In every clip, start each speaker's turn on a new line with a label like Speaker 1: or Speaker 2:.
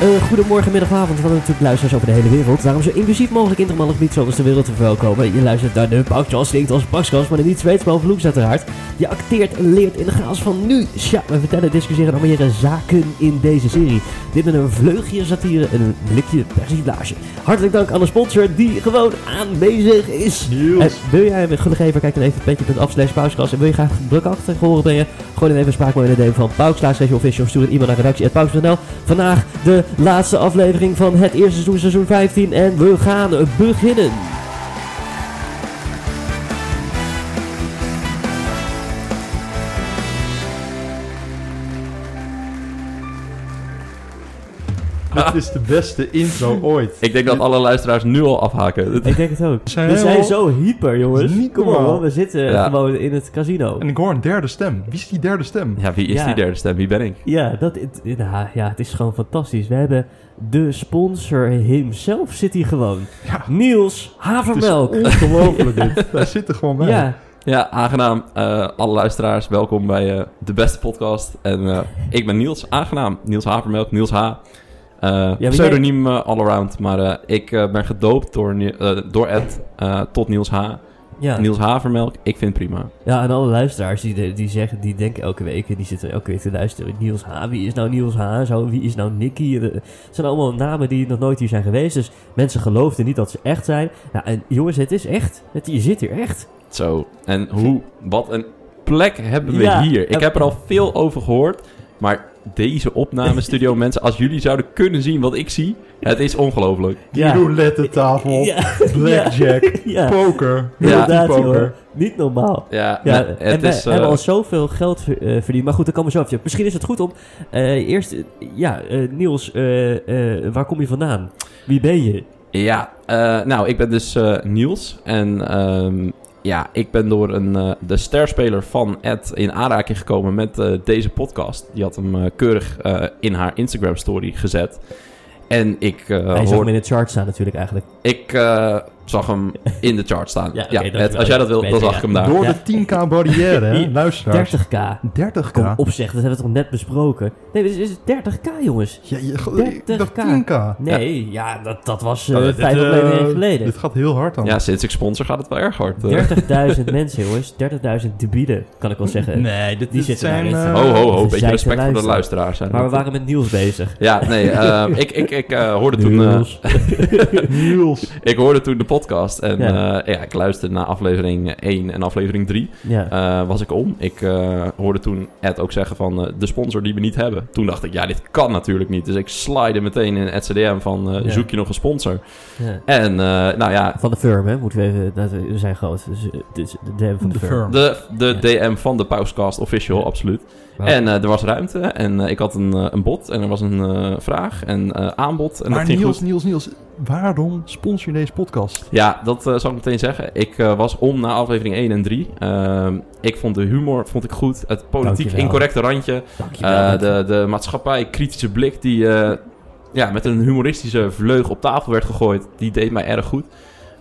Speaker 1: Eh, goedemorgen, middag, avond. We hadden natuurlijk luisteraars over de hele wereld. Daarom zo inclusief mogelijk internationaal gebied zoals de wereld te verwelkomen. Je luistert naar de podcast, klinkt als een podcast, maar niet Zweeds, maar vloeks uiteraard. Je acteert en leert in de chaos van nu. Tja, we vertellen, discussiëren en ameren zaken in deze serie. Dit met een vleugje satire en een blikje persiflage. Hartelijk dank aan de sponsor die gewoon aanwezig is. En Eh, wil jij een gullig geven, kijk dan even op petje.af slash pauwskas. En wil je graag druk achter horen brengen, gooi dan even een spraakmoment in de DM van pauwslaas official. Stuur een e-mail naar redactie.pauws.nl. Vandaag de laatste aflevering van het eerste seizoen, seizoen 15. En we gaan beginnen.
Speaker 2: Dit is de beste intro ooit.
Speaker 3: Ik denk dat alle luisteraars nu al afhaken. Het-
Speaker 1: Ik denk het ook.
Speaker 2: Zijn
Speaker 1: We
Speaker 2: heel-
Speaker 1: zijn zo hyper, jongens.
Speaker 2: Dat is niet
Speaker 1: Kom
Speaker 2: normaal.
Speaker 1: op, we zitten
Speaker 3: Ja.
Speaker 1: gewoon in het casino.
Speaker 2: En ik hoor een derde stem. Wie is die derde stem?
Speaker 3: Ja, wie is
Speaker 1: Ja.
Speaker 3: die derde stem? Wie ben ik?
Speaker 1: Ja, dat, het- nou, ja, het is gewoon fantastisch. We hebben de sponsor himself zit hier gewoon.
Speaker 2: Ja.
Speaker 1: Niels
Speaker 2: Het is
Speaker 1: Havermelk.
Speaker 2: ongelooflijk dit. Daar zit er gewoon bij.
Speaker 1: Ja,
Speaker 3: Ja, aangenaam. Eh, alle luisteraars, welkom bij eh, de beste podcast. En eh, ik ben Niels, aangenaam. Niels Havermelk, Niels H. Eh,
Speaker 1: jij-
Speaker 3: pseudoniem eh, all around, maar eh, ik eh, ben gedoopt door, Ni- eh, door Ed eh, tot Niels H.
Speaker 1: ja.
Speaker 3: Niels Havermelk, ik vind het prima.
Speaker 1: ja, en alle luisteraars die, de- die, zeggen, die denken elke week, en die zitten elke week te luisteren. Niels H, wie is nou Niels H? Zo, wie is nou Nicky? En, eh, Het zijn allemaal namen die nog nooit hier zijn geweest. Dus mensen geloofden niet dat ze echt zijn. Nou, en jongens, het is echt. Het, je zit hier echt.
Speaker 3: Zo, en hoe, wat een plek hebben we
Speaker 1: Ja,
Speaker 3: hier. Ik
Speaker 1: en-
Speaker 3: heb er al veel over gehoord, maar deze opnamestudio mensen, als jullie zouden kunnen zien wat ik zie, het is ongelooflijk.
Speaker 2: Die
Speaker 1: Ja.
Speaker 2: roulette tafel,
Speaker 1: Ja,
Speaker 2: blackjack,
Speaker 1: ja.
Speaker 2: poker.
Speaker 3: Ja.
Speaker 1: inderdaad,
Speaker 2: poker.
Speaker 1: joh. Niet normaal.
Speaker 3: Ja,
Speaker 1: Ja,
Speaker 3: nee,
Speaker 1: en
Speaker 3: het
Speaker 1: we
Speaker 3: is... eh,
Speaker 1: hebben al zoveel geld ver- eh, verdiend. Maar goed, daar komen we zo op. Misschien is het goed om eh, eerst... eh, ja, eh, Niels, eh, eh, waar kom je vandaan? Wie ben je?
Speaker 3: Ja, eh, nou, ik ben dus eh, Niels. En ehm, ja, ik ben door een, eh, de sterspeler van Ed in aanraking gekomen met eh, deze podcast. Die had hem eh, keurig eh, in haar Instagram-story gezet. En ik, eh,
Speaker 1: Hij zag
Speaker 3: hoor-
Speaker 1: hem in de chart staan natuurlijk eigenlijk.
Speaker 3: ik eh, zag hem in de chart staan.
Speaker 1: Ja,
Speaker 3: Ja,
Speaker 1: oké, dankjewel.
Speaker 3: Ed, als jij dat wil, dan
Speaker 1: Beter,
Speaker 3: zag
Speaker 1: ja.
Speaker 3: ik hem daar.
Speaker 2: Door
Speaker 1: Ja.
Speaker 2: de 10k barrière, hè? Luisteraars.
Speaker 1: 30k.
Speaker 2: 30k?
Speaker 1: Kom op zeg, dat hebben we toch net besproken? Nee, dit is, dit is 30k jongens.
Speaker 2: Ja, je, ik dacht
Speaker 1: 30k.
Speaker 2: 10k.
Speaker 1: Nee, ja, dat, dat was eh,
Speaker 3: Oh, dit,
Speaker 1: vijf
Speaker 2: Dit, eh,
Speaker 1: afleveringen geleden.
Speaker 2: Dit gaat heel hard dan.
Speaker 3: Ja, sinds ik sponsor gaat het wel erg hard. eh.
Speaker 1: 30.000 mensen jongens, 30.000 debielen, kan ik wel zeggen.
Speaker 2: Nee, dit,
Speaker 1: Die
Speaker 2: dit
Speaker 1: zitten
Speaker 2: zijn...
Speaker 1: daarin.
Speaker 2: eh,
Speaker 3: ho, ho, ho.
Speaker 1: Zij
Speaker 3: Beetje
Speaker 1: zijn
Speaker 3: respect voor de
Speaker 1: luisteraar.
Speaker 3: luisteraars. hè.
Speaker 1: Maar we waren met Niels bezig.
Speaker 3: Ja, nee. eh, ik ik, ik eh, hoorde toen... eh,
Speaker 1: Niels.
Speaker 2: Niels.
Speaker 3: Ik hoorde toen de podcast en
Speaker 1: Ja.
Speaker 3: ja. ja, ik luisterde naar aflevering 1 en aflevering 3.
Speaker 1: Ja.
Speaker 3: Eh, was ik om. Ik eh, hoorde toen Ed ook zeggen van eh, de sponsor die we niet hebben. Toen dacht ik, ja, dit kan natuurlijk niet. Dus ik slide meteen in het CDM van eh,
Speaker 1: Ja.
Speaker 3: zoek je nog een sponsor.
Speaker 1: ja.
Speaker 3: En eh, nou ja,
Speaker 1: Van de firm, hè? Moeten we even... Dat, we zijn groot. Dus, eh, dit is de DM van de,
Speaker 2: De
Speaker 1: firm.
Speaker 2: firm.
Speaker 3: de, de
Speaker 1: Ja.
Speaker 3: DM van de Pauscast official, absoluut.
Speaker 1: Wauw.
Speaker 3: En eh, er was ruimte en eh, ik had een, eh, een bot en er was een eh, vraag en eh, aanbod. En
Speaker 2: Maar
Speaker 3: dat ging goed.
Speaker 2: Niels, Niels, Niels, waarom sponsor je deze podcast?
Speaker 3: Ja, dat eh, zal ik meteen zeggen. Ik eh, was om na aflevering 1 en 3. Ehm, ik vond de humor vond ik goed. Het politiek
Speaker 1: Dankjewel.
Speaker 3: incorrecte randje.
Speaker 1: Dankjewel.
Speaker 3: eh, de, de maatschappij kritische blik die eh, ja, met een humoristische vleug op tafel werd gegooid. Die deed mij erg goed.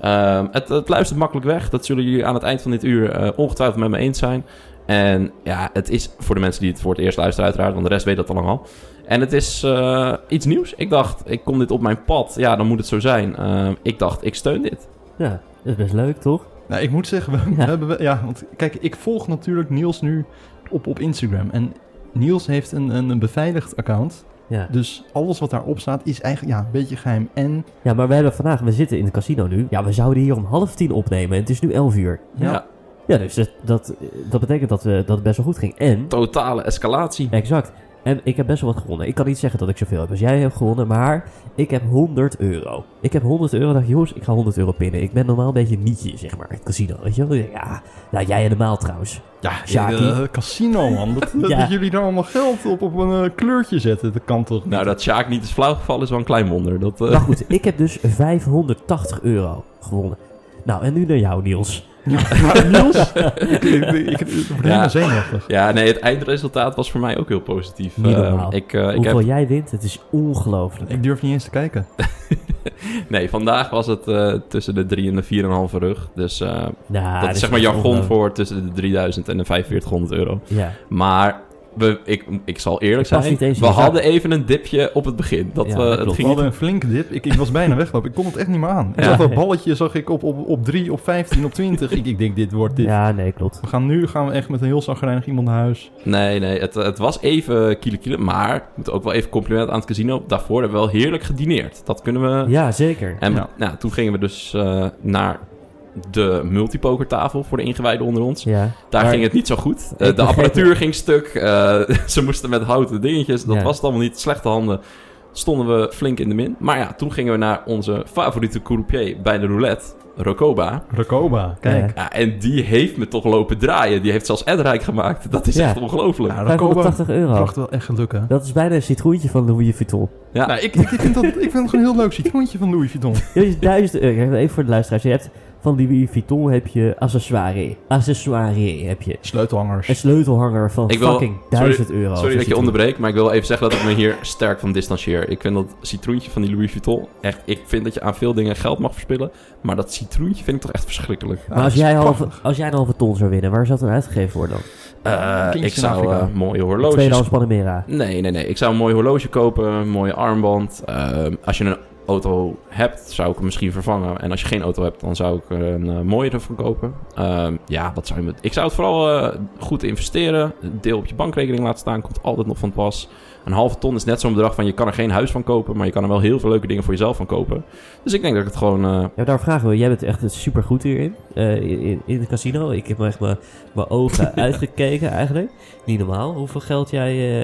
Speaker 3: Ehm, het, het luistert makkelijk weg. Dat zullen jullie aan het eind van dit uur eh, ongetwijfeld met me eens zijn. En ja, het is voor de mensen die het voor het eerst luisteren uiteraard. Want de rest weet dat al lang al. En het is eh, iets nieuws. Ik dacht, ik kom dit op mijn pad. Ja, dan moet het zo zijn. Ehm, ik dacht, ik steun dit.
Speaker 1: Ja, dat is best leuk, toch?
Speaker 2: Nou, ik moet zeggen, we
Speaker 1: Ja.
Speaker 2: hebben... We, ja, want kijk, ik volg natuurlijk Niels nu op, op Instagram. En Niels heeft een, een, een beveiligd account.
Speaker 1: Ja.
Speaker 2: Dus alles wat daarop staat is eigenlijk ja, een beetje geheim. En
Speaker 1: ja, maar we hebben vandaag... We zitten in het casino nu. Ja, we zouden hier om half tien opnemen. En het is nu elf uur.
Speaker 2: ja,
Speaker 3: Ja.
Speaker 1: Ja, dus dat, dat, dat betekent dat, eh, dat het best wel goed ging. En...
Speaker 3: Totale escalatie.
Speaker 1: Exact. En ik heb best wel wat gewonnen. Ik kan niet zeggen dat ik zoveel heb als jij hebt gewonnen, maar ik heb 100 euro. Ik heb 100 euro. dacht, jongens, ik ga 100 euro pinnen. Ik ben normaal een beetje een nietje, zeg maar, in het casino. Weet je wel? Ja, nou, jij helemaal trouwens.
Speaker 2: ja,
Speaker 1: Sjaki.
Speaker 2: eh, casino man. Dat, dat-
Speaker 1: Ja.
Speaker 2: dat jullie daar allemaal geld op, op een eh, kleurtje zetten, dat kan toch?
Speaker 3: Nou, dat Sjaak niet is flauwgevallen is wel een klein wonder. Dat, eh,
Speaker 1: Maar goed, ik heb dus 580 euro gewonnen. Nou, en nu naar jou, Niels.
Speaker 2: Maar Niels, ik, ik, ik, ik word helemaal
Speaker 3: Nou, Ja.
Speaker 2: zenuwachtig.
Speaker 3: Ja, nee, het eindresultaat was voor mij ook heel positief.
Speaker 1: Niet
Speaker 3: Ehm,
Speaker 1: normaal.
Speaker 3: ik, eh, ik
Speaker 1: Hoeveel
Speaker 3: heb,
Speaker 1: jij wint, het is ongelooflijk.
Speaker 2: Ik durf niet eens te kijken.
Speaker 3: nee, vandaag was het eh, tussen de 3 en de 4,5 rug. Dus eh,
Speaker 1: Nou,
Speaker 3: dat
Speaker 1: dit
Speaker 3: is zeg maar jargon
Speaker 1: ongelooflijk.
Speaker 3: voor tussen de 3000 en de 4500 euro.
Speaker 1: Ja,
Speaker 3: Maar we, ik, ik zal eerlijk
Speaker 1: Het past
Speaker 3: zijn,
Speaker 1: niet eens
Speaker 3: we
Speaker 1: in de
Speaker 3: hadden even een dipje op het begin. Dat,
Speaker 1: Ja,
Speaker 3: we-
Speaker 1: dat
Speaker 3: het
Speaker 1: klopt.
Speaker 2: We
Speaker 3: ging niet-
Speaker 2: hadden een flinke dip. Ik, ik was bijna weglopen. Ik kon het echt niet meer aan. Ik
Speaker 3: Ja.
Speaker 2: zag dat balletje zag ik op, op, op 3, op 15, op 20. Ik, ik denk, dit wordt dit.
Speaker 1: Ja, nee, klopt.
Speaker 2: We gaan nu gaan we echt met een heel zagrijnig iemand naar huis.
Speaker 3: Nee, nee, het, het was even kiele kiele, maar ik moet ook wel even compliment aan het casino. Daarvoor hebben we wel heerlijk gedineerd. Dat kunnen we...
Speaker 1: Ja, zeker.
Speaker 3: En
Speaker 2: Ja.
Speaker 3: nou, toen gingen we dus eh, naar de multipokertafel voor de ingewijden onder ons.
Speaker 1: Ja.
Speaker 3: Daar
Speaker 1: Maar-
Speaker 3: ging het niet zo goed. Eh, de
Speaker 1: begreep
Speaker 3: apparatuur ging stuk. eh, ze moesten met houten dingetjes. Dat
Speaker 1: Ja.
Speaker 3: was het allemaal niet. Slechte handen. Stonden we flink in de min. Maar ja, toen gingen we naar onze favoriete croupier bij de roulette, Rocoba.
Speaker 2: Rakoba, kijk.
Speaker 3: Ja, en die heeft me toch lopen draaien. Die heeft zelfs Edrijk gemaakt. Dat is
Speaker 1: Ja.
Speaker 3: echt ongelooflijk.
Speaker 2: Ja,
Speaker 3: Ja,
Speaker 2: Rakoba
Speaker 1: 580 euro.
Speaker 2: bracht wel echt geluk, hè?
Speaker 1: Dat is bijna een citroentje van Louis Vuitton.
Speaker 2: Nou, ik, ik, ik vind dat, ik vind het gewoon heel leuk. Citroentje van Louis Vuitton.
Speaker 1: Je hebt duizend euro. Even voor de luisteraars. Je hebt van Louis Vuitton heb je accessoire. Accessoire heb je.
Speaker 2: Sleutelhangers.
Speaker 1: Een sleutelhanger van
Speaker 3: Ik wil-
Speaker 1: fucking
Speaker 3: sorry-
Speaker 1: 1000 euro.
Speaker 3: Sorry
Speaker 1: voor
Speaker 3: dat je
Speaker 1: citroen.
Speaker 3: onderbreekt, maar ik wil even zeggen dat ik me hier sterk van distancieer. Ik vind dat citroentje van die Louis Vuitton echt... Ik vind dat je aan veel dingen geld mag verspillen, maar dat citroentje vind ik toch echt verschrikkelijk.
Speaker 1: Maar als
Speaker 3: Ah,
Speaker 2: Ah,
Speaker 1: jij, halve, als jij een halve ton zou winnen, waar zou het dan uitgegeven worden dan?
Speaker 3: Eh,
Speaker 2: Kindjes
Speaker 3: ik
Speaker 2: in
Speaker 3: zou
Speaker 2: Afrika.
Speaker 3: eh, mooie horloges...
Speaker 1: Tweedehands Panamera.
Speaker 3: Nee, nee, nee. Ik zou een mooi horloge kopen, een mooie armband. Ehm, als je een auto hebt, zou ik hem misschien vervangen. En als je geen auto hebt, dan zou ik er een eh, mooiere van kopen. Ehm, ja, wat zou je met... Ik zou het vooral eh, goed investeren. Een deel op je bankrekening laten staan, komt altijd nog van pas. Een halve ton is net zo'n bedrag van je kan er geen huis van kopen, maar je kan er wel heel veel leuke dingen voor jezelf van kopen. Dus ik denk dat ik het gewoon... eh,
Speaker 1: Ja, daar vragen we. Jij bent echt super goed hierin. Eh, in, in het casino. Ik heb echt mijn, mijn ogen uitgekeken eigenlijk. Niet normaal hoeveel geld jij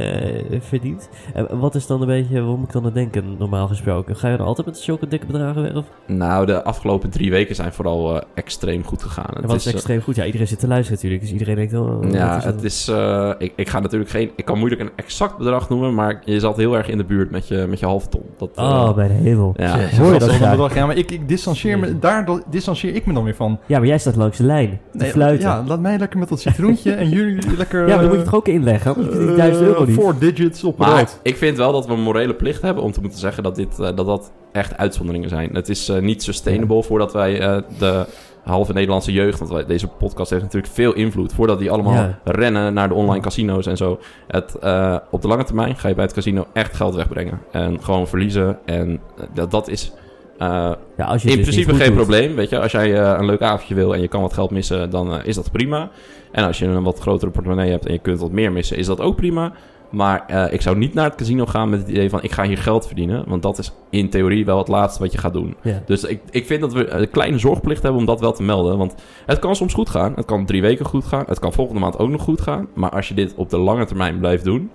Speaker 1: eh, verdient. En wat is dan een beetje, waarom ik dan aan denken normaal gesproken? Ga je dan altijd met zulke dikke bedragen weg? Of?
Speaker 3: nou, de afgelopen drie weken zijn vooral eh, extreem goed gegaan.
Speaker 1: En wat is
Speaker 3: eh,
Speaker 1: extreem goed? Ja, iedereen zit te luisteren natuurlijk. Dus iedereen denkt dan... oh,
Speaker 3: Ja,
Speaker 1: wat dat?
Speaker 3: het is, eh, ik, ik ga natuurlijk geen. Ik kan moeilijk een exact bedrag noemen, maar je zat heel erg in de buurt met je, met je halve ton. Dat, eh,
Speaker 1: Oh, mijn hemel.
Speaker 3: ja.
Speaker 2: Jezus,
Speaker 1: Hoor je
Speaker 2: wat
Speaker 1: dat
Speaker 2: een
Speaker 1: graag?
Speaker 2: bedrag. Ja, maar ik, ik distancieer me, daar do- distancieer ik me dan weer van.
Speaker 1: Ja, maar jij staat langs de lijn. Te fluiten.
Speaker 2: Ja, laat mij lekker met dat citroentje en jullie lekker...
Speaker 1: Ja, maar dan moet je
Speaker 2: eh,
Speaker 1: het toch ook inleggen? Anders vind je die 1000 euro
Speaker 2: eh,
Speaker 1: niet.
Speaker 2: Four digits op
Speaker 3: Maar
Speaker 2: rood.
Speaker 3: ik vind wel dat we een morele plicht hebben om te moeten zeggen dat dit, eh, dat, dat echt uitzonderingen zijn. Het is eh, niet sustainable voordat wij eh, de halve Nederlandse jeugd, want wij, deze podcast heeft natuurlijk veel invloed, voordat die allemaal
Speaker 1: Ja.
Speaker 3: rennen naar de online casino's en zo. Het, eh, op de lange termijn ga je bij het casino echt geld wegbrengen en gewoon verliezen. En eh, dat, dat is. eh,
Speaker 1: Ja, als je
Speaker 3: In
Speaker 1: het dus
Speaker 3: principe
Speaker 1: niet
Speaker 3: geen
Speaker 1: goed doet.
Speaker 3: probleem, weet je. Als jij eh, een leuk avondje wil en je kan wat geld missen, dan eh, is dat prima. En als je een wat grotere portemonnee hebt en je kunt wat meer missen, is dat ook prima. Maar eh, ik zou niet naar het casino gaan met het idee van ik ga hier geld verdienen. Want dat is in theorie wel het laatste wat je gaat doen.
Speaker 1: Ja.
Speaker 3: Dus ik, ik vind dat we een kleine zorgplicht hebben om dat wel te melden. Want het kan soms goed gaan. Het kan drie weken goed gaan. Het kan volgende maand ook nog goed gaan. Maar als je dit op de lange termijn blijft doen,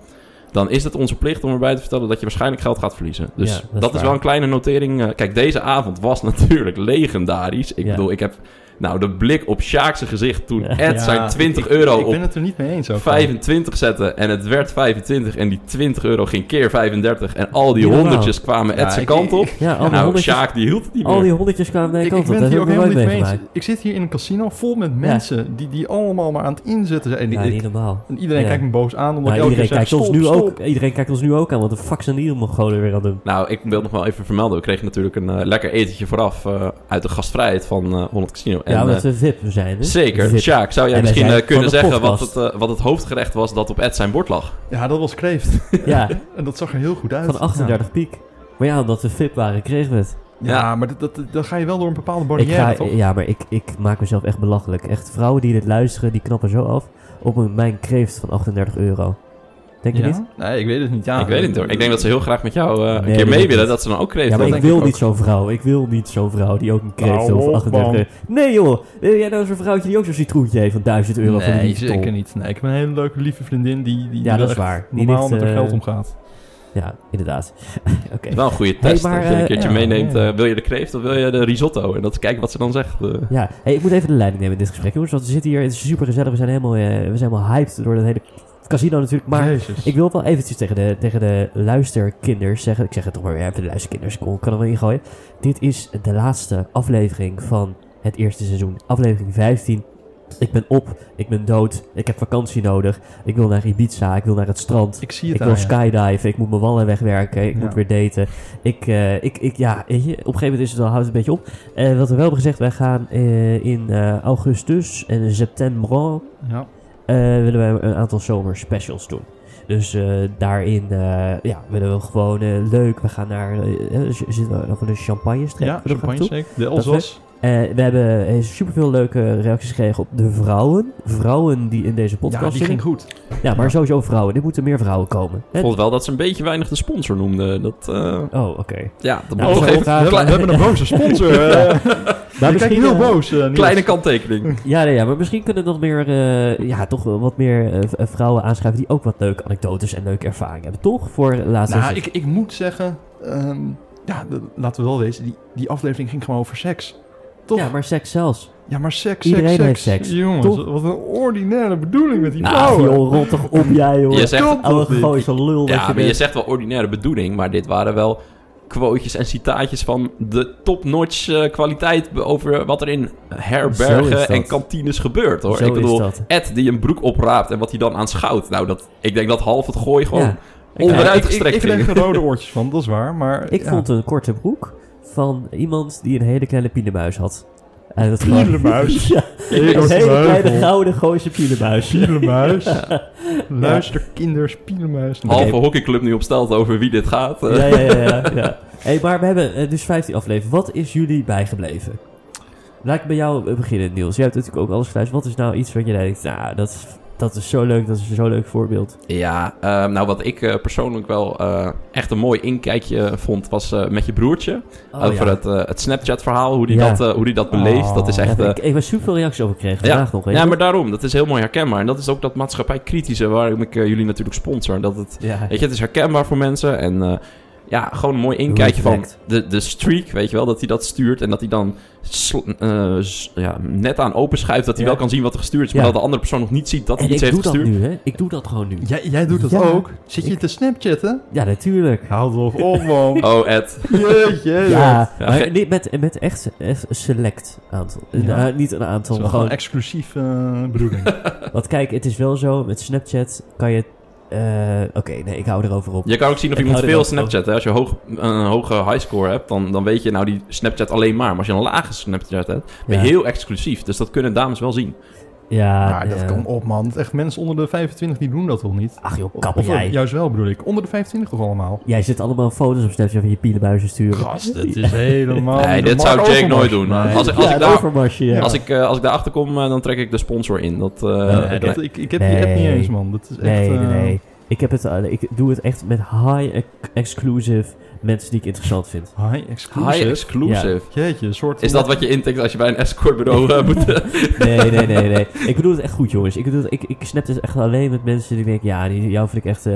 Speaker 3: dan is het onze plicht om erbij te vertellen dat je waarschijnlijk geld gaat verliezen. Dus
Speaker 1: Ja,
Speaker 3: dat,
Speaker 1: dat is
Speaker 3: is
Speaker 1: waar.
Speaker 3: wel een kleine notering. Eh, Kijk, deze avond was natuurlijk legendarisch. Ik
Speaker 1: Ja.
Speaker 3: bedoel, ik heb nou de blik op Sjaakse gezicht toen
Speaker 1: Ja.
Speaker 3: Ed zijn
Speaker 2: Ja,
Speaker 3: 20
Speaker 2: ik-
Speaker 3: euro
Speaker 2: Ik ben
Speaker 3: op
Speaker 2: het er niet mee eens ook.
Speaker 3: 25 zette en het werd 25 en die 20 euro ging keer 35 en al die
Speaker 1: Niet normaal.
Speaker 3: honderdjes kwamen Ed
Speaker 2: Ja,
Speaker 3: zijn
Speaker 2: ik-
Speaker 3: kant
Speaker 2: ik-
Speaker 3: op.
Speaker 1: Ja, al die
Speaker 3: nou,
Speaker 1: honderdjes-
Speaker 3: Sjaak die hield het niet meer.
Speaker 1: Al die honderdjes kwamen naar de
Speaker 2: Ik,
Speaker 1: kant
Speaker 2: ik
Speaker 1: op.
Speaker 2: ben
Speaker 1: Dat
Speaker 2: het hier
Speaker 1: heb
Speaker 2: ook
Speaker 1: ik nog
Speaker 2: helemaal
Speaker 1: nooit
Speaker 2: niet mee eens.
Speaker 1: meegemaakt.
Speaker 2: Ik zit hier in een casino vol met mensen die, die allemaal maar aan het inzetten zijn. En
Speaker 1: Ja,
Speaker 2: ik-
Speaker 1: niet normaal.
Speaker 2: en iedereen
Speaker 1: Ja.
Speaker 2: kijkt me boos aan omdat
Speaker 1: Nou,
Speaker 2: ik elke keer
Speaker 1: iedereen,
Speaker 2: zeg,
Speaker 1: kijkt ons
Speaker 2: stop,
Speaker 1: nu
Speaker 2: stop.
Speaker 1: ook, iedereen kijkt ons nu ook aan, want de fuck zijn die Mongolen weer aan doen.
Speaker 3: Nou, ik wil nog wel even vermelden. We kregen natuurlijk een eh, lekker etentje vooraf eh, uit de gastvrijheid van eh 100 Casino. En,
Speaker 1: ja,
Speaker 3: eh,
Speaker 1: omdat we VIP zijn. hè?
Speaker 3: Zeker.
Speaker 1: VIP.
Speaker 3: Sjaak, zou jij
Speaker 1: En wij
Speaker 3: misschien
Speaker 1: zijn
Speaker 3: eh, kunnen
Speaker 1: van de
Speaker 3: zeggen wat het,
Speaker 1: podcast.
Speaker 3: eh, wat het hoofdgerecht was dat op Ed zijn bord lag?
Speaker 2: Ja, dat was kreeft.
Speaker 1: Ja,
Speaker 2: en dat zag er heel goed uit.
Speaker 1: van 38 piek. Maar ja, omdat we VIP waren, kregen we het.
Speaker 2: Ja, ja, maar dat, dat, dat ga je wel door een bepaalde
Speaker 1: Ik
Speaker 2: barrière,
Speaker 1: ga,
Speaker 2: toch?
Speaker 1: ja, maar ik, ik maak mezelf echt belachelijk. Echt, vrouwen die dit luisteren, die knappen zo af op een- mijn kreeft van 38 euro. Denk je
Speaker 2: Ja?
Speaker 1: niet?
Speaker 2: Nee, ik weet het niet. Ja, eh,
Speaker 3: ik weet het niet hoor. Ik denk dat ze heel graag met jou eh,
Speaker 1: Nee,
Speaker 3: een keer
Speaker 1: dat
Speaker 3: mee
Speaker 1: denk ik
Speaker 3: willen.
Speaker 1: niet.
Speaker 3: Dat ze dan ook kreeg.
Speaker 1: Ja, maar
Speaker 3: dat
Speaker 1: ik
Speaker 3: denk
Speaker 1: wil niet
Speaker 3: ook.
Speaker 1: zo'n vrouw. Ik wil niet zo'n vrouw die ook een kreeft
Speaker 2: Nou,
Speaker 1: heeft van 38
Speaker 2: man.
Speaker 1: euro. Nee joh, Eh, jij nou zo'n vrouwtje die ook zo'n citroentje heeft van 1000 euro. voor
Speaker 2: Nee,
Speaker 1: die tol.
Speaker 2: zeker niet. Nee, ik heb een hele leuke, lieve vriendin die, die,
Speaker 1: Ja,
Speaker 2: die
Speaker 1: dat
Speaker 2: echt
Speaker 1: is waar. Die
Speaker 2: normaal
Speaker 1: ligt,
Speaker 2: met haar
Speaker 1: eh,
Speaker 2: geld omgaat.
Speaker 1: Ja, inderdaad. Oké.
Speaker 3: Wel een goede test.
Speaker 1: maar,
Speaker 3: dat je een
Speaker 1: eh,
Speaker 3: keertje
Speaker 2: ja,
Speaker 3: meeneemt.
Speaker 2: ja.
Speaker 3: eh, wil je de kreeft of wil je de risotto? En dat is kijken wat ze dan zegt. eh.
Speaker 1: Ja, hey, ik moet even de leiding nemen in dit gesprek, jongens. Want we zitten hier, het is super gezellig. We zijn helemaal, eh, we zijn helemaal hyped door dat hele casino natuurlijk. Maar
Speaker 2: Jezus.
Speaker 1: ik wil wel eventjes tegen de, tegen de luisterkinders zeggen. Ik zeg het toch maar weer, even de luisterkinders. Ik kan er wel ingooien. Dit is de laatste aflevering van het eerste seizoen. Aflevering 15. Ik ben op, ik ben dood, ik heb vakantie nodig. Ik wil naar Ibiza, ik wil naar het strand.
Speaker 2: ik zie het
Speaker 1: Ik
Speaker 2: aan
Speaker 1: wil
Speaker 2: je.
Speaker 1: skydiven, ik moet mijn wallen wegwerken, ik
Speaker 2: Ja.
Speaker 1: moet weer daten. Ik, eh, ik, ik, ja, weet je, op een gegeven moment is het al, houdt het een beetje op. Eh, wat we wel hebben gezegd, wij gaan eh, in eh, augustus en september
Speaker 2: Ja.
Speaker 1: eh, willen wij een aantal zomerspecials doen. Dus eh, daarin eh, ja, willen we gewoon eh, leuk. We gaan naar eh, eh, z- zitten we over de champagne streek.
Speaker 2: Ja, champagne zeker. De Elzas.
Speaker 1: we hebben eh, superveel leuke reacties gekregen op de vrouwen. Vrouwen die in deze podcast
Speaker 2: Ja, die
Speaker 1: zitten.
Speaker 2: ging goed.
Speaker 1: Ja, maar sowieso vrouwen. Er moeten meer vrouwen komen.
Speaker 3: Ik
Speaker 1: Hè?
Speaker 3: vond wel dat ze een beetje weinig de sponsor noemden. Dat, eh,
Speaker 1: Oh, oké.
Speaker 3: ja, dat
Speaker 1: Nou,
Speaker 3: moet
Speaker 1: we
Speaker 3: toch
Speaker 1: zijn
Speaker 3: even
Speaker 1: graag-
Speaker 2: we hebben een boze sponsor. eh.
Speaker 1: Maar
Speaker 2: Je kijkt heel
Speaker 1: eh,
Speaker 2: boos, eh, Niels.
Speaker 3: een kleine kanttekening.
Speaker 1: Ja, nee, ja, maar misschien kunnen nog meer, eh, ja, toch wel wat meer eh, v- eh, vrouwen aanschrijven die ook wat leuke anekdotes en leuke ervaringen hebben. Toch? Voor de laatste.
Speaker 2: Nou, ik, ik moet zeggen, ehm, ja, de- laten we wel wezen, die, die aflevering ging gewoon over seks. Toch?
Speaker 1: Ja, maar seks zelfs.
Speaker 2: Ja, maar seks,
Speaker 1: Iedereen
Speaker 2: seks,
Speaker 1: heeft
Speaker 2: seks.
Speaker 1: seks,
Speaker 2: Jongens,
Speaker 1: toch?
Speaker 2: wat een ordinaire bedoeling met die
Speaker 1: Nou,
Speaker 2: vrouwen.
Speaker 1: joh, rot toch op jij, hoor.
Speaker 3: Je zegt,
Speaker 2: Klopt
Speaker 1: Oude
Speaker 2: dat niet?
Speaker 1: gozer lul.
Speaker 3: ja,
Speaker 1: dat je
Speaker 3: maar je
Speaker 1: bent.
Speaker 3: zegt wel ordinaire bedoeling, maar dit waren wel quotejes en citaatjes van de top-notch eh, kwaliteit be- over wat er in
Speaker 1: Zo is
Speaker 3: herbergen
Speaker 1: dat.
Speaker 3: en kantines gebeurt, hoor.
Speaker 1: Zo
Speaker 3: ik bedoel,
Speaker 1: is dat.
Speaker 3: Ed die een broek opraapt en wat hij dan aanschouwt. Nou, dat, ik denk dat half het gooi gewoon
Speaker 1: Ja.
Speaker 2: Ja, ik,
Speaker 3: onderuit
Speaker 2: ik,
Speaker 3: gestrekt
Speaker 2: ik
Speaker 3: ging.
Speaker 2: kreeg er rode oortjes van, dat is waar. Maar
Speaker 1: Ik
Speaker 2: ja.
Speaker 1: vond een korte broek van iemand die een hele kleine pielenmuis had. En dat
Speaker 2: Pielenmuis?
Speaker 1: ja,
Speaker 2: Ik
Speaker 1: een
Speaker 2: was
Speaker 1: hele
Speaker 2: duivel.
Speaker 1: kleine gouden gooise pielenmuis.
Speaker 2: Pielenmuis. Luister, kinders, pielenmuis.
Speaker 3: Halve hockeyclub nu op stelt over wie dit gaat. eh.
Speaker 1: Ja, ja, ja. ja, ja. Hey, maar we hebben eh, dus 15 afleveringen. Wat is jullie bijgebleven? Laat ik bij jou eh, beginnen, Niels. Jij hebt natuurlijk ook alles geluisterd. Wat is nou iets wat je denkt, nou, dat, is- dat is zo leuk, dat is zo'n leuk voorbeeld.
Speaker 3: Ja, ehm, nou wat ik eh, persoonlijk wel eh, echt een mooi inkijkje vond, was eh, met je broertje. over het, eh, het Snapchat-verhaal, hoe die
Speaker 1: Oh, Ja.
Speaker 3: dat, eh, hoe die dat beleeft. dat is
Speaker 2: Oh.
Speaker 3: echt...
Speaker 1: Ja,
Speaker 3: eh,
Speaker 1: ik, ik was super veel reacties over gekregen
Speaker 3: Ja.
Speaker 1: vandaag nog. Weet
Speaker 3: ja,
Speaker 1: je?
Speaker 3: maar daarom. Dat is heel mooi herkenbaar. En dat is ook dat maatschappij-kritische waarom ik eh, jullie natuurlijk sponsor. Dat het,
Speaker 1: ja.
Speaker 3: weet je, het is herkenbaar voor mensen. En eh, ja, gewoon een mooi inkijkje van
Speaker 1: Reflect.
Speaker 3: de, de streak, weet je wel. Dat hij dat stuurt en dat hij dan sl- eh, s- ja, net aan openschuift dat hij
Speaker 2: Ja.
Speaker 3: wel kan zien wat er gestuurd is. Maar
Speaker 1: Ja.
Speaker 3: dat de andere persoon nog niet ziet dat hij
Speaker 1: en
Speaker 3: iets
Speaker 1: ik
Speaker 3: heeft
Speaker 1: doe dat
Speaker 3: gestuurd.
Speaker 1: nu, hè. Ik doe dat gewoon nu.
Speaker 2: Jij, jij doet dat
Speaker 1: Ja.
Speaker 2: ook? Zit je te snapchatten?
Speaker 1: Ja, natuurlijk.
Speaker 2: Houd erop op, man.
Speaker 3: Oh, Ed.
Speaker 2: Jeetje.
Speaker 1: Ja,
Speaker 2: joh.
Speaker 3: Ja,
Speaker 1: maar
Speaker 3: ge-
Speaker 1: niet met, met echt echt select aantal. Een-
Speaker 2: Ja.
Speaker 1: eh, niet een
Speaker 2: Dat
Speaker 1: aantal,
Speaker 2: is wel
Speaker 1: gewoon
Speaker 2: gewoon exclusief eh bedoeling.
Speaker 1: Want kijk, het is wel zo, met Snapchat kan je... eh, Oké, nee, ik hou erover op.
Speaker 3: Je kan ook zien of
Speaker 1: Ik
Speaker 3: iemand
Speaker 1: hou er
Speaker 3: veel
Speaker 1: wel van.
Speaker 3: Snapchat. Hè? Als je hoog, een hoge highscore hebt, dan, dan weet je nou die Snapchat alleen maar. Maar als je een lage Snapchat hebt, ben je
Speaker 1: Ja.
Speaker 3: heel exclusief. Dus dat kunnen dames wel zien.
Speaker 1: Ja,
Speaker 2: maar dat
Speaker 1: eh,
Speaker 2: kan op, man. Echt, mensen onder de 25 die doen dat toch niet?
Speaker 1: Ach joh,
Speaker 2: Of-
Speaker 1: kappen
Speaker 2: of-
Speaker 1: jij.
Speaker 2: Juist wel, bedoel ik. Onder de 25 toch allemaal?
Speaker 1: Jij zit allemaal foto's op Snapchat van je pielenbuizen sturen.
Speaker 2: Gast, het is helemaal...
Speaker 3: Nee,
Speaker 2: de
Speaker 3: dit zou
Speaker 2: Mark
Speaker 3: Jake
Speaker 2: Overmars.
Speaker 3: nooit doen.
Speaker 2: Nee.
Speaker 3: Als ik-
Speaker 1: ja,
Speaker 3: daar-
Speaker 1: een overmarsje, ja.
Speaker 3: Als, ik, eh, als ik daarachter kom, eh, dan trek ik de sponsor in. Dat, eh,
Speaker 2: Nee,
Speaker 3: nee.
Speaker 2: dat- ik, ik heb die app niet
Speaker 1: Nee.
Speaker 2: eens, man. Dat is echt...
Speaker 1: nee, nee,
Speaker 2: eh,
Speaker 1: nee. Ik, heb het, al- ik doe het echt met high ex- exclusive mensen die ik interessant vind.
Speaker 2: High exclusive.
Speaker 3: High exclusive.
Speaker 2: Jeetje, een soort...
Speaker 3: Is dat wat je intikt als je bij een escortbureau eh, moet... eh,
Speaker 1: Nee, nee, nee, nee. Ik bedoel het echt goed, jongens. Ik, bedoel, ik, ik snap het echt alleen met mensen die denken, ja, die, jou vind ik echt, eh,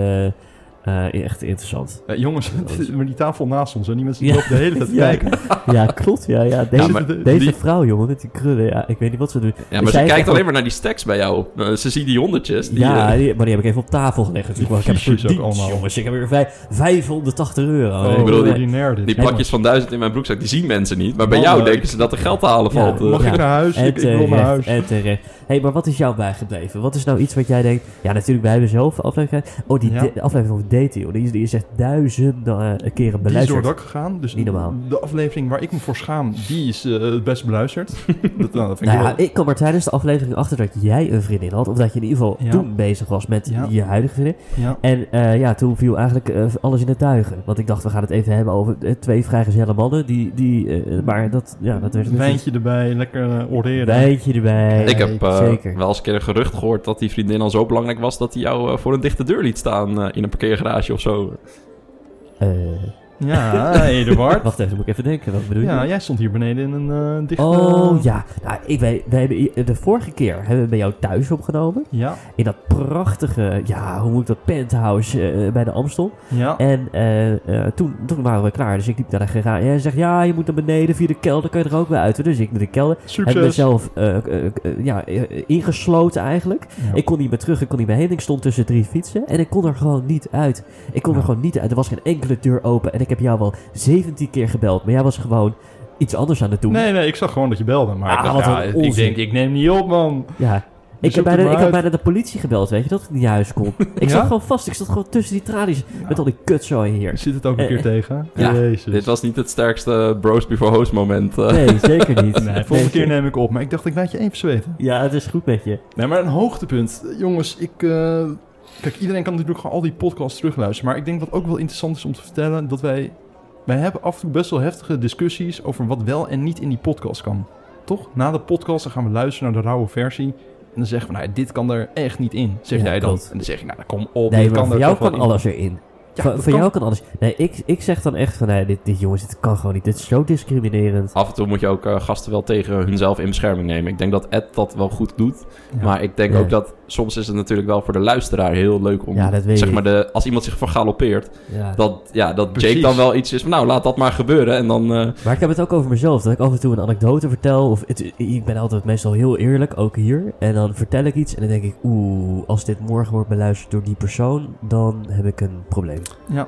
Speaker 1: eh, echt interessant.
Speaker 2: Eh, jongens, maar die tafel naast ons, hè? die mensen die
Speaker 1: Ja.
Speaker 2: lopen de hele tijd te
Speaker 1: Ja.
Speaker 2: kijken.
Speaker 1: Ja, klopt, ja, ja. Deze,
Speaker 3: Ja, maar
Speaker 1: deze
Speaker 3: die-
Speaker 1: vrouw, jongen, met die krullen, ja, ik weet niet wat ze doen.
Speaker 3: Ja, maar ze
Speaker 1: Zij is
Speaker 3: kijkt
Speaker 1: echt-
Speaker 3: alleen maar naar die stacks bij jou. Eh, ze ziet die honderdjes. Die,
Speaker 1: ja,
Speaker 3: eh,
Speaker 1: die- maar die heb ik even op tafel gelegd natuurlijk.
Speaker 2: Die
Speaker 1: want ik heb
Speaker 2: fiches ook
Speaker 1: verdiend,
Speaker 2: allemaal.
Speaker 1: jongens. Ik heb weer vij- 580 euro.
Speaker 2: Oh,
Speaker 1: Ik bedoel,
Speaker 3: die-
Speaker 2: ordinair dit.
Speaker 3: die
Speaker 1: Nee,
Speaker 3: plakjes van duizend in mijn broekzak, die zien mensen niet. Maar bij
Speaker 2: Man,
Speaker 3: jou
Speaker 2: eh,
Speaker 3: denken ze dat er geld te halen
Speaker 1: Ja,
Speaker 3: valt. eh.
Speaker 2: Mag
Speaker 1: Ja. eh,
Speaker 2: ik naar huis?
Speaker 1: En
Speaker 2: Ik, ik wil naar huis.
Speaker 1: terecht, en terecht. hey, maar wat is jou bijgebleven? Wat is nou iets wat jij denkt... Ja, natuurlijk, wij hebben zelf afleveringen... Oh, die
Speaker 2: Ja.
Speaker 1: de- de aflevering over dating, joh. Die is, die is echt duizenden eh, keren
Speaker 2: Die is door
Speaker 1: beluisterd.
Speaker 2: het dak gegaan. Dus
Speaker 1: Niet normaal.
Speaker 2: de aflevering waar ik me voor schaam, die is eh, het best beluisterd. dat, nou, dat vind ik
Speaker 1: nou ja,
Speaker 2: wel...
Speaker 1: ik kwam er tijdens de aflevering achter dat jij een vriendin had. Of dat je in ieder geval
Speaker 2: Ja.
Speaker 1: toen bezig was met
Speaker 2: Ja.
Speaker 1: je huidige vriendin.
Speaker 2: Ja.
Speaker 1: En eh, ja, toen viel eigenlijk eh, alles in het duigen. Want ik dacht, we gaan het even hebben over eh, twee vrijgezelle mannen. Die, die, eh, maar dat, ja, dat werd
Speaker 2: Een
Speaker 1: dus
Speaker 2: wijntje erbij, lekker eh,
Speaker 1: een
Speaker 2: oreren.
Speaker 1: wijntje erbij.
Speaker 3: Ik heb eh,
Speaker 1: Zeker.
Speaker 3: wel eens een keer een gerucht gehoord dat die vriendin al zo belangrijk was dat hij jou eh, voor een dichte deur liet staan eh, in een parkeergarage of zo.
Speaker 1: Eh,
Speaker 2: Ja, Eduard.
Speaker 1: wacht even, moet ik even denken. Wat bedoel je?
Speaker 2: ja, jij stond hier beneden in een eh, dichte...
Speaker 1: Oh ja, nou, ik weet, we hebben, i- de vorige keer hebben we bij jou thuis opgenomen.
Speaker 2: Ja,
Speaker 1: In dat prachtige, ja, hoe moet ik dat, penthouse eh, bij de Amstel.
Speaker 2: ja.
Speaker 1: En eh, eh, toen, toen waren we klaar, dus ik liep naar de garage. En hij zegt, ja, je moet naar beneden via de kelder, kan je er ook weer uit. Dus ik naar de kelder. Heb
Speaker 2: Succes.
Speaker 1: mezelf eh, eh, eh, ja, eh, ingesloten eigenlijk.
Speaker 2: Ja.
Speaker 1: Ik kon niet meer terug, ik kon niet meer heen. Ik stond tussen drie fietsen en ik kon er gewoon niet uit. Ik kon er
Speaker 2: Ja.
Speaker 1: gewoon niet uit. Er was geen enkele deur open. En ik heb jou wel 17 keer gebeld, maar jij was gewoon iets anders aan het doen.
Speaker 2: Nee, nee, ik zag gewoon dat je belde. Maar
Speaker 1: Ah,
Speaker 2: ik,
Speaker 1: wat
Speaker 2: dacht, ja,
Speaker 1: een
Speaker 2: ik
Speaker 1: onzin.
Speaker 2: denk, ik neem niet op, man.
Speaker 1: Ja. Ik,
Speaker 2: zoek
Speaker 1: heb bijna,
Speaker 2: hem
Speaker 1: ik
Speaker 2: uit.
Speaker 1: had bijna de politie gebeld, weet je, dat ik niet naar huis kon. Ik
Speaker 2: Ja?
Speaker 1: zat gewoon vast, ik zat gewoon tussen die tralies met al die kutzooi hier.
Speaker 2: Nou, Zit het ook een
Speaker 1: Eh,
Speaker 2: keer
Speaker 1: eh.
Speaker 2: tegen?
Speaker 3: Ja,
Speaker 2: Jezus.
Speaker 3: Dit was niet het sterkste bros before host moment. eh.
Speaker 1: Dus- Nee, zeker niet.
Speaker 2: Nee, volgende keer
Speaker 1: zeker-
Speaker 2: neem ik op. Maar ik dacht, ik laat je even zweten.
Speaker 1: Ja, het is goed met je.
Speaker 2: Nee, maar een hoogtepunt. Eh, Jongens, ik... eh, Kijk, iedereen kan natuurlijk gewoon al die podcasts terugluisteren. Maar ik denk wat ook wel interessant is om te vertellen... dat wij... Wij hebben af en toe best wel heftige discussies over wat wel en niet in die podcast kan. Toch? Na de podcast dan gaan we luisteren naar de rauwe versie. En dan zeggen we, nou, dit kan er echt niet in. Zeg
Speaker 1: Ja,
Speaker 2: jij dan?
Speaker 1: klopt.
Speaker 2: En dan zeg je, nou, kom op.
Speaker 1: Nee,
Speaker 2: dit
Speaker 1: maar
Speaker 2: kan
Speaker 1: voor
Speaker 2: er
Speaker 1: jou
Speaker 2: toch wel
Speaker 1: kan
Speaker 2: in.
Speaker 1: alles erin.
Speaker 2: Ja,
Speaker 1: van
Speaker 2: dat
Speaker 1: voor
Speaker 2: kan.
Speaker 1: jou kan alles. Nee, ik, ik zeg dan echt van, nee, dit, dit jongens, dit kan gewoon niet. Dit is zo discriminerend.
Speaker 3: Af en toe moet je ook eh, gasten wel tegen hunzelf in bescherming nemen. Ik denk dat Ed dat wel goed doet.
Speaker 2: Ja.
Speaker 3: Maar ik denk
Speaker 1: Ja.
Speaker 3: ook dat soms is het natuurlijk wel voor de luisteraar heel leuk om...
Speaker 1: Ja, dat weet
Speaker 3: zeg
Speaker 1: ik.
Speaker 3: maar, de, als iemand zich vergalopeert,
Speaker 1: Ja.
Speaker 3: dat, ja, dat Jake
Speaker 2: Precies.
Speaker 3: dan wel iets is van... Nou, laat dat maar gebeuren. En dan... eh,
Speaker 1: Maar ik heb het ook over mezelf, dat ik af en toe een anekdote vertel. Of het- ik ben altijd meestal heel eerlijk, ook hier. En dan vertel ik iets en dan denk ik, oeh, als dit morgen wordt beluisterd door die persoon, dan heb ik een probleem.
Speaker 2: Ja.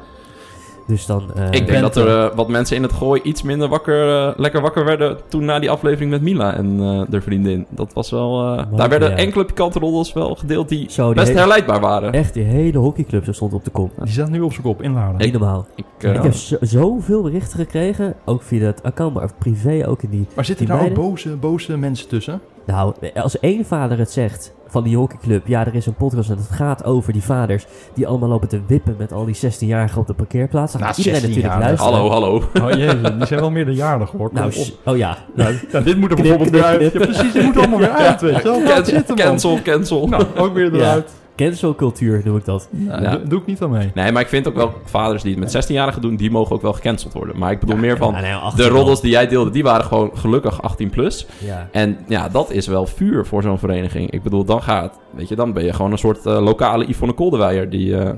Speaker 1: Dus dan... eh,
Speaker 3: ik
Speaker 2: ben
Speaker 3: denk dat er eh, wat mensen in het gooi iets minder wakker, eh, lekker wakker werden toen na die aflevering met Mila en eh haar vriendin. Dat was wel... eh,
Speaker 1: Mogelijk,
Speaker 3: daar werden
Speaker 1: ja.
Speaker 3: enkele pikante roddels wel gedeeld die
Speaker 1: Zo, die
Speaker 3: best
Speaker 1: hele-
Speaker 3: herleidbaar waren.
Speaker 1: Echt, die hele hockeyclub zo stond op de kop.
Speaker 2: Die staat nu op zijn kop, inladen.
Speaker 1: Niet normaal.
Speaker 3: Ik,
Speaker 2: Ja.
Speaker 3: eh,
Speaker 1: Ik heb zo- zoveel berichten gekregen, ook via het account, maar privé ook in die...
Speaker 2: Maar zitten
Speaker 1: Die
Speaker 2: daar ook
Speaker 1: meiden?
Speaker 2: boze, boze mensen tussen?
Speaker 1: Nou, als één vader het zegt van die hockeyclub, ja, er is een podcast en het gaat over die vaders die allemaal lopen te wippen met al die 16-jarigen op de parkeerplaats. Dan
Speaker 2: Nou,
Speaker 1: gaat iedereen natuurlijk
Speaker 2: 16-jarigen.
Speaker 1: luisteren.
Speaker 3: Hallo, hallo.
Speaker 2: Oh jee, die zijn wel meerderjarig hoor.
Speaker 1: Nou,
Speaker 2: Kom op.
Speaker 1: sh- oh ja.
Speaker 2: Nou, dit moet
Speaker 1: Knip,
Speaker 2: er bijvoorbeeld weer
Speaker 1: knip,
Speaker 2: uit. Ja,
Speaker 1: knip.
Speaker 2: precies, dit moet er allemaal weer uit, weet je wel. Laat zitten, man.
Speaker 3: Cancel, cancel.
Speaker 2: Nou, ook weer
Speaker 1: Ja.
Speaker 2: eruit.
Speaker 1: Cancelcultuur noem ik dat.
Speaker 2: Nou,
Speaker 3: Ja.
Speaker 2: doe- Doe ik niet aan mee.
Speaker 3: Nee, maar ik vind ook wel vaders die het met 16-jarigen doen, die mogen ook wel gecanceld worden. Maar ik bedoel meer van.
Speaker 1: Ja, nee, 18
Speaker 3: De
Speaker 1: wel.
Speaker 3: roddels die jij deelde, die waren gewoon gelukkig 18 plus.
Speaker 1: Ja.
Speaker 3: En ja, dat is wel vuur voor zo'n vereniging. Ik bedoel, dan gaat, weet je, dan ben je gewoon een soort eh, lokale Yvonne Koldewijer die eh,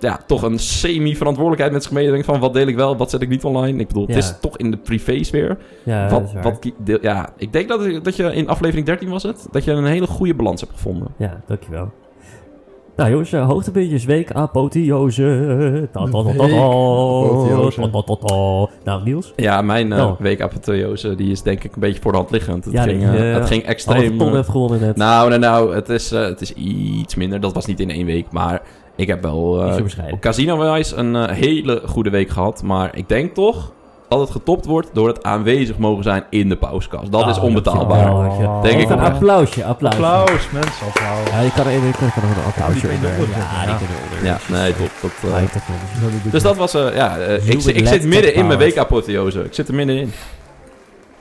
Speaker 3: ja, toch een semi-verantwoordelijkheid met zich meedenkt van wat deel ik wel, wat zet ik niet online. Ik bedoel,
Speaker 1: Ja.
Speaker 3: het is toch in de privésfeer.
Speaker 1: Ja, dat
Speaker 3: wat,
Speaker 1: is waar.
Speaker 3: wat, ki- deel- ja, ik denk dat, dat je in aflevering 13 was het, dat je een hele goede balans hebt gevonden.
Speaker 1: ja, dankjewel. Nou jongens, eh, hoogtepuntjes, week, apotheose. Ta- ta- ta- ta- ta.
Speaker 2: Week, apotheose.
Speaker 1: Ta- ta- ta- ta. Nou Niels,
Speaker 3: Ja, mijn eh
Speaker 1: Oh.
Speaker 3: week apotheose, die is denk ik een beetje voor de hand liggend. Het
Speaker 1: Ja,
Speaker 3: ging,
Speaker 1: die,
Speaker 3: eh,
Speaker 1: eh,
Speaker 3: het ging
Speaker 1: halve
Speaker 3: extreem.
Speaker 1: ton
Speaker 3: eh,
Speaker 1: heb gewonnen net.
Speaker 3: nou, nou, nou, het is, eh, het is iets minder. Dat was niet in één week, maar ik heb wel
Speaker 1: Niet zo
Speaker 3: eh
Speaker 1: bescheiden.
Speaker 3: casino-wise een eh, hele goede week gehad. Maar ik denk toch dat het getopt wordt door het aanwezig mogen zijn in de pauskast. Dat
Speaker 1: Ah,
Speaker 3: is
Speaker 1: dat
Speaker 3: onbetaalbaar.
Speaker 1: vind ik wel, eh,
Speaker 3: Denk
Speaker 1: Even
Speaker 3: ik
Speaker 1: een
Speaker 3: wel.
Speaker 1: applausje, applausje.
Speaker 2: Applaus, mensen, applaus.
Speaker 1: Ja, je kan er even, je kan er nog een applausje
Speaker 2: Ja, die
Speaker 1: onder.
Speaker 2: kunnen we
Speaker 1: Ja, die
Speaker 2: onder.
Speaker 1: kunnen we onder.
Speaker 3: ja, nee, top. Dat, eh,
Speaker 1: Lijkt dat wel.
Speaker 3: dus dat was, eh, ja, eh, ik,
Speaker 1: Human
Speaker 3: zit- ik zit
Speaker 1: laptop
Speaker 3: midden in mijn
Speaker 1: powers.
Speaker 3: week apotheose. Ik zit er middenin.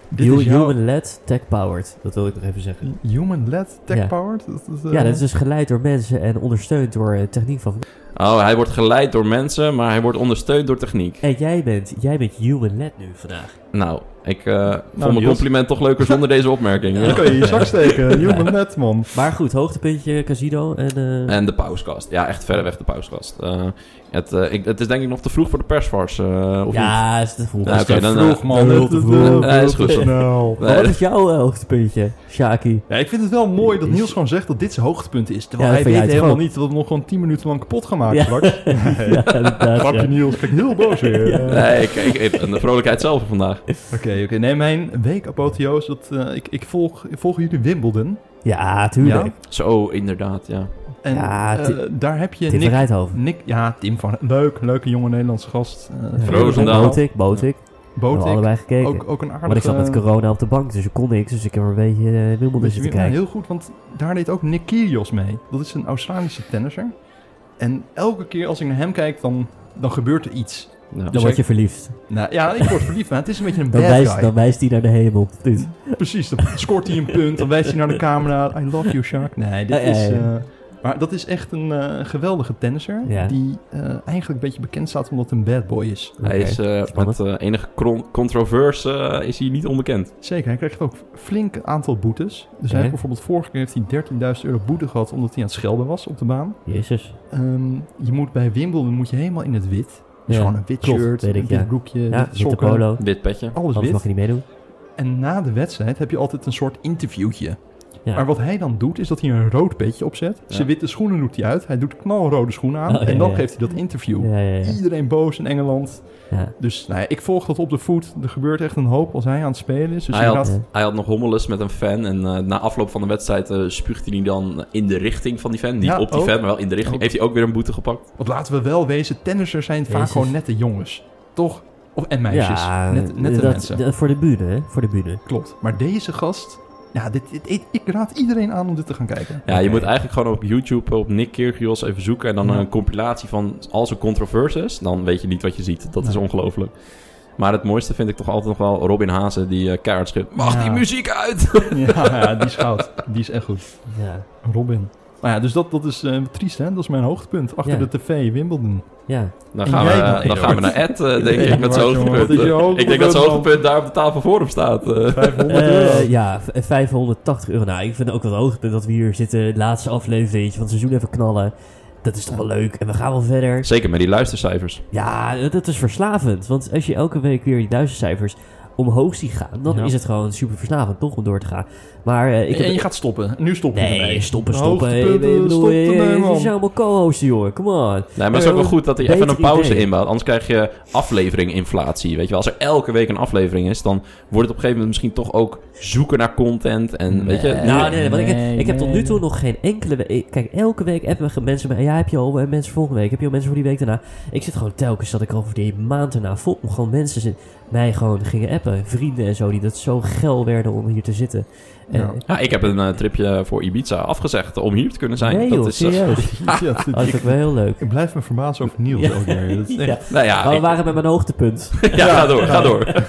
Speaker 2: Dit is jouw
Speaker 1: Human-led, tech-powered. Dat wil ik nog even zeggen.
Speaker 2: human-led
Speaker 1: Ja.
Speaker 2: tech-powered? Dat is, eh,
Speaker 1: Ja, dat is dus geleid door mensen en ondersteund door eh, techniek van...
Speaker 3: Oh, hij wordt geleid door mensen, maar hij wordt ondersteund door techniek.
Speaker 1: En jij bent, jij bent human-led nu vandaag.
Speaker 3: Nou, ik eh vond mijn
Speaker 2: Niels.
Speaker 3: compliment toch leuker zonder deze opmerking.
Speaker 2: Dan kan je je zak steken. Human-led, man.
Speaker 1: Maar goed, hoogtepuntje, casino en... eh,
Speaker 3: En de pauskast. Ja, echt verder weg de pauskast. Eh, het, eh, ik, het is denk ik nog te vroeg voor de persvars. eh, of niet?
Speaker 1: ja, is te vroeg.
Speaker 3: Nou, oké, dan, eh,
Speaker 2: Vroeg, man. eh,
Speaker 1: Heel te vroeg.
Speaker 2: Heel
Speaker 3: Ja, is goed
Speaker 2: te
Speaker 3: zo.
Speaker 2: snel.
Speaker 1: Maar
Speaker 3: Nee,
Speaker 1: wat is jouw eh, hoogtepuntje, Shaki?
Speaker 2: Ja, ik vind het wel mooi dat Niels gewoon zegt dat dit zijn hoogtepunt is. Terwijl
Speaker 1: Ja,
Speaker 2: hij
Speaker 1: dat vind
Speaker 2: weet
Speaker 1: jij toch
Speaker 2: helemaal
Speaker 1: ook?
Speaker 2: niet dat we hem nog gewoon 10 minuten lang kapot gaan maken
Speaker 1: Ja.
Speaker 2: straks. Nee.
Speaker 1: Ja, inderdaad,
Speaker 2: Grapje
Speaker 1: ja.
Speaker 2: Niels, kijk heel boos weer. Eh, Oké,
Speaker 3: Nee, ik, ik, ik- en de vrolijkheid zelf van vandaag.
Speaker 2: oké. Nee, mijn week apotheoos, dat, eh, ik, ik, volg, ik volg jullie Wimbledon.
Speaker 1: Ja, tuurlijk.
Speaker 3: Zo, inderdaad, ja.
Speaker 2: En
Speaker 1: Ja,
Speaker 2: eh,
Speaker 1: Ti-
Speaker 2: daar heb je
Speaker 1: Tim van
Speaker 2: Nick,
Speaker 1: Rijthoven.
Speaker 2: Nick... Ja, Tim van... Leuk, leuke jonge Nederlandse gast. eh,
Speaker 3: Ja. Roosendaal.
Speaker 1: Botik, Botik. We hebben
Speaker 2: Botik.
Speaker 1: allebei gekeken.
Speaker 2: Ook, ook een aardige...
Speaker 1: Maar ik zat met
Speaker 2: eh,
Speaker 1: corona op de bank, dus ik kon niks. Dus ik heb er een beetje uh, Wimbledon
Speaker 2: Weet
Speaker 1: zitten
Speaker 2: je wie- nou,
Speaker 1: kijken.
Speaker 2: heel goed, want daar deed ook Nick Kyrgios mee. Dat is een Australische tennisser. En elke keer als ik naar hem kijk, dan, dan gebeurt er iets.
Speaker 3: Ja.
Speaker 1: Dan word je verliefd.
Speaker 2: Nou ja, ik word verliefd, maar het is een beetje een
Speaker 1: Dan
Speaker 2: dus bad
Speaker 1: wijst,
Speaker 2: guy.
Speaker 1: dan wijst hij naar de hemel. of niet?
Speaker 2: Precies, dan scoort hij een punt, dan wijst hij naar de camera. I love you, Shark. Nee, dit
Speaker 1: Ja, ja,
Speaker 2: is...
Speaker 1: ja.
Speaker 2: eh, maar dat is echt een eh, geweldige tennisser.
Speaker 1: Ja.
Speaker 2: Die eh, eigenlijk een beetje bekend staat omdat hij een bad boy is.
Speaker 3: Hij is eh, met
Speaker 1: spannend.
Speaker 3: eh, enige kron- controverse eh, is hij niet onbekend.
Speaker 2: Zeker, hij krijgt ook flink aantal boetes. Dus hij
Speaker 1: Oké.
Speaker 2: heeft bijvoorbeeld vorige keer heeft hij 13.000 euro boete gehad... omdat hij aan het schelden was op de baan.
Speaker 1: Jezus.
Speaker 2: Ehm, je moet bij Wimbledon moet je helemaal in het wit. Dus
Speaker 1: Ja,
Speaker 2: gewoon een wit
Speaker 1: klopt,
Speaker 2: shirt,
Speaker 1: weet
Speaker 2: een
Speaker 1: ik,
Speaker 2: wit
Speaker 1: ja.
Speaker 2: broekje,
Speaker 1: Ja,
Speaker 2: witte
Speaker 1: witte
Speaker 2: sokken.
Speaker 1: polo.
Speaker 3: Dit petje.
Speaker 2: Alles
Speaker 1: Anders
Speaker 2: wit.
Speaker 1: mag je niet meedoen.
Speaker 2: En na de wedstrijd heb je altijd een soort interviewtje.
Speaker 1: Ja.
Speaker 2: Maar wat hij dan doet, is dat hij een rood petje opzet.
Speaker 3: Ja.
Speaker 2: Zijn witte schoenen doet hij uit. Hij doet knalrode schoenen aan.
Speaker 1: Oh, ja,
Speaker 2: en dan
Speaker 1: ja.
Speaker 2: geeft hij dat interview.
Speaker 1: Ja, ja, ja.
Speaker 2: Iedereen boos in Engeland.
Speaker 1: ja.
Speaker 2: Dus nou ja, ik volg dat op de voet. Er gebeurt echt een hoop als hij aan het spelen is. Dus
Speaker 3: Hij had,
Speaker 2: inderdaad-
Speaker 3: hij had nog hommeles met een fan. En eh, na afloop van de wedstrijd eh spuugde hij dan in de richting van die fan. Niet
Speaker 2: Ja,
Speaker 3: op die
Speaker 2: ook.
Speaker 3: fan, maar wel in de richting.
Speaker 2: Ook.
Speaker 3: Heeft hij ook weer een boete gepakt?
Speaker 2: Want laten we wel wezen, tennissers zijn vaak
Speaker 1: Jezus.
Speaker 2: gewoon nette jongens. Toch? Of, en meisjes.
Speaker 1: Ja,
Speaker 2: Net, nette
Speaker 1: dat,
Speaker 2: mensen.
Speaker 1: dat- voor de bühne, hè? Voor de bühne.
Speaker 2: Klopt. Maar deze gast, Ja, dit, dit- ik, ik raad iedereen aan om dit te gaan kijken.
Speaker 3: Ja, je moet eigenlijk gewoon op YouTube op Nick Kyrgios even zoeken... en dan
Speaker 2: Ja.
Speaker 3: een compilatie van al zijn controversies. Dan weet je niet wat je ziet. Dat is
Speaker 2: Nee.
Speaker 3: ongelooflijk. Maar het mooiste vind ik toch altijd nog wel Robin Hazen die eh keihard schreeuwt... Mag
Speaker 2: Ja.
Speaker 3: die muziek uit?
Speaker 2: Ja, ja, die is goud. Die is echt goed.
Speaker 1: Ja.
Speaker 2: Robin. Nou ja, dus dat, dat is eh, triest, hè? Dat is mijn hoogtepunt. Achter
Speaker 1: Ja.
Speaker 2: de tv, Wimbledon.
Speaker 1: ja.
Speaker 3: Dan
Speaker 2: En
Speaker 3: gaan,
Speaker 2: jij
Speaker 3: we,
Speaker 2: nog,
Speaker 3: dan gaan we naar Ed, eh, denk
Speaker 2: Ja,
Speaker 3: ik, met zijn
Speaker 2: jongen,
Speaker 3: hoogtepunt.
Speaker 2: wat is je
Speaker 3: Ik denk
Speaker 2: hoogtepunt,
Speaker 3: dat zijn
Speaker 2: man?
Speaker 3: hoogtepunt daar op de tafel voor hem staat. eh.
Speaker 2: 500 euro.
Speaker 1: Eh, ja, v- eh, 580 euro. Nou, ik vind ook wel het hoogtepunt dat we hier zitten. Laatste aflevering van het seizoen even knallen. Dat is toch wel leuk. En we gaan wel verder.
Speaker 3: Zeker met die luistercijfers.
Speaker 1: Ja, dat- dat is verslavend. Want als je elke week weer die duizendcijfers omhoog ziet gaan, dan
Speaker 2: Ja.
Speaker 1: is het gewoon super verslavend, toch? Om door te gaan. Maar eh, ik
Speaker 2: en je
Speaker 1: heb...
Speaker 2: gaat stoppen. Nu stoppen we
Speaker 1: Nee,
Speaker 2: ermee.
Speaker 1: stoppen, stoppen.
Speaker 2: Hoogtepunten,
Speaker 1: Ik bedoel,
Speaker 2: stoppen,
Speaker 1: eh,
Speaker 2: nee, man.
Speaker 1: Het zijn allemaal co-hosten, jongen. Come on.
Speaker 3: Nee, maar het is ook wel goed dat hij even
Speaker 1: Beter
Speaker 3: een pauze
Speaker 1: idee.
Speaker 3: inbouwt. Anders krijg je afleveringinflatie. Weet je wel, als er elke week een aflevering is, dan wordt het op een gegeven moment misschien toch ook zoeken naar content. En weet je,
Speaker 2: Nee.
Speaker 1: nou, nee, nee, want ik, heb-
Speaker 2: nee,
Speaker 1: ik heb tot nu
Speaker 2: nee,
Speaker 1: toe nog geen enkele we- ik- Kijk, elke week appen we mensen mij. Ja, heb je al eh, mensen voor volgende week? Heb je al mensen voor die week daarna? Ik zit gewoon telkens dat ik over die maand daarna vol. Gewoon mensen zin- mij gewoon gingen appen. Vrienden en zo, die dat zo geil werden om hier te zitten. Eh,
Speaker 2: Ja.
Speaker 3: ja, ik heb een eh, tripje voor Ibiza afgezegd om hier te kunnen zijn.
Speaker 1: nee,
Speaker 3: dat
Speaker 1: joh,
Speaker 3: is, eh,
Speaker 1: serieus. Oh,
Speaker 2: Ja, dit-
Speaker 1: Dat is ook
Speaker 2: ik,
Speaker 1: wel heel leuk.
Speaker 2: ik blijf me verbazen over Niels
Speaker 1: Ja.
Speaker 2: ook weer. Dat is echt-
Speaker 1: Ja.
Speaker 3: nou ja,
Speaker 1: Maar we
Speaker 3: ik-
Speaker 1: waren bij mijn hoogtepunt.
Speaker 3: ja, ga door, ga door.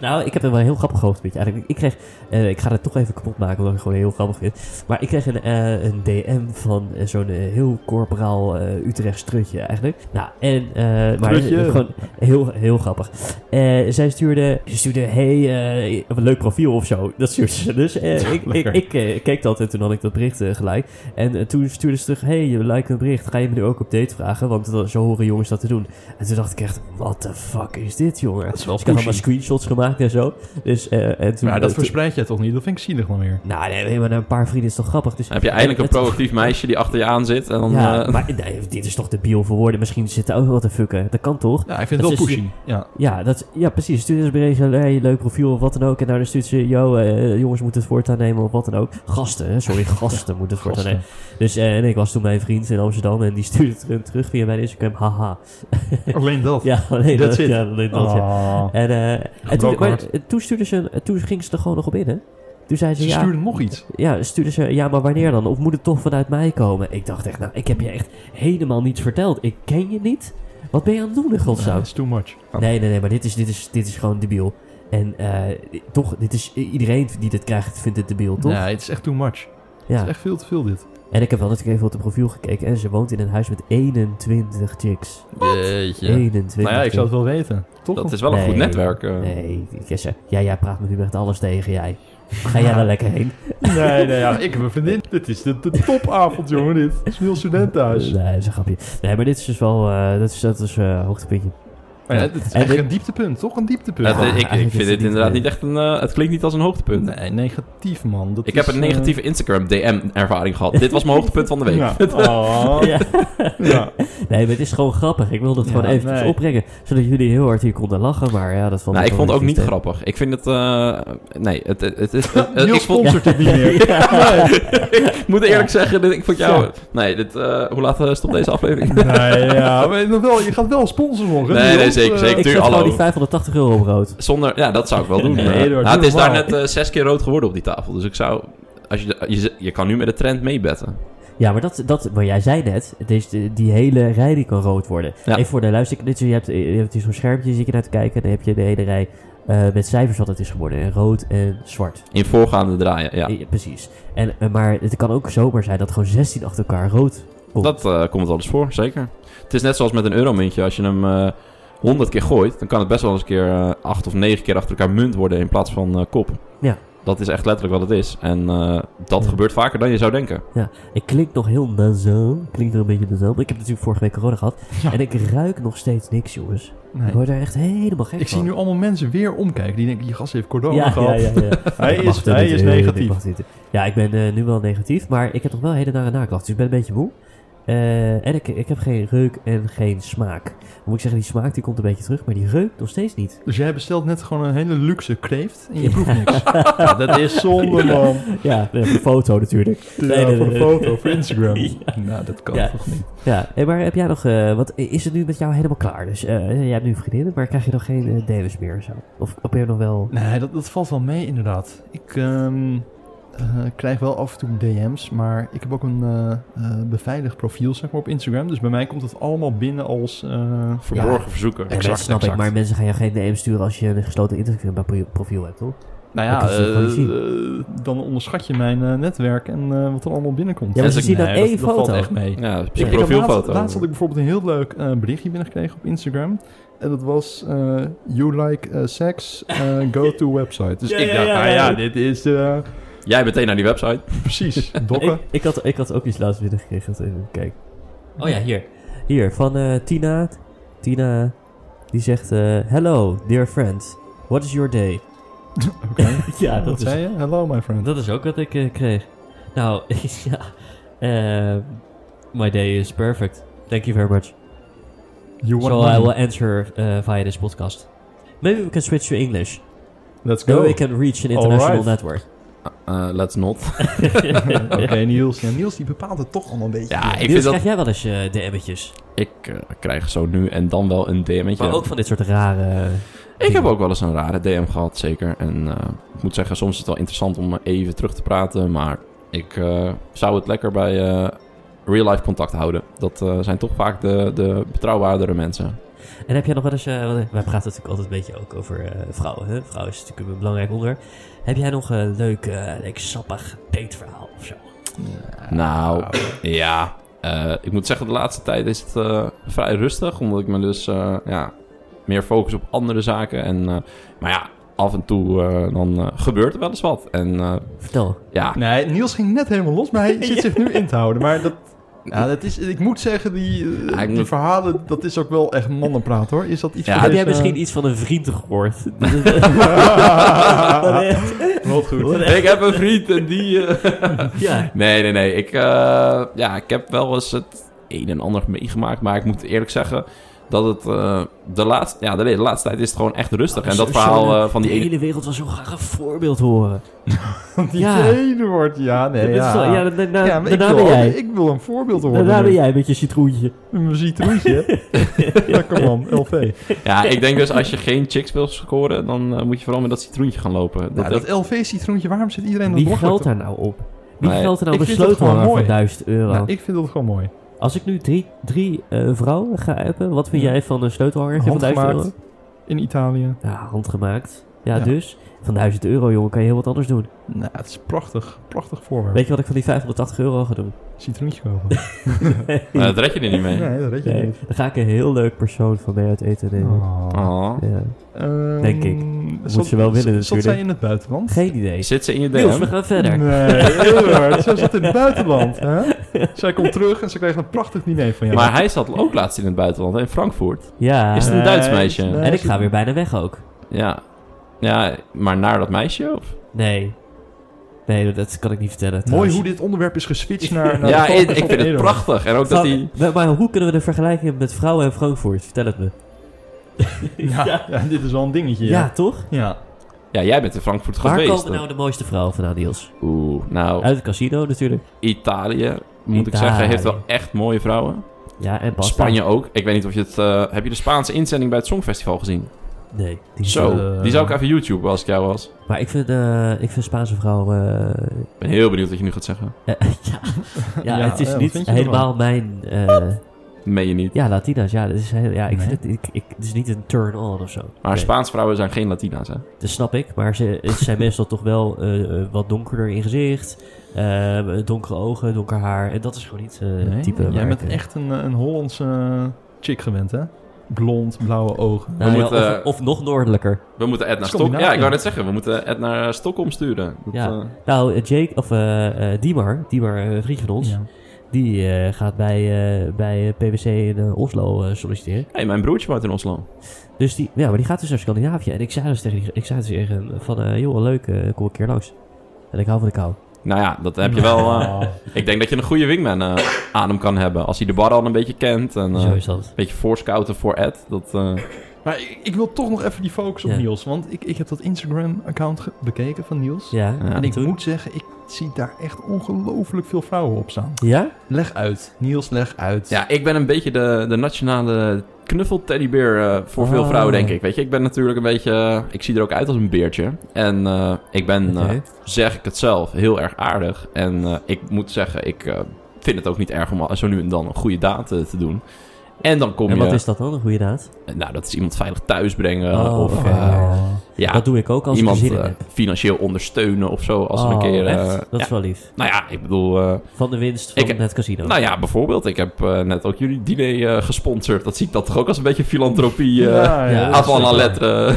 Speaker 1: Nou, ik heb er wel een heel grappig hoogtepuntje. Eigenlijk, ik kreeg, eh, ik ga het toch even kapot maken, omdat ik het gewoon heel grappig vind. Maar ik kreeg een, eh, een DM van eh, zo'n eh, heel corporaal eh Utrecht strutje eigenlijk. Nou, en, eh, maar
Speaker 2: Strutje.
Speaker 1: eh, gewoon heel, heel grappig. Eh, zij stuurde, ze stuurde, hey, eh, een leuk profiel of zo. Dat stuurde ze dus. eh, ik, ik,
Speaker 2: lekker.
Speaker 1: ik eh, keek dat en toen had ik dat bericht eh, gelijk. En eh, toen stuurde ze terug, hey, je lijkt een bericht. Ga je me nu ook op date vragen? Want dat- zo horen jongens dat te doen. En toen dacht ik echt, what the fuck is dit, jongen?
Speaker 2: Dat is wel
Speaker 1: Ik had allemaal
Speaker 2: pushy.
Speaker 1: screenshots gemaakt en zo. Dus, eh, en toen,
Speaker 2: Maar dat
Speaker 1: toen-
Speaker 2: verspreid jij toch niet? Dat vind ik zielig dan weer.
Speaker 1: Nou, nee, nee, maar een paar vrienden is toch grappig. Dus,
Speaker 3: Dan heb je eindelijk een
Speaker 1: Het-
Speaker 3: proactief meisje die achter je aan zit. En dan,
Speaker 1: Ja,
Speaker 3: eh,
Speaker 1: maar nee, dit is toch de bio voor woorden. Misschien zit er ook wat te fucken. Dat kan toch?
Speaker 2: Ja, ik vind
Speaker 1: Dat
Speaker 2: het wel
Speaker 1: is-
Speaker 2: pushy. Ja.
Speaker 1: Ja, dat, ja precies. Stuur eens een bericht, hey, leuk profiel of wat dan ook. En nou, dan stuurt ze, yo, eh, jongens moeten het voortaan nemen of wat dan ook. Gasten, hè, sorry, gasten moeten het voortaan nemen. Dus eh, en ik was toen bij een vriend in Amsterdam en die stuurde het hem terug via mijn Instagram. Haha.
Speaker 2: Alleen dat.
Speaker 1: Ja, alleen
Speaker 2: That's
Speaker 1: dat.
Speaker 2: it.
Speaker 1: Ja, alleen dat, ja.
Speaker 2: Ah.
Speaker 1: En, eh, en toen,
Speaker 2: Gebroken
Speaker 1: maar,
Speaker 2: hart.
Speaker 1: eh, toen, stuurde ze, een- toen ging ze er gewoon nog op in, hè? Toen zei ze,
Speaker 2: Ze
Speaker 1: ja,
Speaker 2: stuurden nog iets.
Speaker 1: Ja, stuurde ze, ja, maar wanneer dan? Of moet het toch vanuit mij komen? Ik dacht echt, nou, ik heb je echt helemaal niets verteld. Ik ken je niet. Wat ben je aan het doen in
Speaker 2: Ja,
Speaker 1: godsnaam?
Speaker 2: dat is too much.
Speaker 1: Nee, nee, nee, maar dit is, dit is, dit is gewoon debiel. En eh, toch, dit is, iedereen die dit krijgt, vindt dit debiel, toch?
Speaker 2: Nee, het is echt too much. Het
Speaker 1: ja.
Speaker 2: is echt veel te veel dit.
Speaker 1: En ik heb wel natuurlijk even op het profiel gekeken. En ze woont in een huis met 21 chicks.
Speaker 3: jeetje.
Speaker 1: 21
Speaker 3: Nou ja, ik
Speaker 2: Ik zou het wel weten. Toch?
Speaker 3: dat is wel een
Speaker 1: Nee.
Speaker 3: goed netwerk. eh.
Speaker 1: Nee, ik zeg, ja, jij praat me nu echt alles tegen, jij. Ga jij daar lekker heen?
Speaker 2: Nee, nee, ja, ik heb een vriendin. Dit is de, de topavond, jongen, dit. Het is een heel studentenhuis.
Speaker 1: Nee, dat is een grapje. Nee, maar dit is dus wel, eh, dat is, dat is eh, hoogtepuntje.
Speaker 2: Maar ja, dit is
Speaker 1: En
Speaker 2: echt
Speaker 1: dit-
Speaker 2: een dieptepunt, toch? Een dieptepunt.
Speaker 3: Het-
Speaker 1: Ja,
Speaker 3: ik, ik
Speaker 1: eigenlijk
Speaker 3: vind
Speaker 1: is het
Speaker 3: dit
Speaker 1: niet
Speaker 3: inderdaad
Speaker 1: leuk.
Speaker 3: niet echt een... eh, het klinkt niet als een hoogtepunt.
Speaker 2: Nee, negatief, man. Dat
Speaker 3: Ik heb
Speaker 2: is,
Speaker 3: een
Speaker 2: eh,
Speaker 3: negatieve Instagram DM-ervaring gehad. Dit was mijn hoogtepunt van de week.
Speaker 2: Ja. Oh.
Speaker 1: Ja.
Speaker 2: Ja.
Speaker 1: Nee, maar het is gewoon grappig. Ik wilde het
Speaker 2: Ja,
Speaker 1: gewoon eventjes
Speaker 2: nee.
Speaker 1: opbrengen. Zodat jullie heel hard hier konden lachen. Maar ja, dat vond
Speaker 3: Nou, ik
Speaker 1: wel
Speaker 3: vond het ook
Speaker 1: weer
Speaker 3: niet
Speaker 1: vies
Speaker 3: grappig. Ik vind het... eh, nee, het, het, het is... eh,
Speaker 2: Niels
Speaker 3: ik vond,
Speaker 2: sponsort het niet meer.
Speaker 3: ik moet eerlijk zeggen, dit- ik vond jou... Nee, dit, eh, hoe laat eh, stopt deze aflevering?
Speaker 2: Nee, ja, maar nog wel, je gaat wel sponsoren, hoor.
Speaker 3: Nee, nee, zeker, zeker.
Speaker 1: tegen. Ik
Speaker 3: Tuur,
Speaker 1: zet gewoon
Speaker 3: hallo.
Speaker 1: die 580 euro op rood.
Speaker 3: Zonder... Ja, dat zou ik wel doen.
Speaker 2: Nee,
Speaker 3: Eh,
Speaker 2: Eduard,
Speaker 3: nou,
Speaker 2: doe
Speaker 3: het is daar
Speaker 2: normaal.
Speaker 3: net eh, zes keer rood geworden op die tafel. Dus ik zou... Als je, je, z- je kan nu met de trend meebetten.
Speaker 1: Ja, maar dat, dat, maar jij zei net, deze, die hele rij die kan rood worden.
Speaker 3: Ja.
Speaker 1: Even voor de luisterknitsen, je hebt, je hebt hier zo'n schermpje, zit je naar te kijken. En dan heb je de hele rij eh, met cijfers wat het is geworden. En rood en zwart.
Speaker 3: In voorgaande draaien, ja.
Speaker 1: Eh, precies. En, eh, maar het kan ook zomaar zijn dat gewoon 16 achter elkaar rood komt.
Speaker 3: Dat eh, komt wel eens voor, zeker. Het is net zoals met een euromuntje. Als je hem eh 100 keer gooit, dan kan het best wel eens een keer eh, acht of negen keer achter elkaar munt worden in plaats van eh, kop.
Speaker 1: Ja.
Speaker 3: Dat is echt letterlijk wat het is. En eh, dat
Speaker 1: Ja.
Speaker 3: gebeurt vaker dan je zou denken.
Speaker 1: Ik klink nog heel nasaal. Klinkt nog een beetje nasaal. Maar Ik heb natuurlijk vorige week corona gehad.
Speaker 2: Ja.
Speaker 1: En ik ruik nog steeds niks, jongens.
Speaker 2: Nee.
Speaker 1: Ik word daar echt helemaal gek
Speaker 2: Ik zie
Speaker 1: van.
Speaker 2: nu allemaal mensen weer omkijken. Die denken, je gast heeft corona
Speaker 1: ja,
Speaker 2: gehad.
Speaker 1: ja, ja, ja.
Speaker 2: Hij
Speaker 1: Ik
Speaker 2: is-
Speaker 1: mag dit
Speaker 2: hij
Speaker 1: niet,
Speaker 2: is
Speaker 1: eh,
Speaker 2: negatief.
Speaker 1: ik mag dit niet. Ja, ik ben eh, nu wel negatief, maar ik heb nog wel hele nare naklachten. Dus ik ben een beetje moe. Eh, en ik, ik heb geen reuk en geen smaak. Moet ik zeggen, die smaak die komt een beetje terug, maar die reuk nog steeds niet.
Speaker 2: Dus jij bestelt net gewoon een hele luxe kreeft en je proeft niks. Ja, dat is zonde, man.
Speaker 1: Ja, nee, voor de foto natuurlijk.
Speaker 2: Ja,
Speaker 1: nee,
Speaker 2: voor de
Speaker 1: nee.
Speaker 2: foto, voor Instagram.
Speaker 1: Ja.
Speaker 2: Nou, dat kan
Speaker 1: Ja.
Speaker 2: toch niet.
Speaker 1: Ja, hey, maar heb jij nog, eh, want is het nu met jou helemaal klaar? Dus eh, jij hebt nu vriendinnen, maar krijg je nog geen eh dames meer? Zo? Of of ben je nog wel...
Speaker 2: Nee, dat, dat valt wel mee inderdaad. Ik ehm, eh, krijg wel af en toe DM's, maar ik heb ook een eh, eh, beveiligd profiel zeg maar, op Instagram. Dus bij mij komt het allemaal binnen als... eh,
Speaker 3: Verborgen verzoeken.
Speaker 1: Ja, dat snap
Speaker 2: exact.
Speaker 1: ik, maar mensen gaan jou geen DM sturen als je een gesloten Instagram-profiel hebt, toch?
Speaker 2: Nou
Speaker 1: Dat
Speaker 2: ja,
Speaker 1: is toch gewoon
Speaker 2: eh,
Speaker 1: zien.
Speaker 2: eh, dan onderschat je mijn eh, netwerk en eh, wat er allemaal binnenkomt.
Speaker 1: Ja, maar ze
Speaker 2: ik-
Speaker 1: zien dan
Speaker 2: nee, dat-
Speaker 1: één
Speaker 2: dat valt
Speaker 1: foto.
Speaker 2: echt mee.
Speaker 3: Ja,
Speaker 2: Ik-
Speaker 3: een
Speaker 2: ik had laatst,
Speaker 3: profielfoto.
Speaker 2: laatst had ik bijvoorbeeld een heel leuk eh, berichtje binnengekregen op Instagram. En dat was, eh, you like eh, sex, eh, go to website. Dus
Speaker 1: Ja,
Speaker 2: ik
Speaker 1: ja,
Speaker 2: dacht,
Speaker 1: ja,
Speaker 2: nou
Speaker 1: ja.
Speaker 2: ja, dit is eh,
Speaker 3: Jij meteen naar die website.
Speaker 2: precies dokken.
Speaker 1: Ik, ik, had, ik had ook iets laatst binnengekregen. dat- even Kijk. Oh ja, hier. Hier, van eh, Tina. Tina, die zegt... eh, Hello, dear friend. What is your day?
Speaker 2: Oké.
Speaker 1: ja,
Speaker 2: Wat
Speaker 1: dat is,
Speaker 2: zei je? Hello, my friend.
Speaker 1: dat is ook wat ik eh, kreeg. Nou, ja. eh, my day is perfect. Thank you very much.
Speaker 2: You want
Speaker 1: So
Speaker 2: money?
Speaker 1: I will answer eh, via this podcast. Maybe we can switch to English.
Speaker 2: Let's
Speaker 1: So
Speaker 2: go.
Speaker 1: we can reach an international
Speaker 2: Oh. Alright.
Speaker 1: network.
Speaker 3: let's not.
Speaker 2: Oké, Niels. Ja, Niels die bepaalt het toch allemaal een beetje.
Speaker 3: Ja, ik
Speaker 1: Niels,
Speaker 3: vind
Speaker 1: krijg
Speaker 3: dat...
Speaker 1: jij wel eens eh, DM'tjes?
Speaker 3: Ik eh, krijg zo nu en dan wel een DM'tje.
Speaker 1: Maar ook van dit soort rare... eh,
Speaker 3: Ik heb
Speaker 1: dingen.
Speaker 3: ook wel eens een rare DM gehad, zeker. En eh, ik moet zeggen, soms is het wel interessant om even terug te praten. Maar ik eh, zou het lekker bij eh, real-life contact houden. Dat eh, zijn toch vaak de, de betrouwbaardere mensen.
Speaker 1: En heb jij nog wel eens, eh, want wij praten natuurlijk altijd een beetje ook over eh, vrouwen. Hè? Vrouwen is natuurlijk een belangrijk onderwerp. Heb jij nog een leuk, eh leuk sappig dateverhaal of zo?
Speaker 3: Nou, ja. Eh, ik moet zeggen, de laatste tijd is het eh, vrij rustig. Omdat ik me dus eh, ja, meer focus op andere zaken. En, eh, maar ja, af en toe eh, dan eh, gebeurt er wel eens wat. En eh,
Speaker 1: Vertel.
Speaker 3: ja,
Speaker 2: Nee, Niels ging net helemaal los, maar hij zit zich nu in te houden. Maar dat, nou, dat is, ik moet zeggen, die, eh,
Speaker 3: Ja, ik
Speaker 2: die
Speaker 3: moet-
Speaker 2: verhalen, dat is ook wel echt mannenpraat hoor. Is dat iets
Speaker 3: Ja,
Speaker 2: voor
Speaker 1: heb jij
Speaker 2: deze-
Speaker 1: misschien iets van een vriend gehoord?
Speaker 2: Wat goed.
Speaker 3: ik heb een vriend en die... eh,
Speaker 1: ja.
Speaker 3: Nee, nee, nee. Ik, eh, ja, ik heb wel eens het een en ander meegemaakt. Maar ik moet eerlijk zeggen dat het eh, de, laatste, ja, de, de laatste tijd is het gewoon echt rustig. en dat
Speaker 1: Zo-
Speaker 3: verhaal
Speaker 1: zo'n-
Speaker 3: eh, van die
Speaker 1: De
Speaker 3: ene...
Speaker 1: hele wereld wil zo graag een voorbeeld horen.
Speaker 2: Die
Speaker 1: Ja.
Speaker 2: trainer wordt, ja, nee,
Speaker 1: Dat is
Speaker 2: ja.
Speaker 1: wel- ja, da- da-
Speaker 2: Ja, maar ik,
Speaker 1: daarna
Speaker 2: wil,
Speaker 1: ben jij.
Speaker 2: ik wil een voorbeeld horen.
Speaker 1: Daarna ben
Speaker 2: nu.
Speaker 1: jij met je citroentje.
Speaker 2: Een citroentje. ja, kom on, LV.
Speaker 3: Ja, ik denk dus als je geen chicks wil scoren, dan eh, moet je vooral met dat citroentje gaan lopen.
Speaker 2: Nou,
Speaker 3: Dat,
Speaker 2: dat LV-citroentje, waarom zit iedereen dat
Speaker 1: Wie
Speaker 2: belachelijk
Speaker 1: geldt
Speaker 2: te-
Speaker 1: daar nou op? Wie
Speaker 3: Nee,
Speaker 1: geldt er nou
Speaker 2: ik
Speaker 1: op een
Speaker 2: vind dat
Speaker 1: sleutelhanger
Speaker 2: gewoon
Speaker 1: van
Speaker 2: mooi.
Speaker 1: 1000 euro?
Speaker 2: Nou, ik vind dat gewoon mooi.
Speaker 1: Als ik nu drie, drie eh, vrouwen ga appen, wat vind jij van een sleutelhanger van 1000
Speaker 2: Handgemaakt.
Speaker 1: euro?
Speaker 2: In Italië.
Speaker 1: Ja, handgemaakt. Ja,
Speaker 2: Ja.
Speaker 1: dus. Van 1000 euro, jongen, kan je heel wat anders doen.
Speaker 2: Nou, het is prachtig. Prachtig voorwerp.
Speaker 1: Weet je wat ik van die 580 euro ga doen?
Speaker 2: Citroentje kopen.
Speaker 3: eh, dat red je er niet mee.
Speaker 2: Nee, dat weet je
Speaker 1: Nee,
Speaker 2: niet.
Speaker 1: dan ga ik een heel leuk persoon van mij uit eten nemen.
Speaker 3: Oh.
Speaker 1: Ja.
Speaker 2: Ehm,
Speaker 1: Denk ik.
Speaker 2: zat-
Speaker 1: ze wel willen
Speaker 2: zat- Zat
Speaker 1: natuurlijk.
Speaker 2: zij in het buitenland?
Speaker 1: Geen idee.
Speaker 3: Zit ze in je
Speaker 1: Niels,
Speaker 3: DM?
Speaker 1: we gaan verder.
Speaker 2: Nee, Eduard, zij zat in het buitenland. Hè? Zij komt terug en ze krijgt een prachtig diner van jou.
Speaker 3: Maar hij zat ook laatst in het buitenland, in Frankfurt.
Speaker 1: Ja,
Speaker 3: Is het een
Speaker 2: Nee,
Speaker 3: Duits meisje?
Speaker 2: nee.
Speaker 1: en ik ga weer bijna weg ook.
Speaker 3: Ja. ja, maar naar dat meisje? Of?
Speaker 1: Nee. Nee, dat kan ik niet vertellen.
Speaker 2: Mooi
Speaker 1: trouwens.
Speaker 2: hoe dit onderwerp is geswitcht naar... naar
Speaker 3: ja,
Speaker 2: de
Speaker 3: ik,
Speaker 2: focus
Speaker 3: ik
Speaker 2: van
Speaker 3: vind het
Speaker 2: Eduard.
Speaker 3: prachtig. En ook dat
Speaker 1: Vrouw-
Speaker 3: hij...
Speaker 1: maar, maar hoe kunnen we de vergelijking hebben met vrouwen en Frankfurt? Vertel het me.
Speaker 2: Ja, ja, dit is wel een dingetje.
Speaker 1: Ja,
Speaker 2: Ja.
Speaker 1: toch?
Speaker 2: ja.
Speaker 3: Ja, jij bent in Frankfurt
Speaker 1: Waar
Speaker 3: geweest.
Speaker 1: komen nou de mooiste vrouwen vandaan, Niels?
Speaker 3: Oeh, nou...
Speaker 1: Uit het casino natuurlijk.
Speaker 3: Italië, moet ik
Speaker 1: Italië.
Speaker 3: zeggen, heeft wel echt mooie vrouwen.
Speaker 1: Ja, en pasta.
Speaker 3: Spanje ook. Ik weet niet of je het... eh, heb je de Spaanse inzending bij het Songfestival gezien?
Speaker 1: Nee. die-
Speaker 3: Zo,
Speaker 2: eh,
Speaker 3: die zou ik even YouTube als ik jou was.
Speaker 1: Maar ik vind, eh, ik vind Spaanse vrouwen... eh,
Speaker 3: Ik ben heel benieuwd wat je nu gaat zeggen.
Speaker 1: Eh, ja. ja,
Speaker 2: Ja,
Speaker 1: het is
Speaker 2: eh, wat vind
Speaker 1: niet
Speaker 2: je ervan?
Speaker 1: helemaal mijn... eh,
Speaker 3: Meen je niet.
Speaker 1: ja, Latina's, ja. Dat is heel, ja ik
Speaker 2: Nee.
Speaker 1: vind het, ik, ik, het is niet een turn-on of zo.
Speaker 3: Maar
Speaker 1: Nee,
Speaker 3: Spaans vrouwen zijn geen Latina's, hè?
Speaker 1: Dat snap ik, maar ze, ze zijn meestal toch wel eh, eh, wat donkerder in gezicht. eh, donkere ogen, donker haar. En dat is gewoon niet eh, het
Speaker 2: Nee,
Speaker 1: type
Speaker 2: jij
Speaker 1: waar
Speaker 2: bent
Speaker 1: ik, eh,
Speaker 2: echt een, eh, een Hollandse eh, chick gewend, hè? Blond, blauwe ogen.
Speaker 1: nou ja,
Speaker 3: moeten,
Speaker 1: of, of nog noordelijker.
Speaker 3: We moeten Ed naar Stockholm...
Speaker 2: Scandinavië.
Speaker 3: Ja, ik wou net zeggen. We moeten Ed naar eh, Stockholm sturen. Dat,
Speaker 1: Ja.
Speaker 3: eh,
Speaker 1: Nou, eh, Jake, of eh, eh, Diemar, Diemar, eh, een vriend van ons,
Speaker 2: Ja.
Speaker 1: die eh, gaat bij, eh, bij eh, PwC in eh, Oslo eh, solliciteren.
Speaker 3: hey, mijn broertje woont in Oslo.
Speaker 1: Dus die, ja, maar die gaat dus naar Scandinavië. En ik zei dus tegen, die- ik zei dus tegen hem van, eh, joh, leuk, eh, kom een keer langs. En ik hou van de kou.
Speaker 3: Nou ja, dat heb je wel. eh, ik denk dat je een goede wingman eh, aan hem kan hebben. Als hij de bar al een beetje kent en eh,
Speaker 1: Zo
Speaker 3: een
Speaker 1: is dat.
Speaker 3: beetje voorscouten voor Ed. Dat, eh,
Speaker 2: Maar ik, ik wil toch nog even die focus op
Speaker 1: Ja.
Speaker 2: Niels. Want ik, ik heb dat Instagram-account ge- bekeken van Niels.
Speaker 1: Ja.
Speaker 3: Ja.
Speaker 2: En ik
Speaker 1: toen?
Speaker 2: moet zeggen, ik zie daar echt ongelooflijk veel vrouwen op staan.
Speaker 1: Ja?
Speaker 2: Leg uit. Niels, leg uit.
Speaker 3: ja, ik ben een beetje de, de nationale knuffelteddybeer eh, voor veel
Speaker 1: Ah.
Speaker 3: vrouwen, denk ik. Weet je, ik ben natuurlijk een beetje. eh, ik zie er ook uit als een beertje. En eh, ik ben, eh,
Speaker 1: Oké.
Speaker 3: zeg ik het zelf, heel erg aardig. En eh, ik moet zeggen, ik eh, vind het ook niet erg om al- zo nu en dan een goede daad eh, te doen. En dan kom
Speaker 1: En
Speaker 3: je.
Speaker 1: wat is dat dan, een goede daad?
Speaker 3: Nou, dat is iemand veilig thuis brengen.
Speaker 1: Oh,
Speaker 3: of
Speaker 1: oké.
Speaker 3: eh, ja,
Speaker 1: dat doe ik ook als
Speaker 3: iemand
Speaker 1: ik er zin in
Speaker 3: eh,
Speaker 1: heb.
Speaker 3: financieel ondersteunen of zo. Als er een
Speaker 1: Oh,
Speaker 3: keer. eh,
Speaker 1: echt? Dat
Speaker 3: ja,
Speaker 1: is wel lief.
Speaker 3: nou ja, ik bedoel. eh,
Speaker 1: Van de winst van
Speaker 3: Ik-
Speaker 1: het casino.
Speaker 3: nou ja, bijvoorbeeld, ik heb eh, net ook jullie diner eh, gesponsord. Dat zie ik dat toch ook als een beetje filantropie. eh
Speaker 1: ja,
Speaker 2: dat is
Speaker 3: Avant la
Speaker 2: wel-
Speaker 3: lettre.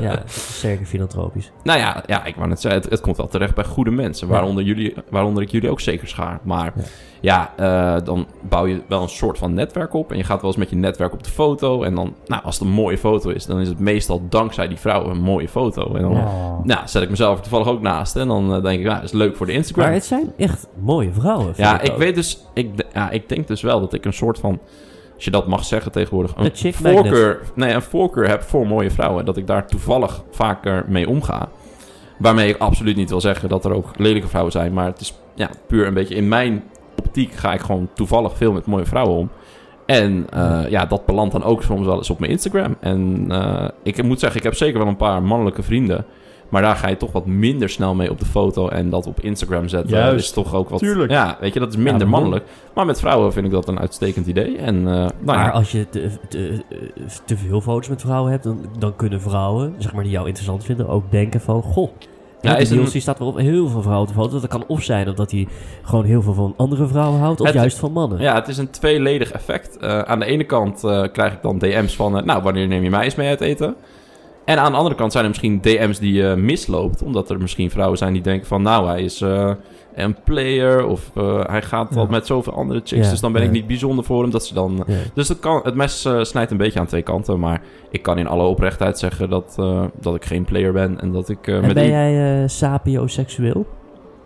Speaker 1: ja, dat is zeker filantropisch.
Speaker 3: nou ja, ja, ik wou net zeggen, het, het komt wel terecht bij goede mensen.
Speaker 1: Ja.
Speaker 3: Waaronder, jullie, waaronder ik jullie ook zeker schaar. Maar
Speaker 1: Ja.
Speaker 3: ja, eh, dan bouw je wel een soort van netwerk op. En je gaat wel eens met je netwerk op de foto. En dan, nou, als het een mooie foto is, dan is het meestal dankzij die vrouw een mooie foto. En dan
Speaker 1: Ja.
Speaker 3: nou, zet ik mezelf er toevallig ook naast. En dan eh, denk ik, ja, dat is leuk voor de Instagram.
Speaker 1: Maar het zijn echt mooie vrouwen. vind
Speaker 3: Ja, ik
Speaker 1: ook.
Speaker 3: weet dus. Ik, d- ja, ik denk dus wel dat ik een soort van. Als je dat mag zeggen tegenwoordig.
Speaker 1: De
Speaker 3: Een
Speaker 1: chick
Speaker 3: voorkeur, nee, een voorkeur heb voor mooie vrouwen. Dat ik daar toevallig vaker mee omga. Waarmee ik absoluut niet wil zeggen dat er ook lelijke vrouwen zijn. Maar het is ja, puur een beetje in mijn optiek ga ik gewoon toevallig veel met mooie vrouwen om. En eh, ja, dat belandt dan ook soms wel eens op mijn Instagram. En eh, ik moet zeggen, ik heb zeker wel een paar mannelijke vrienden. Maar daar ga je toch wat minder snel mee op de foto. En dat op Instagram zetten Dus
Speaker 2: Juist.
Speaker 3: is toch ook wat...
Speaker 2: Tuurlijk.
Speaker 3: Ja, weet je, dat is
Speaker 1: Ja,
Speaker 3: minder
Speaker 1: maar-
Speaker 3: mannelijk. Maar met vrouwen vind ik dat een uitstekend idee. En eh, nou
Speaker 1: maar
Speaker 3: ja,
Speaker 1: als je te, te, te veel foto's met vrouwen hebt, dan, dan kunnen vrouwen, zeg maar, die jou interessant vinden, ook denken van, goh, ja,
Speaker 3: is
Speaker 1: is Niels
Speaker 3: een-
Speaker 1: die staat wel op heel veel vrouwen te foto's. Dat kan of zijn omdat hij gewoon heel veel van andere vrouwen houdt, of
Speaker 3: Het-
Speaker 1: juist van mannen.
Speaker 3: ja, het is een tweeledig effect. Eh, aan de ene kant eh, krijg ik dan DM's van... eh, nou, wanneer neem je mij eens mee uit eten? En aan de andere kant zijn er misschien DM's die je misloopt. Omdat er misschien vrouwen zijn die denken van... Nou, hij is eh, een player. Of eh, hij gaat wat
Speaker 2: Ja.
Speaker 3: met zoveel andere chicks.
Speaker 1: Ja,
Speaker 3: dus dan ben ik
Speaker 1: ja.
Speaker 3: niet bijzonder voor hem. Dat ze dan...
Speaker 1: Ja.
Speaker 3: Dus dat kan, het mes eh, snijdt een beetje aan twee kanten. Maar ik kan in alle oprechtheid zeggen dat, eh, dat ik geen player ben. En dat ik eh,
Speaker 1: En
Speaker 3: met
Speaker 1: ben
Speaker 3: i-
Speaker 1: jij eh sapioseksueel?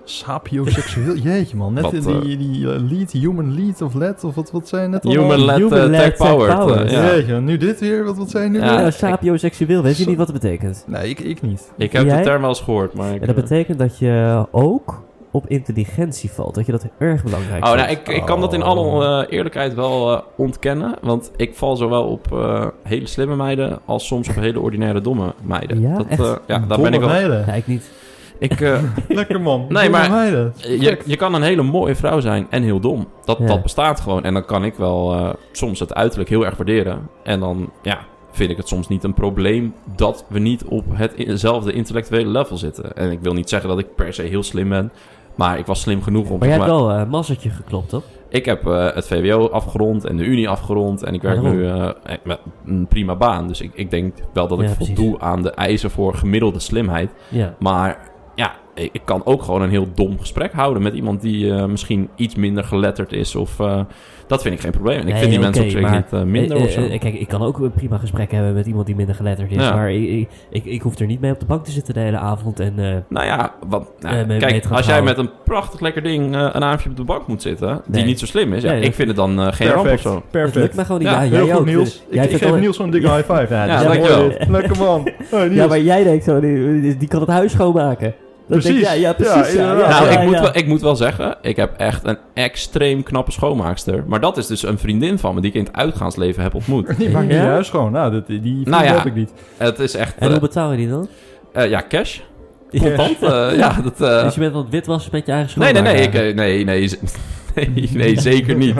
Speaker 2: Sapioseksueel. Jeetje, man. Net
Speaker 3: Wat,
Speaker 2: in die, die eh, lead, human lead of let, of wat, wat zijn net allemaal?
Speaker 3: Human led
Speaker 1: Human
Speaker 3: eh,
Speaker 1: led
Speaker 3: tech powered.
Speaker 1: tech-powered.
Speaker 3: eh, ja.
Speaker 2: Jeetje, nu dit weer. Wat, wat zijn nu
Speaker 3: Ja.
Speaker 2: weer?
Speaker 1: Ja,
Speaker 3: ik-
Speaker 1: sapioseksueel, weet je
Speaker 2: Zo-
Speaker 1: niet wat het betekent?
Speaker 2: Nee, ik, ik niet.
Speaker 3: Ik heb
Speaker 1: Jij?
Speaker 3: de term wel eens gehoord, maar... Ik, eh,
Speaker 1: En dat betekent dat je ook op intelligentie valt. Dat je dat erg belangrijk
Speaker 3: Oh,
Speaker 1: vindt. Oh.
Speaker 3: nou, ik, ik kan dat in alle eh, eerlijkheid wel eh, ontkennen. Want ik val zowel op eh, hele slimme meiden als soms op hele ordinaire domme meiden.
Speaker 1: Ja,
Speaker 3: dat,
Speaker 1: echt?
Speaker 3: eh, ja daar
Speaker 2: Domme
Speaker 3: ben ik wel...
Speaker 2: meiden.
Speaker 1: Ja, ik niet.
Speaker 3: Ik, eh,
Speaker 2: Lekker, man. nee,
Speaker 3: maar-
Speaker 2: Meiden.
Speaker 3: Eh, je, je kan een hele mooie vrouw zijn en heel dom. Dat,
Speaker 1: Ja.
Speaker 3: dat bestaat gewoon. En dan kan ik wel eh, soms het uiterlijk heel erg waarderen. En dan ja, vind ik het soms niet een probleem dat we niet op hetzelfde intellectuele level zitten. En ik wil niet zeggen dat ik per se heel slim ben. Maar ik was slim genoeg om...
Speaker 1: Maar jij
Speaker 3: zeg
Speaker 1: hebt
Speaker 3: maar-
Speaker 1: wel eh, een massertje geklopt, toch?
Speaker 3: Ik heb eh, het VWO afgerond en de Unie afgerond. En ik werk
Speaker 1: Waarom?
Speaker 3: nu eh, met een prima baan. Dus ik, ik denk wel dat ik
Speaker 1: Ja, precies.
Speaker 3: voldoe aan de eisen voor gemiddelde slimheid.
Speaker 1: Ja.
Speaker 3: Maar ja, ik, ik kan ook gewoon een heel dom gesprek houden met iemand die eh, misschien iets minder geletterd is. Of, eh, dat vind ik geen probleem. En ik
Speaker 1: Nee,
Speaker 3: vind die
Speaker 1: oké,
Speaker 3: mensen ook zeker
Speaker 1: maar-
Speaker 3: niet eh, minder
Speaker 1: Eh,
Speaker 3: of zo.
Speaker 1: eh, eh, kijk, ik kan ook een prima gesprek hebben met iemand die minder geletterd is.
Speaker 3: Ja.
Speaker 1: Maar ik, ik, ik, ik hoef er niet mee op de bank te zitten de hele avond. En, eh,
Speaker 3: nou ja, want, nou,
Speaker 1: Eh, mee- mee te
Speaker 3: kijk,
Speaker 1: gaan
Speaker 3: als jij met
Speaker 1: houden.
Speaker 3: een prachtig lekker ding eh, een avondje op de bank moet zitten,
Speaker 1: Nee.
Speaker 3: die niet zo slim is, ja,
Speaker 1: Nee, dat-
Speaker 3: ik vind het dan eh, geen ramp of
Speaker 2: Perfect.
Speaker 3: zo.
Speaker 1: het lukt
Speaker 2: Perfect.
Speaker 1: mij gewoon niet.
Speaker 3: Ja,
Speaker 1: Ja,
Speaker 2: Heel
Speaker 1: jij
Speaker 2: goed,
Speaker 1: ook.
Speaker 2: Niels.
Speaker 1: Dus
Speaker 2: Ik,
Speaker 1: jij
Speaker 2: ik
Speaker 1: vindt
Speaker 2: geef
Speaker 1: wel-
Speaker 2: Niels zo'n dikke high five. Ja,
Speaker 3: Ja,
Speaker 2: dat is mooi,
Speaker 3: dankjewel.
Speaker 2: dit. Lekker, man. Oh, Hey, Niels.
Speaker 1: Ja, maar jij denkt zo, die, die- die kan het huis schoonmaken. Dan
Speaker 2: Precies.
Speaker 1: Denk, jij, ja,
Speaker 2: Ja,
Speaker 1: precies. Ja, ja,
Speaker 2: inderdaad.
Speaker 3: nou,
Speaker 1: ja,
Speaker 3: ik, moet
Speaker 1: ja.
Speaker 3: Wel, ik moet wel zeggen, ik heb echt een extreem knappe schoonmaakster. Maar dat is dus een vriendin van me die ik in het uitgaansleven heb ontmoet.
Speaker 2: Die maakt niet
Speaker 1: Ja?
Speaker 2: juist gewoon. Nou, dat, die die
Speaker 3: Nou ja.
Speaker 2: heb ik niet.
Speaker 3: Het is echt,
Speaker 1: En
Speaker 3: eh,
Speaker 1: hoe betaal je die dan?
Speaker 3: eh, ja, cash. Contant. eh, ja, dat... eh,
Speaker 1: dus je bent aan het witwassen met je eigen
Speaker 3: nee, nee,
Speaker 1: schoonmaker?
Speaker 3: nee, ik, eh, nee, nee, z- nee, nee, zeker niet.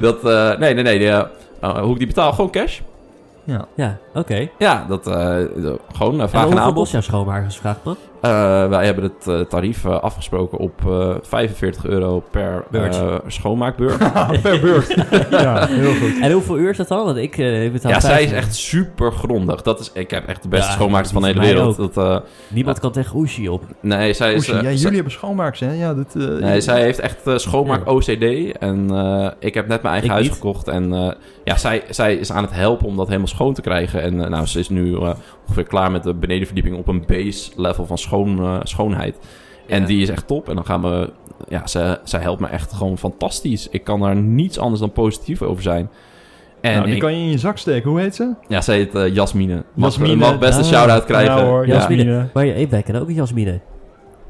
Speaker 3: Dat, eh, nee, nee, nee, eh, eh, hoe ik die betaal, gewoon cash.
Speaker 1: Ja, oké.
Speaker 3: Ja, dat, eh, eh, gewoon eh,
Speaker 1: En
Speaker 3: vraag en
Speaker 1: hoeveel kost
Speaker 3: aanbod.
Speaker 1: jouw schoonmakers, vraagt man?
Speaker 3: Eh, wij hebben het eh, tarief eh, afgesproken op eh 45 euro per
Speaker 1: Beurt.
Speaker 3: eh, schoonmaakbeurt.
Speaker 2: per beurt. ja, heel goed.
Speaker 1: En hoeveel uur is dat dan? Want ik eh, betaal
Speaker 3: Ja, zij is
Speaker 1: 50.
Speaker 3: echt super grondig. Dat is, ik heb echt de beste
Speaker 1: Ja,
Speaker 3: schoonmaakster van de hele
Speaker 1: mij
Speaker 3: wereld. Dat, eh,
Speaker 1: Niemand kan tegen Oeshi op.
Speaker 3: nee, zij is.
Speaker 2: Oesje,
Speaker 3: eh,
Speaker 2: ja,
Speaker 3: zij-
Speaker 2: jullie hebben schoonmaakers, hè? Ja, dit, eh,
Speaker 3: Nee, zij heeft echt eh, schoonmaak
Speaker 1: Ja.
Speaker 3: OCD. En eh, ik heb net mijn eigen
Speaker 1: Ik
Speaker 3: huis
Speaker 1: niet.
Speaker 3: gekocht. En eh, ja, zij, zij is aan het helpen om dat helemaal schoon te krijgen. En eh, nou, ze is nu eh, ongeveer klaar met de benedenverdieping op een base level van schoon, eh, schoonheid. En die is echt top. En dan gaan we... Ja, zij, zij helpt me echt gewoon fantastisch. Ik kan daar niets anders dan positief over zijn. En
Speaker 2: nou, die
Speaker 3: ik-
Speaker 2: kan je in je zak steken. Hoe heet ze?
Speaker 3: ja, zij heet eh, Jasmine. Mag, eh,
Speaker 2: Jasmine.
Speaker 3: mag best een shout-out krijgen.
Speaker 2: Ja Nou, hoor,
Speaker 3: ja.
Speaker 1: Jasmine.
Speaker 2: Jasmine.
Speaker 1: Maar ja, wij kennen ook een Jasmine.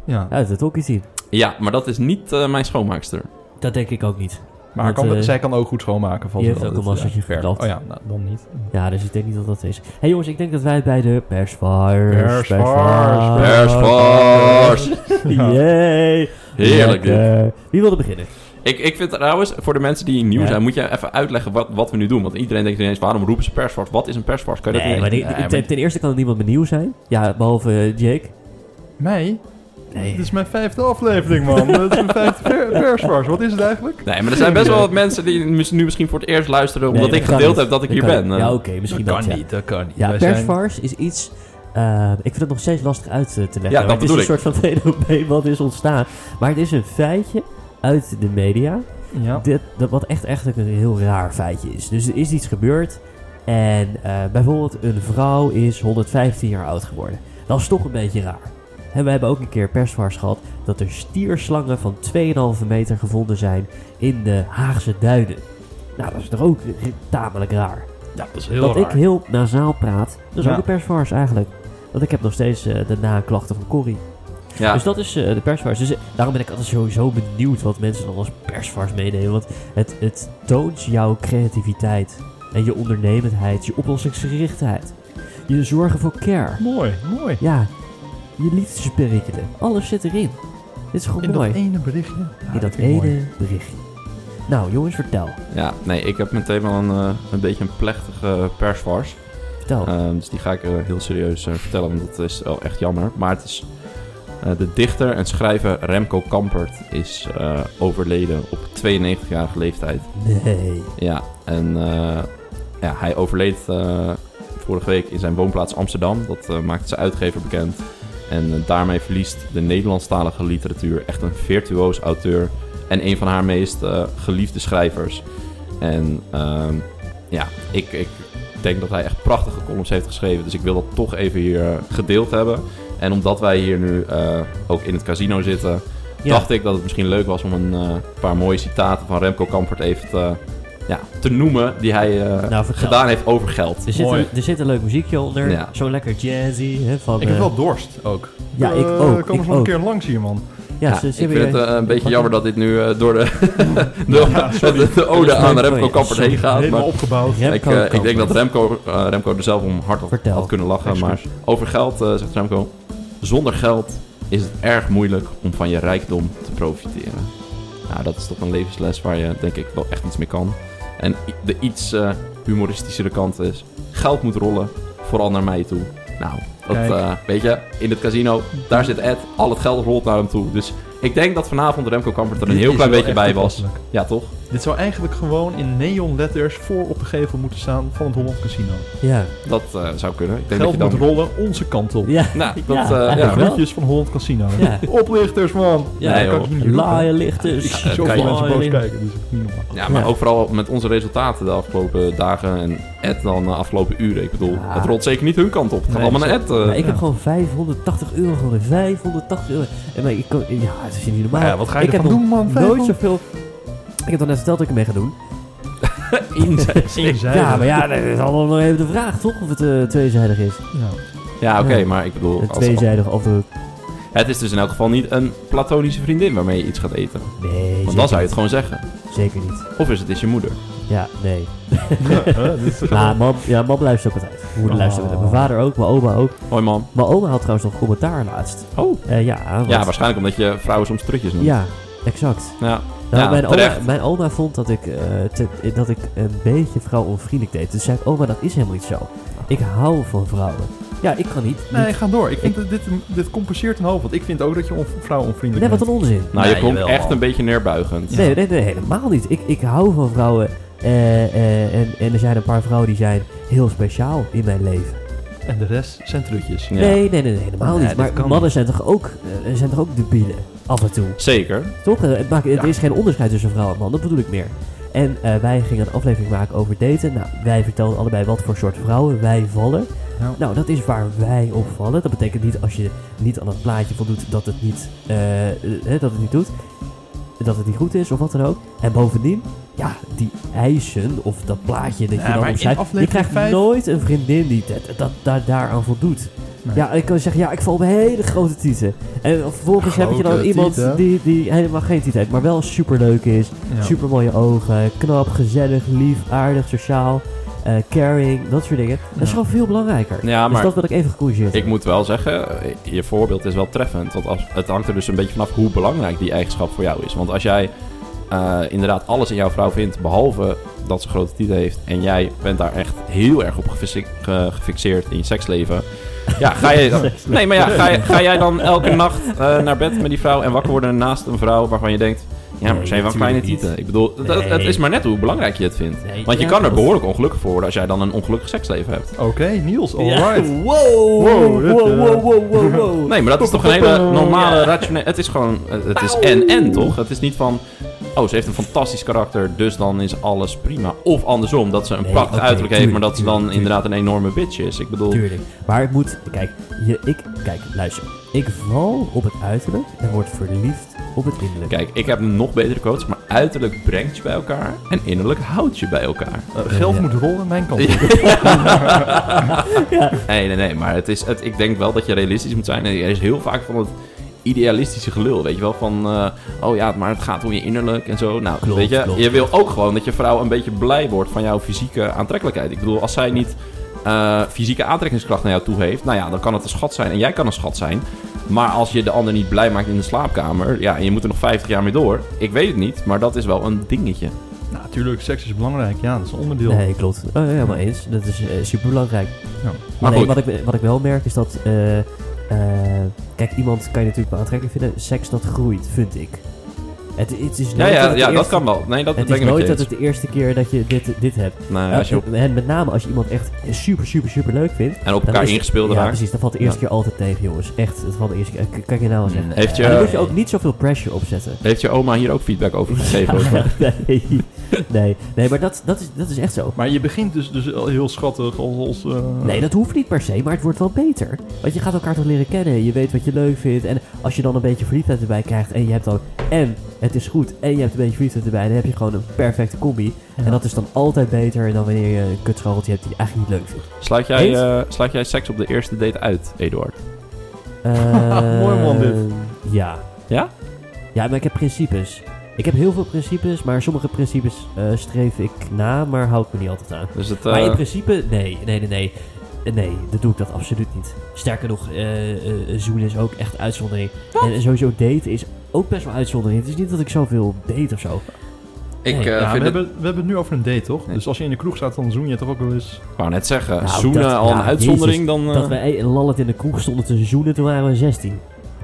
Speaker 2: Ja.
Speaker 1: Uit het hockey zien.
Speaker 3: Ja, maar dat is niet eh, mijn schoonmaakster.
Speaker 1: Dat denk ik ook niet.
Speaker 2: Maar
Speaker 1: Dat,
Speaker 2: kan,
Speaker 1: eh,
Speaker 2: zij kan ook goed schoonmaken. valt
Speaker 1: Die
Speaker 2: wel.
Speaker 1: heeft ook een
Speaker 2: Dat-
Speaker 1: massertje
Speaker 2: ja.
Speaker 1: verknapt.
Speaker 2: Oh ja, nou, dan niet.
Speaker 1: Ja, dus ik denk niet dat dat is. Hé hey jongens, ik denk dat wij bij de persvars...
Speaker 2: Persvars,
Speaker 3: Bears
Speaker 2: Eh,
Speaker 3: Force.
Speaker 1: Yay!
Speaker 3: Heerlijk dit.
Speaker 1: Lekker. Wie wilde beginnen?
Speaker 3: Ik, ik vind trouwens, voor de mensen die nieuw
Speaker 1: Ja.
Speaker 3: zijn, moet je even uitleggen wat, wat we nu doen. Want iedereen denkt ineens, waarom roepen ze persvars? Wat is een persvars? Kan je dat
Speaker 1: Nee, maar
Speaker 3: ineens-
Speaker 1: die-
Speaker 3: Nee,
Speaker 1: ten, ten eerste kan het niemand benieuwd zijn. Ja, behalve eh, Jake.
Speaker 2: Mij? Dit
Speaker 1: Nee.
Speaker 2: is mijn vijfde aflevering, man. Dat is mijn vijfde per- perswars. Wat is het eigenlijk?
Speaker 3: Nee, maar er zijn best wel wat mensen die mis- nu misschien voor het eerst luisteren, omdat
Speaker 1: Nee,
Speaker 3: ik
Speaker 1: dat kan
Speaker 3: gedeeld
Speaker 1: niet.
Speaker 3: heb dat ik
Speaker 1: Dat
Speaker 3: hier
Speaker 1: kan
Speaker 3: ben.
Speaker 1: niet.
Speaker 3: Eh,
Speaker 1: Ja, oké, misschien dat, ja.
Speaker 2: dat kan niet.
Speaker 1: Ja, persvars is iets... eh, ik vind het nog steeds lastig uit eh, te leggen.
Speaker 3: Ja, dat
Speaker 1: maar het is
Speaker 3: bedoel
Speaker 1: een
Speaker 3: ik.
Speaker 1: soort van fenomeen wat is ontstaan. Maar het is een feitje uit de media.
Speaker 2: Ja.
Speaker 1: Dit, dat, wat echt, echt een heel raar feitje is. Dus er is iets gebeurd. En eh, bijvoorbeeld een vrouw is 115 jaar oud geworden. Dat is toch een beetje raar. En we hebben ook een keer persvars gehad dat er stierslangen van 2,5 meter gevonden zijn in de Haagse duinen. Nou, dat is toch ook eh, tamelijk raar.
Speaker 2: Ja, dat is heel
Speaker 1: dat ik heel nasaal praat, dat is
Speaker 2: Ja.
Speaker 1: ook een persvars eigenlijk. Want ik heb nog steeds eh, de naklachten van Corrie.
Speaker 3: ja.
Speaker 1: Dus dat is eh, de persvars. Dus eh, daarom ben ik altijd sowieso benieuwd wat mensen dan als persvars meenemen. Want het, het toont jouw creativiteit en je ondernemendheid, je oplossingsgerichtheid. Je zorgen voor care.
Speaker 2: Mooi, mooi.
Speaker 1: Ja, je liefdesperikelen. Alles zit erin. Dit is gewoon
Speaker 2: In
Speaker 1: mooi.
Speaker 2: dat ene berichtje. Ja,
Speaker 1: In dat
Speaker 2: vind ik mooi.
Speaker 1: ene berichtje. Nou jongens, vertel.
Speaker 3: ja, nee, ik heb meteen wel een, eh, een beetje een plechtige persvars.
Speaker 1: Vertel.
Speaker 3: Ehm, dus die ga ik eh, heel serieus eh, vertellen, want dat is wel echt jammer. Maar het is... eh, de dichter en schrijver Remco Kampert is eh, overleden op 92-jarige leeftijd.
Speaker 1: nee.
Speaker 3: Ja, en eh, ja, hij overleed eh, vorige week in zijn woonplaats Amsterdam. Dat eh, maakt zijn uitgever bekend. En eh, daarmee verliest de Nederlandstalige literatuur echt een virtuoos auteur. En een van haar meest eh, geliefde schrijvers. En ehm, ja, ik, ik denk dat hij echt prachtige columns heeft geschreven. Dus ik wil dat toch even hier eh, gedeeld hebben. En omdat wij hier nu eh, ook in het casino zitten,
Speaker 1: Ja.
Speaker 3: dacht ik dat het misschien leuk was om een eh, paar mooie citaten van Remco Kampert even te, ja, te noemen. Die hij eh,
Speaker 1: Nou, vertel.
Speaker 3: gedaan heeft over geld.
Speaker 1: Er zit,
Speaker 2: Mooi.
Speaker 1: een, er zit een leuk muziekje onder.
Speaker 3: Ja.
Speaker 1: Zo lekker jazzy. Hè, van,
Speaker 2: Ik heb
Speaker 1: eh,
Speaker 2: wel dorst ook.
Speaker 1: Ja, ik
Speaker 2: Eh,
Speaker 1: ook,
Speaker 2: Kom
Speaker 1: ik
Speaker 2: eens nog een
Speaker 1: ook.
Speaker 2: keer langs hier, man.
Speaker 1: ja,
Speaker 3: Ja,
Speaker 1: ze-
Speaker 3: ik
Speaker 1: ze hebben
Speaker 3: vind het
Speaker 1: je-
Speaker 3: eh, een beetje
Speaker 1: pakken.
Speaker 3: jammer dat dit nu eh, door de, de,
Speaker 2: Ja, sorry.
Speaker 3: de, de ode
Speaker 1: Dat is
Speaker 3: aan
Speaker 1: mijn
Speaker 3: Remco
Speaker 1: fooi.
Speaker 3: Kampert heen gaat.
Speaker 2: Helemaal
Speaker 3: Maar
Speaker 2: opgebouwd.
Speaker 1: Remco
Speaker 3: ik, eh, ik
Speaker 1: Kampert.
Speaker 3: denk dat Remco, eh, Remco er zelf om hard op
Speaker 1: Vertel.
Speaker 3: had kunnen lachen.
Speaker 2: Excuus.
Speaker 3: Maar over geld, eh, zegt Remco, zonder geld is het erg moeilijk om van je rijkdom te profiteren. Nou, dat is toch een levensles waar je denk ik wel echt iets mee kan. En i- de iets eh, humoristischere kant is, geld moet rollen, vooral naar mij toe. Nou, dat,
Speaker 2: Kijk.
Speaker 3: eh, weet je, in het casino, daar zit Ed, al het geld rolt naar hem toe. Dus ik denk dat vanavond Remco Kampert er een
Speaker 2: Dit
Speaker 3: heel
Speaker 2: is
Speaker 3: klein
Speaker 2: wel
Speaker 3: beetje
Speaker 2: echt
Speaker 3: bij was.
Speaker 2: toepasselijk.
Speaker 3: Ja, toch?
Speaker 2: Dit zou eigenlijk gewoon in neonletters voor op de gevel moeten staan van het Holland Casino.
Speaker 1: Ja,
Speaker 3: Dat eh, zou kunnen. Ik denk dat
Speaker 2: Geld
Speaker 3: je dan...
Speaker 2: moet rollen onze kant op.
Speaker 1: ja.
Speaker 3: Nou, dat,
Speaker 1: Ja,
Speaker 3: eh, ja,
Speaker 1: eigenlijk wel.
Speaker 2: Groetjes van Holland Casino.
Speaker 1: Ja.
Speaker 2: Oplichters, man.
Speaker 1: Ja,
Speaker 2: Nee,
Speaker 3: joh.
Speaker 2: kan ik niet roepen.
Speaker 1: Laaien
Speaker 2: Ik
Speaker 1: lichters.
Speaker 2: zie zoveel
Speaker 3: kan je-
Speaker 2: mensen boos kijken, dus niet normaal.
Speaker 3: Ja, maar
Speaker 1: Ja.
Speaker 3: ook vooral met onze resultaten de afgelopen dagen en Ed dan de afgelopen uren. Ik bedoel,
Speaker 1: Ja.
Speaker 3: het rolt zeker niet hun kant op. Het gaat
Speaker 2: Nee,
Speaker 3: allemaal naar Ed. eh.
Speaker 1: Maar ik heb
Speaker 2: Ja.
Speaker 1: gewoon 580 euro gewonnen. 580 euro. En maar ik kan, ja, het is niet normaal.
Speaker 2: Ja, wat ga je
Speaker 1: ik heb
Speaker 2: ervan doen, man?
Speaker 1: nog nooit zoveel... Ik heb dan net verteld dat ik ermee ga doen.
Speaker 2: Eenzijdig.
Speaker 1: Ja, maar ja, dat is allemaal nog even de vraag, toch? Of het eh, tweezijdig is.
Speaker 2: Ja.
Speaker 3: ja, oké,
Speaker 1: Ja.
Speaker 3: maar ik bedoel,
Speaker 1: Een
Speaker 3: als,
Speaker 1: tweezijdig afdruk.
Speaker 3: het is dus in elk geval niet een platonische vriendin waarmee je iets gaat eten.
Speaker 1: Nee,
Speaker 3: Want dan zou
Speaker 1: zeker,
Speaker 3: je het gewoon zeggen.
Speaker 1: zeker niet.
Speaker 3: Of is het is je moeder?
Speaker 1: Ja, nee.
Speaker 2: Hè, dit is-
Speaker 1: Maar mam, ja, mam luistert ook altijd. Mijn moeder
Speaker 2: Oh.
Speaker 1: luistert ook altijd. Mijn vader ook, mijn oma ook.
Speaker 3: Hoi mam.
Speaker 1: Mijn oma had trouwens nog commentaar laatst.
Speaker 3: Oh.
Speaker 1: Eh, ja, want-
Speaker 3: Ja, waarschijnlijk omdat je vrouwen soms trutjes noemt.
Speaker 1: Ja, exact.
Speaker 3: Ja.
Speaker 1: Nou,
Speaker 3: Ja,
Speaker 1: mijn, oma,
Speaker 3: terecht.
Speaker 1: mijn oma vond dat ik, eh, te- dat ik een beetje vrouwonvriendelijk deed. Dus zei ik, oma, dat is helemaal niet zo. Ik hou van vrouwen. Ja, ik kan niet.
Speaker 2: Nee,
Speaker 1: niet-
Speaker 2: ga door. Ik vind dat dit, dit compenseert een hoop, want ik vind ook dat je on, vrouw onvriendelijk
Speaker 1: nee, wat
Speaker 2: bent.
Speaker 1: een onzin.
Speaker 3: Nou, je
Speaker 2: Nee,
Speaker 3: komt
Speaker 2: jawel,
Speaker 3: echt
Speaker 2: man.
Speaker 3: een beetje neerbuigend.
Speaker 1: Nee, nee, nee, helemaal niet. Ik, ik hou van vrouwen. eh, eh, en, en er zijn een paar vrouwen die zijn heel speciaal in mijn leven.
Speaker 2: En de rest zijn trutjes.
Speaker 3: Ja.
Speaker 1: Nee, nee, nee, nee, helemaal
Speaker 2: Nee,
Speaker 1: niet.
Speaker 2: dat kan
Speaker 1: Maar
Speaker 2: niet.
Speaker 1: mannen zijn toch, ook, eh, zijn toch ook debielen? Af en toe.
Speaker 3: Zeker.
Speaker 1: Toch? Eh, Het, maakt, het
Speaker 2: Ja.
Speaker 1: is geen onderscheid tussen vrouw en man, dat bedoel ik meer. En eh, wij gingen een aflevering maken over daten. Nou, wij vertelden allebei wat voor soort vrouwen wij vallen.
Speaker 2: Ja.
Speaker 1: Nou, dat is waar wij op vallen. Dat betekent niet als je niet aan het plaatje voldoet dat het niet, eh, eh, hè, dat het niet doet. Dat het niet goed is of wat dan ook. En bovendien, ja, die eisen of dat plaatje dat je
Speaker 2: Ja, maar
Speaker 1: dan
Speaker 2: in
Speaker 1: opschrijft. Je
Speaker 2: aflevering
Speaker 1: krijgt
Speaker 2: vijf-
Speaker 1: nooit een vriendin die dat, dat, daar- daaraan voldoet.
Speaker 2: Nee.
Speaker 1: Ja, ik kan zeggen, ja, ik val op hele grote tieten. En vervolgens heb je dan
Speaker 2: Grote
Speaker 1: iemand
Speaker 2: tieten.
Speaker 1: die, die helemaal geen tieten heeft, maar wel superleuk is.
Speaker 2: Ja.
Speaker 1: Super mooie ogen, knap, gezellig, lief, aardig, sociaal, eh, caring, dat soort dingen. Dat
Speaker 2: Ja.
Speaker 1: is gewoon veel belangrijker.
Speaker 3: Ja,
Speaker 1: Dus
Speaker 3: maar
Speaker 1: dat wil ik even gecorrigeerd
Speaker 3: ik
Speaker 1: hebben.
Speaker 3: moet wel zeggen, eh, je voorbeeld is wel treffend. Want als, het hangt er dus een beetje vanaf hoe belangrijk die eigenschap voor jou is. Want als jij eh, inderdaad alles in jouw vrouw vindt, behalve dat ze grote tieten heeft... en jij bent daar echt heel erg op gefixe- ge- gefixeerd in je seksleven... Ja, ga je dan... Nee, maar ja, ga, je- ga jij dan elke nacht eh, naar bed met die vrouw... en wakker worden naast een vrouw waarvan je denkt... Ja, maar
Speaker 1: Nee,
Speaker 3: ze heeft wel kleine
Speaker 1: natuurlijk
Speaker 3: tieten. Ik bedoel, dat,
Speaker 1: Nee.
Speaker 3: het is maar net hoe belangrijk je het vindt.
Speaker 1: Nee,
Speaker 3: Want je
Speaker 1: ja,
Speaker 3: kan er
Speaker 1: dat-
Speaker 3: behoorlijk ongelukkig voor worden... als jij dan een ongelukkig seksleven hebt.
Speaker 2: Oké, Niels, alright.
Speaker 1: Wow, wow,
Speaker 2: Wow, dit,
Speaker 1: wow,
Speaker 2: eh,
Speaker 1: wow, wow, wow, wow.
Speaker 3: Nee, maar dat is toch een hele normale, rationele... Het is gewoon... Het is en-en, toch? Het is niet van... Oh, ze heeft een fantastisch karakter, dus dan is alles prima. Of andersom, dat ze een
Speaker 1: Nee,
Speaker 3: prachtig
Speaker 1: oké,
Speaker 3: uiterlijk heeft, maar
Speaker 1: tuurlijk,
Speaker 3: dat ze dan
Speaker 1: tuurlijk,
Speaker 3: inderdaad een enorme bitch is. Ik bedoel...
Speaker 1: Tuurlijk. Maar ik moet, kijk, je, ik, kijk, luister. Ik val op het uiterlijk en word verliefd op het innerlijk.
Speaker 3: Kijk, ik heb nog betere quotes, maar uiterlijk brengt je bij elkaar en innerlijk houdt je bij elkaar.
Speaker 2: Eh, geld
Speaker 1: Ja.
Speaker 2: moet rollen aan mijn kant.
Speaker 3: Ja.
Speaker 2: op.
Speaker 3: Nee, nee, nee, maar het is, het, ik denk wel dat je realistisch moet zijn. En er is heel vaak van het idealistische gelul, weet je wel? Van, eh, oh ja, maar het gaat om je innerlijk en zo. Nou,
Speaker 1: Klopt,
Speaker 3: weet je,
Speaker 1: klopt.
Speaker 3: je wil ook gewoon dat je vrouw een beetje blij wordt van jouw fysieke aantrekkelijkheid. Ik bedoel, als zij niet eh, fysieke aantrekkingskracht naar jou toe heeft, nou ja, dan kan het een schat zijn en jij kan een schat zijn. Maar als je de ander niet blij maakt in de slaapkamer, ja, en je moet er nog 50 jaar mee door. Ik weet het niet, maar dat is wel een dingetje.
Speaker 2: Nou, natuurlijk, seks is belangrijk. Ja, dat is een onderdeel.
Speaker 1: Nee, klopt. Oh, ja, helemaal eens. Dat is super superbelangrijk.
Speaker 2: Ja.
Speaker 1: Maar
Speaker 3: Maar
Speaker 1: nee,
Speaker 3: goed.
Speaker 1: wat, ik, wat ik wel merk is dat... eh, eh, kijk, iemand kan je natuurlijk wel aantrekkelijk vinden. Seks, dat groeit, vind ik. Het, het is
Speaker 3: Ja,
Speaker 1: nooit
Speaker 3: ja,
Speaker 1: het
Speaker 3: ja, dat
Speaker 1: eerste-
Speaker 3: kan wel. Nee, dat
Speaker 1: Het
Speaker 3: ben
Speaker 1: is
Speaker 3: ik met je
Speaker 1: nooit dat
Speaker 3: eens.
Speaker 1: het de eerste keer dat je dit, dit hebt.
Speaker 3: Nou, als je op-
Speaker 1: En Eh, met name als je iemand echt super, super, super leuk vindt.
Speaker 3: en op
Speaker 1: dan
Speaker 3: elkaar
Speaker 1: is-
Speaker 3: ingespeeld
Speaker 1: Ja,
Speaker 3: raakt.
Speaker 1: precies. Dat valt de eerste keer altijd tegen, jongens. Echt, dat valt de eerste keer. K- Kan je nou al zeggen.
Speaker 3: Mm, Heeft
Speaker 1: En
Speaker 3: je,
Speaker 1: daar moet je ook niet zoveel pressure op zetten.
Speaker 3: Heeft je oma hier ook feedback over gegeven? of wat?
Speaker 1: nee. nee. Nee, maar dat, dat, is, dat is echt zo.
Speaker 2: Maar je begint dus, dus al heel schattig als... als eh,
Speaker 1: Nee, dat hoeft niet per se, maar het wordt wel beter. Want je gaat elkaar toch leren kennen. Je weet wat je leuk vindt. En als je dan een beetje verliefdheid erbij krijgt. En je hebt dan. En het is goed. En je hebt een beetje verliefdheid erbij. Dan heb je gewoon een perfecte combi. En dat is dan altijd beter dan wanneer je een kutschoteltje hebt die je eigenlijk niet leuk vindt.
Speaker 3: Sluit jij,
Speaker 1: Eens?
Speaker 3: eh, sluit jij seks op de eerste date uit, Eduard?
Speaker 1: Eh,
Speaker 2: Mooi man, dit.
Speaker 1: Ja.
Speaker 3: Ja?
Speaker 1: Ja, maar ik heb principes. Ik heb heel veel principes, maar sommige principes eh, streef ik na, maar hou ik me niet altijd aan.
Speaker 3: Dus het,
Speaker 1: Maar in
Speaker 3: eh,
Speaker 1: principe, nee, nee, nee, nee. Eh, Nee, dat doe ik dat absoluut niet. Sterker nog, eh eh, zoenen is ook echt uitzondering. En sowieso daten is ook best wel uitzondering. Het is niet dat ik zoveel date of zo.
Speaker 3: ik
Speaker 1: Nee,
Speaker 3: eh,
Speaker 2: ja, we,
Speaker 3: vind het,
Speaker 2: hebben, we hebben het nu over een date, toch?
Speaker 3: Nee.
Speaker 2: Dus als je in de kroeg staat, dan zoen je toch ook wel eens...
Speaker 3: ik wou net zeggen,
Speaker 1: Nou,
Speaker 3: zoenen
Speaker 1: dat-
Speaker 3: al een
Speaker 1: ja,
Speaker 3: uitzondering
Speaker 1: jezus,
Speaker 3: dan... eh,
Speaker 1: Dat wij eh, lallend in de kroeg stonden te zoenen toen waren we 16.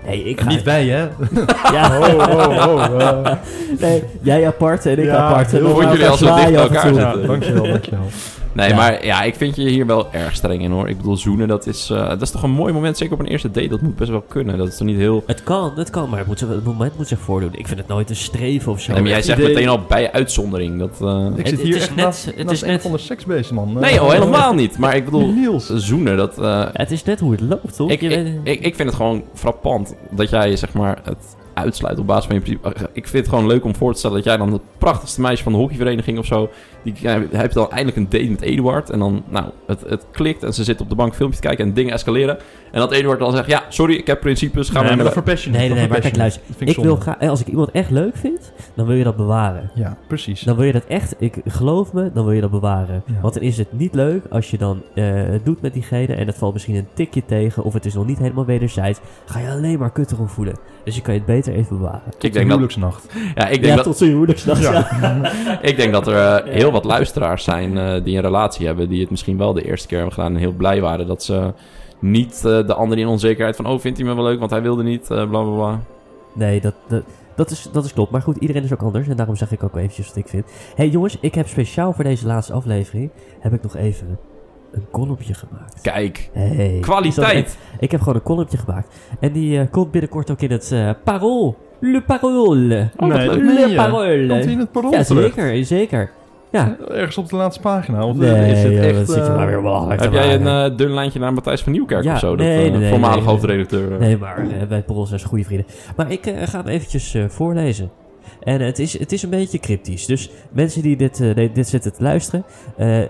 Speaker 1: Nee, ik ga...
Speaker 2: Niet wij, hè?
Speaker 1: Ja,
Speaker 2: Oh, oh, oh. eh.
Speaker 1: nee, jij apart en ik
Speaker 2: Ja,
Speaker 1: apart. En
Speaker 2: heel
Speaker 1: dan
Speaker 2: goed,
Speaker 1: waren we
Speaker 3: jullie al zo dicht
Speaker 1: zwaaien
Speaker 3: bij
Speaker 1: af en
Speaker 3: elkaar
Speaker 1: toe.
Speaker 3: zitten.
Speaker 2: ja, dankjewel, dankjewel.
Speaker 3: Nee,
Speaker 1: Ja.
Speaker 3: maar ja, ik vind je hier wel erg streng in, hoor. Ik bedoel, zoenen, dat is, eh, dat is toch een mooi moment, zeker op een eerste date. Dat moet best wel kunnen. Dat is toch niet heel...
Speaker 1: Het kan, het kan, maar het, moet zich- het moment moet zich voordoen. Ik vind het nooit een streven of zo.
Speaker 3: Nee, maar jij
Speaker 2: het
Speaker 3: zegt
Speaker 2: idee-
Speaker 3: meteen al bij uitzondering. Dat, eh,
Speaker 2: Ik
Speaker 1: Het-
Speaker 2: zit
Speaker 1: het
Speaker 2: hier
Speaker 1: is
Speaker 2: echt
Speaker 1: net-
Speaker 2: naast,
Speaker 1: het
Speaker 2: naast
Speaker 1: is
Speaker 2: een
Speaker 1: net-
Speaker 2: van de seksbeest, man.
Speaker 3: Nee,
Speaker 2: Eh,
Speaker 3: oh, helemaal niet. Maar ik bedoel,
Speaker 2: Niels.
Speaker 3: zoenen, dat... eh,
Speaker 1: Het is net hoe het loopt, toch?
Speaker 3: Ik,
Speaker 1: Je
Speaker 3: ik,
Speaker 1: weet-
Speaker 3: ik, ik vind het gewoon frappant dat jij zeg maar, het uitsluit op basis van je principe. Ik vind het gewoon leuk om voor te stellen dat jij dan het prachtigste meisje van de hockeyvereniging of zo. Die ja, heb je dan eindelijk een date met Eduard. En dan, nou, het, het klikt en ze zit op de bank filmpjes te kijken en dingen escaleren. En dat Eduard dan zegt: Ja, sorry, ik heb principes. Gaan
Speaker 2: Nee,
Speaker 3: we
Speaker 2: maar dat
Speaker 3: naar de-
Speaker 2: verpest je
Speaker 1: Nee,
Speaker 2: niet,
Speaker 1: nee,
Speaker 2: dat
Speaker 1: nee, maar
Speaker 2: verpest
Speaker 1: kijk, luister.
Speaker 2: je niet. Dat vind
Speaker 1: Ik wil
Speaker 2: zonde.
Speaker 1: graag, als ik iemand echt leuk vind, dan wil je dat bewaren.
Speaker 2: Ja, precies.
Speaker 1: Dan wil je dat echt, ik geloof me, dan wil je dat bewaren.
Speaker 2: Ja.
Speaker 1: Want dan is het niet leuk als je dan eh, het doet met diegene en dat valt misschien een tikje tegen of het is nog niet helemaal wederzijds. Ga je alleen maar kut erom voelen. Dus je kan je het beter even bewaren.
Speaker 3: Ik
Speaker 2: de
Speaker 3: denk dat,
Speaker 2: huwelijksnacht.
Speaker 3: ja, ik denk,
Speaker 1: ja,
Speaker 3: dat,
Speaker 1: tot zo'n huwelijksdag.
Speaker 2: Ja.
Speaker 1: Ja.
Speaker 3: ik denk dat er eh, heel wat luisteraars zijn eh, die een relatie hebben. Die het misschien wel de eerste keer hebben gedaan. En heel blij waren dat ze niet eh, de ander in onzekerheid van: Oh, vindt hij me wel leuk? Want hij wilde niet. eh bla bla bla.
Speaker 1: Nee, dat, dat, dat, is, dat is klopt. Maar goed, iedereen is ook anders. En daarom zeg ik ook wel eventjes wat ik vind. hey, jongens, ik heb speciaal voor deze laatste aflevering... heb ik nog even een kolompje gemaakt.
Speaker 3: Kijk,
Speaker 1: Hey, is dat
Speaker 3: kwaliteit.
Speaker 1: echt- ik heb gewoon een kolompje gemaakt. En die eh, komt binnenkort ook in het eh Parool. Le Parool.
Speaker 3: Oh, wat
Speaker 2: nee,
Speaker 3: leuk.
Speaker 2: dat
Speaker 1: Le
Speaker 2: meen je. Komt hij
Speaker 1: Parool.
Speaker 2: in het parool
Speaker 1: Ja,
Speaker 2: terug?
Speaker 1: zeker, zeker. Ja.
Speaker 2: Ergens op de laatste pagina. Of eh,
Speaker 1: Nee,
Speaker 2: is het
Speaker 1: joh,
Speaker 2: echt,
Speaker 1: dat zit je
Speaker 2: eh,
Speaker 1: maar weer belachelijk
Speaker 3: Heb
Speaker 1: te
Speaker 3: jij een
Speaker 1: maken.
Speaker 3: eh, dun lijntje naar Matthijs van Nieuwkerk
Speaker 1: Ja,
Speaker 3: of zo? Dat,
Speaker 1: nee,
Speaker 3: eh,
Speaker 1: nee, nee,
Speaker 3: voormalig
Speaker 1: nee.
Speaker 3: hoofdredacteur. eh.
Speaker 1: Nee, maar eh, wij Pols zijn goede vrienden. Maar ik eh, ga hem eventjes eh, voorlezen. En het is, het is een beetje cryptisch. Dus mensen die dit, eh, dit- dit zitten te luisteren, eh,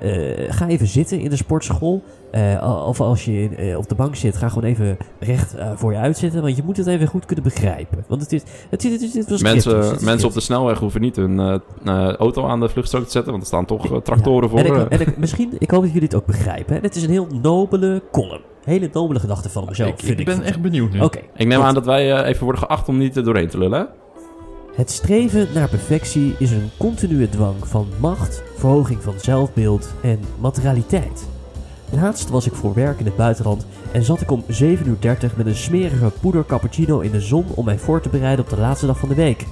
Speaker 1: eh, ga even zitten in de sportschool. Eh, al- of als je eh, op de bank zit, ga gewoon even recht eh, voor je uitzitten. Want je moet het even goed kunnen begrijpen. Want het is, het is, het is, dit was
Speaker 3: eh, Mensen,
Speaker 1: cryptisch. Dit is
Speaker 3: mensen op
Speaker 1: cryptisch.
Speaker 3: de snelweg hoeven niet hun eh, eh, auto aan de vluchtstrook te zetten, want er staan toch eh, tractoren
Speaker 1: Ja.
Speaker 3: voor.
Speaker 1: En,
Speaker 3: eh.
Speaker 1: ik, en ik- misschien, ik hoop dat jullie het ook begrijpen. hè. Het is een heel nobele column. Hele nobele gedachte van mezelf,
Speaker 2: ik,
Speaker 1: vind
Speaker 2: ik
Speaker 1: ik.
Speaker 2: ben echt benieuwd nu.
Speaker 1: Oké.
Speaker 3: Ik neem aan dat wij eh, even worden geacht om niet er doorheen te lullen. hè?
Speaker 1: Het streven naar perfectie is een continue dwang van macht, verhoging van zelfbeeld en materialiteit. Laatst was ik voor werk in het buitenland en zat ik om 7.30 uur met een smerige poeder cappuccino in de zon om mij voor te bereiden op de laatste dag van de week.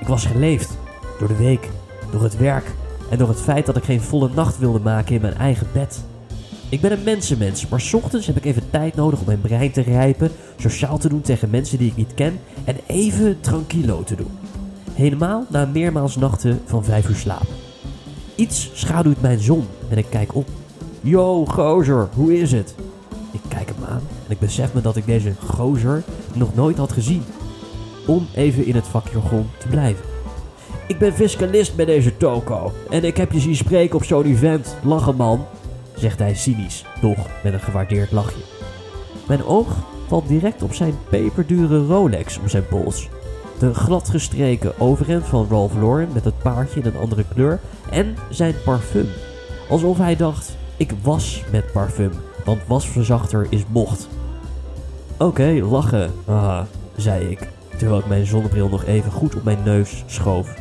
Speaker 1: Ik was geleefd door de week, door het werk en door het feit dat ik geen volle nacht wilde maken in mijn eigen bed. Ik ben een mensenmens, maar 's ochtends heb ik even tijd nodig om mijn brein te rijpen, sociaal te doen tegen mensen die ik niet ken en even tranquilo te doen. Helemaal na meermaals nachten van vijf uur slaap. Iets schaduwt mijn zon en ik kijk op. Yo, gozer, hoe is het? Ik kijk hem aan en ik besef me dat ik deze gozer nog nooit had gezien. Om even in het vakjargon te blijven. Ik ben fiscalist bij deze toko en ik heb je zien spreken op zo'n event, lachen man, zegt hij cynisch, doch met een gewaardeerd lachje. Mijn oog valt direct op zijn peperdure Rolex om zijn pols. De gladgestreken overhemd van Ralph Lauren met het paardje in een andere kleur en zijn parfum. Alsof hij dacht, ik was met parfum, want wasverzachter is bocht. Oké, lachen, haha, zei ik, terwijl ik mijn zonnebril nog even goed op mijn neus schoof.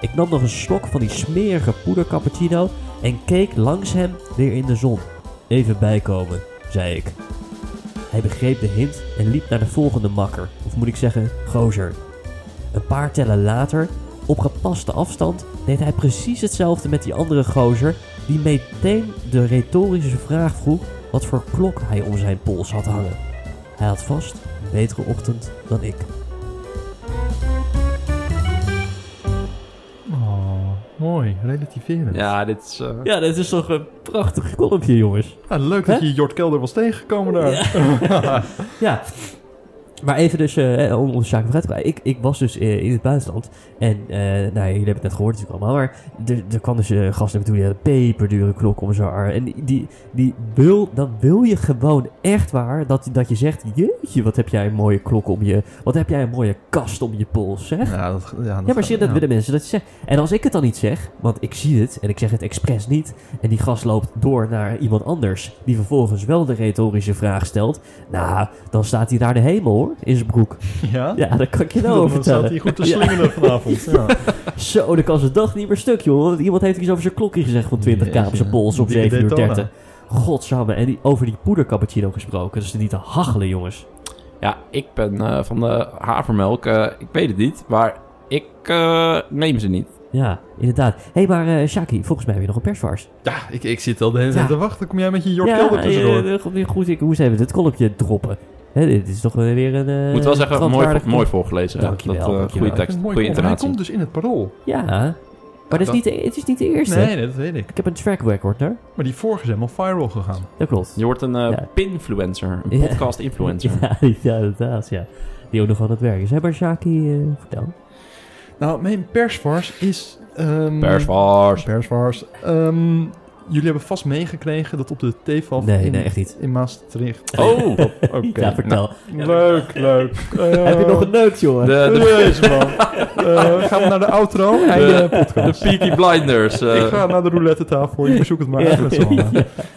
Speaker 1: Ik nam nog een slok van die smerige poedercappuccino en keek langs hem weer in de zon. Even bijkomen, zei ik. Hij begreep de hint en liep naar de volgende makker, of moet ik zeggen, gozer. Een paar tellen later, op gepaste afstand, deed hij precies hetzelfde met die andere gozer, die meteen de retorische vraag vroeg wat voor klok hij om zijn pols had hangen. Hij had vast een betere ochtend dan ik.
Speaker 2: Oh, mooi, relativeren.
Speaker 3: Ja, dit is... eh,
Speaker 1: Ja, dat is toch een prachtig kolompje, jongens.
Speaker 2: Ah, leuk dat
Speaker 1: Hè?
Speaker 2: je Jort Kelder was tegengekomen daar.
Speaker 1: Ja. Maar even dus, eh, eh, om onze zaak vooruit te brengen. Ik, ik was dus eh, in het buitenland. En, eh, nou ja, jullie hebben het net gehoord natuurlijk allemaal. Maar er, er kwam dus eh gast naar me toe, die had een peperdure klok om zijn arm. En die, die, die wil, dan wil je gewoon echt waar dat, dat je zegt... Jeetje, wat heb jij een mooie klok om je... Wat heb jij een mooie kast om je pols, zeg.
Speaker 2: Ja, dat, ja, dat
Speaker 1: Ja, maar zie je, dat
Speaker 2: ja.
Speaker 1: willen mensen dat je zegt. En als ik het dan niet zeg, want ik zie het en ik zeg het expres niet... en die gast loopt door naar iemand anders... die vervolgens wel de retorische vraag stelt... nou, dan staat hij naar de hemel, hoor, in zijn broek.
Speaker 2: Ja?
Speaker 1: Ja, dat kan ik je nou
Speaker 2: Dan
Speaker 1: over
Speaker 2: staat
Speaker 1: vertellen.
Speaker 2: hij goed te slingeren vanavond. Ja.
Speaker 1: Zo, dan kan zijn dag niet meer stuk, joh. Want iemand heeft iets over zijn klokje gezegd van 20k op
Speaker 2: Jeetje.
Speaker 1: zijn pols op
Speaker 2: Dikke
Speaker 1: 7 uur
Speaker 2: detail.
Speaker 1: 30. Godsamme, en die, over die poedercappuccino gesproken. Dat is niet te hachelen, jongens.
Speaker 3: Ja, ik ben eh, van de havermelk. eh, ik weet het niet, maar ik eh, neem ze niet.
Speaker 1: Ja, inderdaad. Hé, hey, maar eh Shaki, volgens mij heb je nog een persvars.
Speaker 2: Ja, ik, ik zit al de hele tijd
Speaker 1: Ja.
Speaker 2: te wachten. Kom jij met je Jort
Speaker 1: ja,
Speaker 2: Kelder tussendoor?
Speaker 1: eh, eh, goed, goed, ik moest even dit kolopje droppen. Hè, dit is toch weer een... eh,
Speaker 3: Moet wel zeggen, mooi,
Speaker 1: brandwaardig-
Speaker 3: mooi voorgelezen. hè.
Speaker 1: Dankjewel,
Speaker 3: Dat, eh,
Speaker 1: dankjewel.
Speaker 2: Ja,
Speaker 3: goede
Speaker 2: ik vind
Speaker 3: tekst,
Speaker 2: het mooi
Speaker 3: goede
Speaker 2: gevonden. Hij
Speaker 3: intonatie.
Speaker 2: komt dus in het parool.
Speaker 1: Ja, maar dat is
Speaker 2: dan-
Speaker 1: niet, de- het is niet de eerste.
Speaker 2: Nee, nee, dat weet ik.
Speaker 1: Ik heb een track record, hè?
Speaker 2: Maar die vorige is helemaal viral gegaan.
Speaker 1: Dat klopt.
Speaker 3: Je wordt een eh,
Speaker 1: Ja.
Speaker 3: pinfluencer, een
Speaker 1: Ja.
Speaker 3: podcast-influencer.
Speaker 1: Ja, ja, inderdaad, ja. Die ook nog aan het werk is. Hé, maar Shaki, eh, vertel.
Speaker 2: Nou, mijn persvars is... ehm,
Speaker 3: Persvars.
Speaker 2: Persvars. Ehm, jullie hebben vast meegekregen dat op de TFAF
Speaker 1: Nee,
Speaker 2: in,
Speaker 1: nee, echt niet.
Speaker 2: in Maastricht...
Speaker 3: Oh,
Speaker 2: Oké.
Speaker 1: ja, vertel.
Speaker 2: Nou, leuk, leuk. Eh,
Speaker 1: Heb je nog een neut, jongen?
Speaker 3: de, de,
Speaker 2: Jezus, man. Eh, gaan we naar de outro? eh, Einde podcast.
Speaker 3: de Peaky Blinders. eh.
Speaker 2: Ik ga naar de roulette tafel. Je bezoek het maar.
Speaker 1: Ja.
Speaker 2: echt met z'n allen.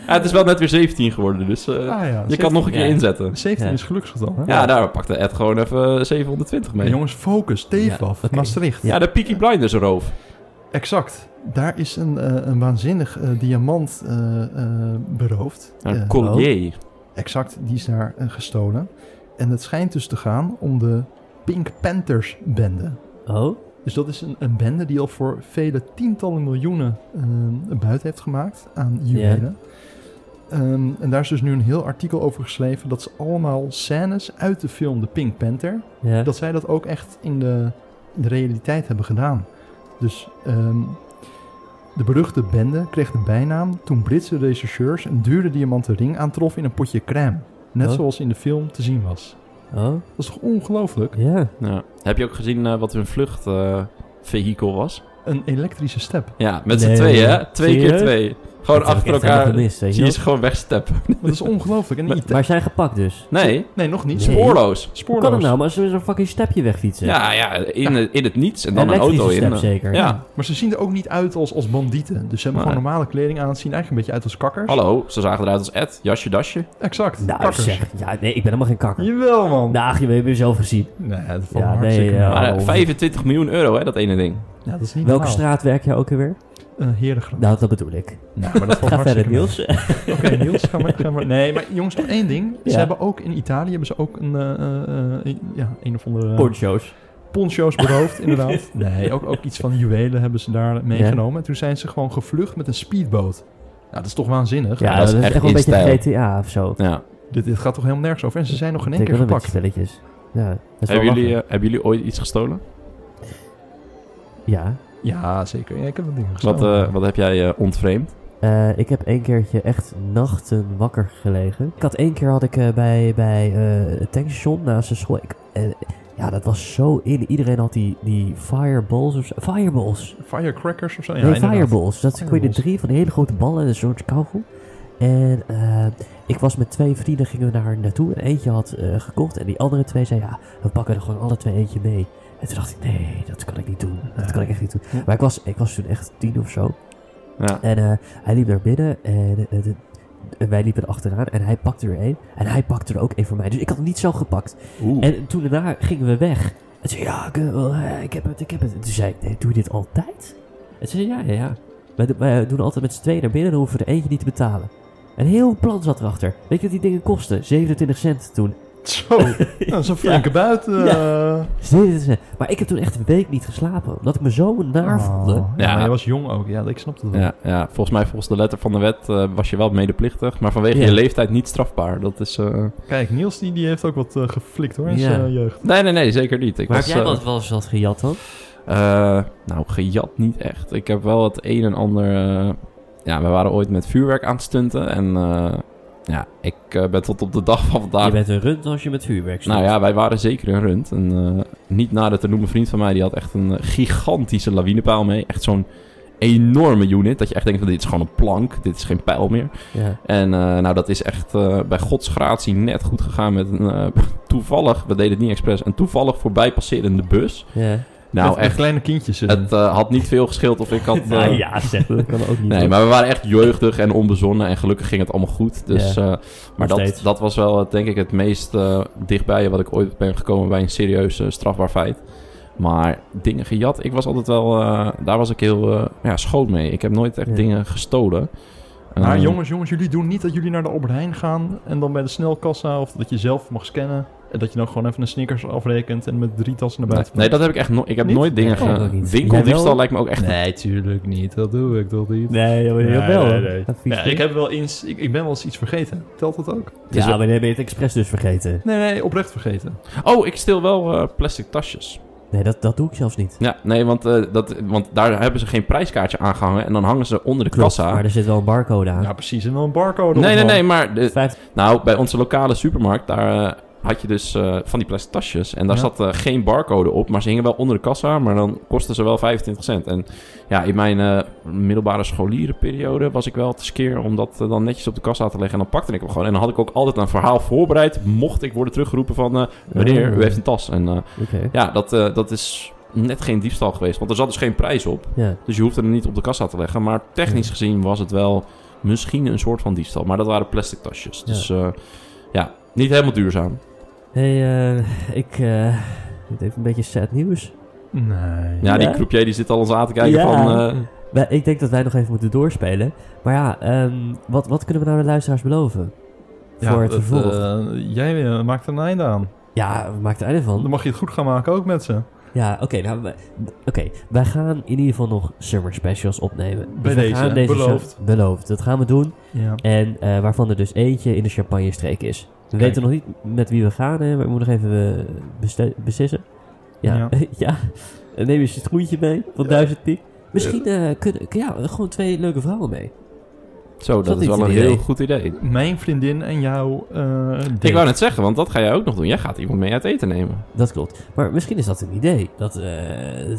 Speaker 3: Ja, het is wel net weer 17 geworden, dus eh,
Speaker 2: Ah, ja,
Speaker 3: je kan nog een keer
Speaker 1: ja.
Speaker 3: inzetten.
Speaker 2: 17
Speaker 1: Ja.
Speaker 2: is geluksgetal, hè?
Speaker 3: Ja, daar pakte Ed gewoon even 720 mee.
Speaker 2: Maar jongens, focus. TFAF.
Speaker 1: Ja, oké.
Speaker 2: Maastricht.
Speaker 3: Ja, de Peaky Blinders roof.
Speaker 2: Exact. Daar is een, eh, een waanzinnig eh, diamant eh, eh, beroofd.
Speaker 3: Een
Speaker 2: Eh,
Speaker 3: collier.
Speaker 2: exact, die is daar eh, gestolen. En het schijnt dus te gaan om de Pink Panthers bende.
Speaker 1: Oh,
Speaker 2: Dus dat is een, een bende die al voor vele tientallen miljoenen eh buiten heeft gemaakt aan juwelen. Ehm, en daar is dus nu een heel artikel over geschreven dat ze allemaal scènes uit de film The Pink Panther,
Speaker 1: ja.
Speaker 2: dat zij dat ook echt in de, in de realiteit hebben gedaan. Dus ehm, De beruchte bende kreeg de bijnaam toen Britse rechercheurs een dure diamanten ring aantroffen in een potje crème. Net
Speaker 1: Oh.
Speaker 2: zoals in de film te zien was.
Speaker 1: Oh,
Speaker 2: Dat is toch ongelooflijk?
Speaker 1: ja.
Speaker 3: Ja. Heb je ook gezien eh, wat hun vluchtvehikel was?
Speaker 2: Een elektrische step.
Speaker 3: Ja, met z'n
Speaker 1: Nee.
Speaker 3: tweeën, hè? Twee keer
Speaker 1: Serieus?
Speaker 3: twee. Gewoon
Speaker 1: Dat heb ik
Speaker 3: achter
Speaker 1: echt helemaal
Speaker 3: elkaar.
Speaker 1: gemist, weet je
Speaker 3: Zie je
Speaker 1: wel.
Speaker 3: ze gewoon wegsteppen.
Speaker 2: Dat is ongelooflijk. En in Ita-
Speaker 1: Maar zijn gepakt dus.
Speaker 3: Nee,
Speaker 2: nee, nog niet.
Speaker 1: Nee.
Speaker 3: spoorloos.
Speaker 1: Hoe
Speaker 2: Spoorloos.
Speaker 1: kan het nou? Maar ze willen zo'n fucking stepje wegfietsen.
Speaker 3: Ja, ja, in, het- in het niets en dan een
Speaker 1: elektrische
Speaker 3: auto
Speaker 1: step
Speaker 3: in. eh.
Speaker 1: zeker.
Speaker 3: Ja,
Speaker 2: Maar ze zien er ook niet uit als, als bandieten. Dus ze hebben
Speaker 3: Nee.
Speaker 2: gewoon normale kleding aan. Ze zien eigenlijk een beetje uit als kakkers.
Speaker 3: hallo, ze zagen eruit als Ed, jasje, dasje.
Speaker 2: Exact.
Speaker 1: Nou
Speaker 2: kakkers.
Speaker 1: zeg, ja, nee, ik ben helemaal geen kakker.
Speaker 2: Jawel, man.
Speaker 1: Nou, ach, je hebt jezelf gezien.
Speaker 2: Nee, dat valt
Speaker 1: Ja,
Speaker 2: me hartstikke
Speaker 1: nee, ja.
Speaker 2: mee.
Speaker 3: Maar, eh,
Speaker 1: hallo.
Speaker 3: 25 miljoen euro, hè, dat ene ding.
Speaker 2: Ja, dat is niet
Speaker 1: Welke
Speaker 2: normaal.
Speaker 1: straat werk jij ook alweer?
Speaker 2: Een herengracht.
Speaker 1: Nou, dat bedoel ik.
Speaker 2: Nou, maar dat valt me
Speaker 1: Ga verder,
Speaker 2: hartstikke mee.
Speaker 1: Niels.
Speaker 2: Oké, Niels, ga maar, ga maar. Nee, maar jongens, nog één ding. Ze
Speaker 1: Ja.
Speaker 2: hebben ook in Italië hebben ze ook een, eh, eh, eh, ja, een of andere
Speaker 1: Poncho's.
Speaker 2: poncho's beroofd, inderdaad. Nee, ook, ook iets van juwelen hebben ze daar meegenomen. En toen zijn ze gewoon gevlucht met een speedboot. Nou, dat is toch waanzinnig?
Speaker 1: Ja,
Speaker 3: dat is
Speaker 1: dat is echt
Speaker 3: echt
Speaker 1: wel een
Speaker 3: in
Speaker 1: beetje
Speaker 3: stijl.
Speaker 1: GTA of zo.
Speaker 3: Ja.
Speaker 2: Dit, dit gaat toch helemaal nergens over. En ze zijn nog geen één
Speaker 1: Ik
Speaker 2: keer
Speaker 1: wel een beetje
Speaker 2: gepakt.
Speaker 1: spelletjes. Ja, dat is wel
Speaker 3: Hebben, jullie,
Speaker 1: lachen.
Speaker 3: eh, hebben jullie ooit iets gestolen?
Speaker 1: Ja.
Speaker 2: Ja, zeker. Ja, ik heb dat ding gestolen.
Speaker 3: Wat, eh, wat heb jij eh, ontvreemd?
Speaker 1: Eh, ik heb één keertje echt nachten wakker gelegen. Ik had één keer had ik eh, bij, bij eh het tankstation naast de school. Ik, eh, ja, dat was zo in. Iedereen had die, die fireballs of zo. Fireballs.
Speaker 2: Firecrackers of zo? Ja,
Speaker 1: nee,
Speaker 2: inderdaad.
Speaker 1: fireballs. Dat kon je er
Speaker 2: Fireballs.
Speaker 1: drie van die hele grote ballen en een soort kauwgom. En eh, ik was met twee vrienden, gingen we daar naartoe. En eentje had eh, gekocht en die andere twee zei, ja, we pakken er gewoon alle twee eentje mee. En toen dacht ik, nee, dat kan ik niet doen. Dat kan ik echt niet doen. Maar ik was, ik was toen echt tien of zo.
Speaker 3: Ja.
Speaker 1: En eh, hij liep naar binnen en eh, de- en wij liepen achteraan en hij pakte er één. En hij pakte er ook één voor mij. Dus ik had hem niet zo gepakt.
Speaker 3: Oeh.
Speaker 1: En toen daarna gingen we weg. En zei ja, ik, eh, wel, eh, ik heb het, ik heb het. En toen zei ik, nee, doe je dit altijd? En ze zei, ja, ja, ja. Wij, do- wij doen altijd met z'n tweeën naar binnen, dan hoeven we er eentje niet te betalen. Een heel plan zat erachter. Weet je wat die dingen kosten? 27 cent toen.
Speaker 2: Zo, nou, dat is een flinke buiten. eh.
Speaker 1: 27 cent. Maar ik heb toen echt een week niet geslapen, omdat ik me zo naar voelde.
Speaker 2: Oh, ja,
Speaker 3: Ja.
Speaker 2: maar jij was jong ook. Ja, ik snap het wel.
Speaker 3: Ja, ja, volgens mij, volgens de letter van de wet, eh, was je wel medeplichtig. Maar vanwege
Speaker 1: Ja.
Speaker 3: je leeftijd niet strafbaar. Dat is. eh,
Speaker 2: Kijk, Niels die, die heeft ook wat eh, geflikt hoor in
Speaker 1: Ja.
Speaker 2: zijn jeugd.
Speaker 3: Nee, nee, nee, zeker niet. Ik
Speaker 1: Maar heb
Speaker 3: was,
Speaker 1: jij
Speaker 3: eh,
Speaker 1: wel wel eens wat gejat dan?
Speaker 3: Eh, nou, gejat niet echt. Ik heb wel het een en ander... eh, ja, we waren ooit met vuurwerk aan het stunten. En eh, ja, ik eh, ben tot op de dag van vandaag...
Speaker 1: Je bent een rund als je met vuurwerk stond.
Speaker 3: Ah. Nou ja, wij waren zeker een rund. Een eh, niet nader te noemen vriend van mij, die had echt een eh, gigantische lawinepaal mee. Echt zo'n enorme unit. Dat je echt denkt, van, dit is gewoon een plank. Dit is geen pijl meer.
Speaker 1: Ja.
Speaker 3: En eh, nou, dat is echt eh, bij gods gratie net goed gegaan met een eh, toevallig... We deden het niet expres. Een toevallig voorbijpasserende bus.
Speaker 1: ja.
Speaker 3: Nou,
Speaker 2: Met- met
Speaker 3: echt...
Speaker 2: kleine kindjes. eh.
Speaker 3: Het eh, had niet veel geschild of ik had... eh,
Speaker 1: Nou ja, zeg, dat kan ook niet.
Speaker 3: Nee, maar we waren echt jeugdig en onbezonnen en gelukkig ging het allemaal goed. Dus,
Speaker 1: Ja,
Speaker 3: eh, maar dat,
Speaker 1: steeds.
Speaker 3: dat was wel eh, denk ik het meest eh, dichtbij wat ik ooit ben gekomen bij een serieus eh, strafbaar feit. Maar dingen gejat, ik was altijd wel, eh, daar was ik heel eh, ja, schoon mee. Ik heb nooit echt
Speaker 1: Ja.
Speaker 3: dingen gestolen.
Speaker 2: Maar
Speaker 3: Eh,
Speaker 2: jongens, jongens, jullie doen niet dat jullie naar de Albert Heijn gaan en dan bij de snelkassa of dat je zelf mag scannen en dat je dan gewoon even een Snickers afrekent en met drie tassen naar
Speaker 3: Nee,
Speaker 2: buiten.
Speaker 3: nee, dat heb ik echt nooit. Ik heb
Speaker 2: Niet?
Speaker 3: nooit dingen
Speaker 1: Nee, ik ook
Speaker 3: gedaan.
Speaker 1: niet. Jij
Speaker 3: Winkeldiefstal
Speaker 1: wel?
Speaker 3: lijkt me ook echt.
Speaker 2: nee, tuurlijk niet. Dat doe ik toch niet.
Speaker 1: Nee, maar
Speaker 2: Nee,
Speaker 1: wel.
Speaker 2: nee, nee.
Speaker 1: Dat vies
Speaker 2: Ja,
Speaker 1: ding.
Speaker 2: ik, heb wel eens, ik, ik ben wel eens iets vergeten. Telt dat ook?
Speaker 3: is
Speaker 1: Ja,
Speaker 3: wel-
Speaker 1: maar dan heb je het expres dus vergeten.
Speaker 2: Nee, nee, oprecht vergeten.
Speaker 3: Oh, ik steel wel eh, plastic tasjes.
Speaker 1: Nee, dat, dat doe ik zelfs niet.
Speaker 3: Ja, nee, want, eh, dat, want daar hebben ze geen prijskaartje aan gehangen. En dan hangen ze onder de
Speaker 1: Klopt,
Speaker 3: kassa.
Speaker 1: maar Oh, er zit wel een barcode aan.
Speaker 2: Ja, precies. En wel een barcode.
Speaker 3: Nee,
Speaker 2: op, man.
Speaker 3: nee, nee, maar... de-
Speaker 1: Vijf-
Speaker 3: nou, bij onze lokale supermarkt, daar eh, had je dus eh, van die plastic tasjes. En daar
Speaker 2: Ja.
Speaker 3: zat eh, geen barcode op, maar ze hingen wel onder de kassa. Maar dan kostten ze wel 25 cent. En ja, in mijn eh, middelbare scholierenperiode was ik wel te skeer om dat eh, dan netjes op de kassa te leggen. En dan pakte ik hem gewoon. En dan had ik ook altijd een verhaal voorbereid, mocht ik worden teruggeroepen van... eh meneer,
Speaker 1: Oh.
Speaker 3: u heeft een tas. En eh,
Speaker 1: Oké.
Speaker 3: ja, dat, eh, dat is net geen diefstal geweest. Want er zat dus geen prijs op.
Speaker 1: Ja.
Speaker 3: Dus je hoeft hem niet op de kassa te leggen. Maar technisch gezien was het wel misschien een soort van diefstal. Maar dat waren plastic tasjes. Dus eh, ja, niet helemaal duurzaam.
Speaker 1: hey, eh, ik... eh, dit even een beetje sad nieuws.
Speaker 2: Nee.
Speaker 3: Ja, die
Speaker 1: Ja.
Speaker 3: croupier die zit al ons aan te kijken
Speaker 1: Ja.
Speaker 3: van... eh,
Speaker 1: Wij- ik denk dat wij nog even moeten doorspelen. Maar ja, ehm, wat, wat kunnen we nou de luisteraars beloven?
Speaker 2: Ja,
Speaker 1: voor het
Speaker 2: dat,
Speaker 1: vervolg.
Speaker 2: eh, jij eh, maakt er een einde aan.
Speaker 1: ja, we maken er einde van.
Speaker 2: Dan mag je het goed gaan maken ook met ze.
Speaker 1: Ja, oké. nou, wij- d- oké, wij gaan in ieder geval nog summer specials opnemen. Dus
Speaker 2: Bij
Speaker 1: we
Speaker 2: deze,
Speaker 1: gaan
Speaker 2: hè?
Speaker 1: su-
Speaker 2: Beloofd.
Speaker 1: Beloofd. Dat gaan we doen.
Speaker 2: Ja.
Speaker 1: En eh, waarvan er dus eentje in de champagne-streek is. We weten nog niet met wie we gaan, hè, maar we moeten nog even eh, beste- beslissen. Ja. Eh,
Speaker 2: Ja.
Speaker 1: ja. En Neem eens het groentje mee van 1000 piek. Misschien eh, kunnen ja, gewoon twee leuke vrouwen mee.
Speaker 3: Zo, dat,
Speaker 1: dat
Speaker 3: is
Speaker 1: niet
Speaker 3: wel een
Speaker 1: een
Speaker 3: heel
Speaker 1: idee?
Speaker 3: goed idee.
Speaker 2: Mijn vriendin en jouw eh date.
Speaker 3: Ik wou net zeggen, want dat ga jij ook nog doen. Jij gaat iemand mee uit eten nemen.
Speaker 1: Dat klopt. Maar misschien is dat een idee. Dat, eh,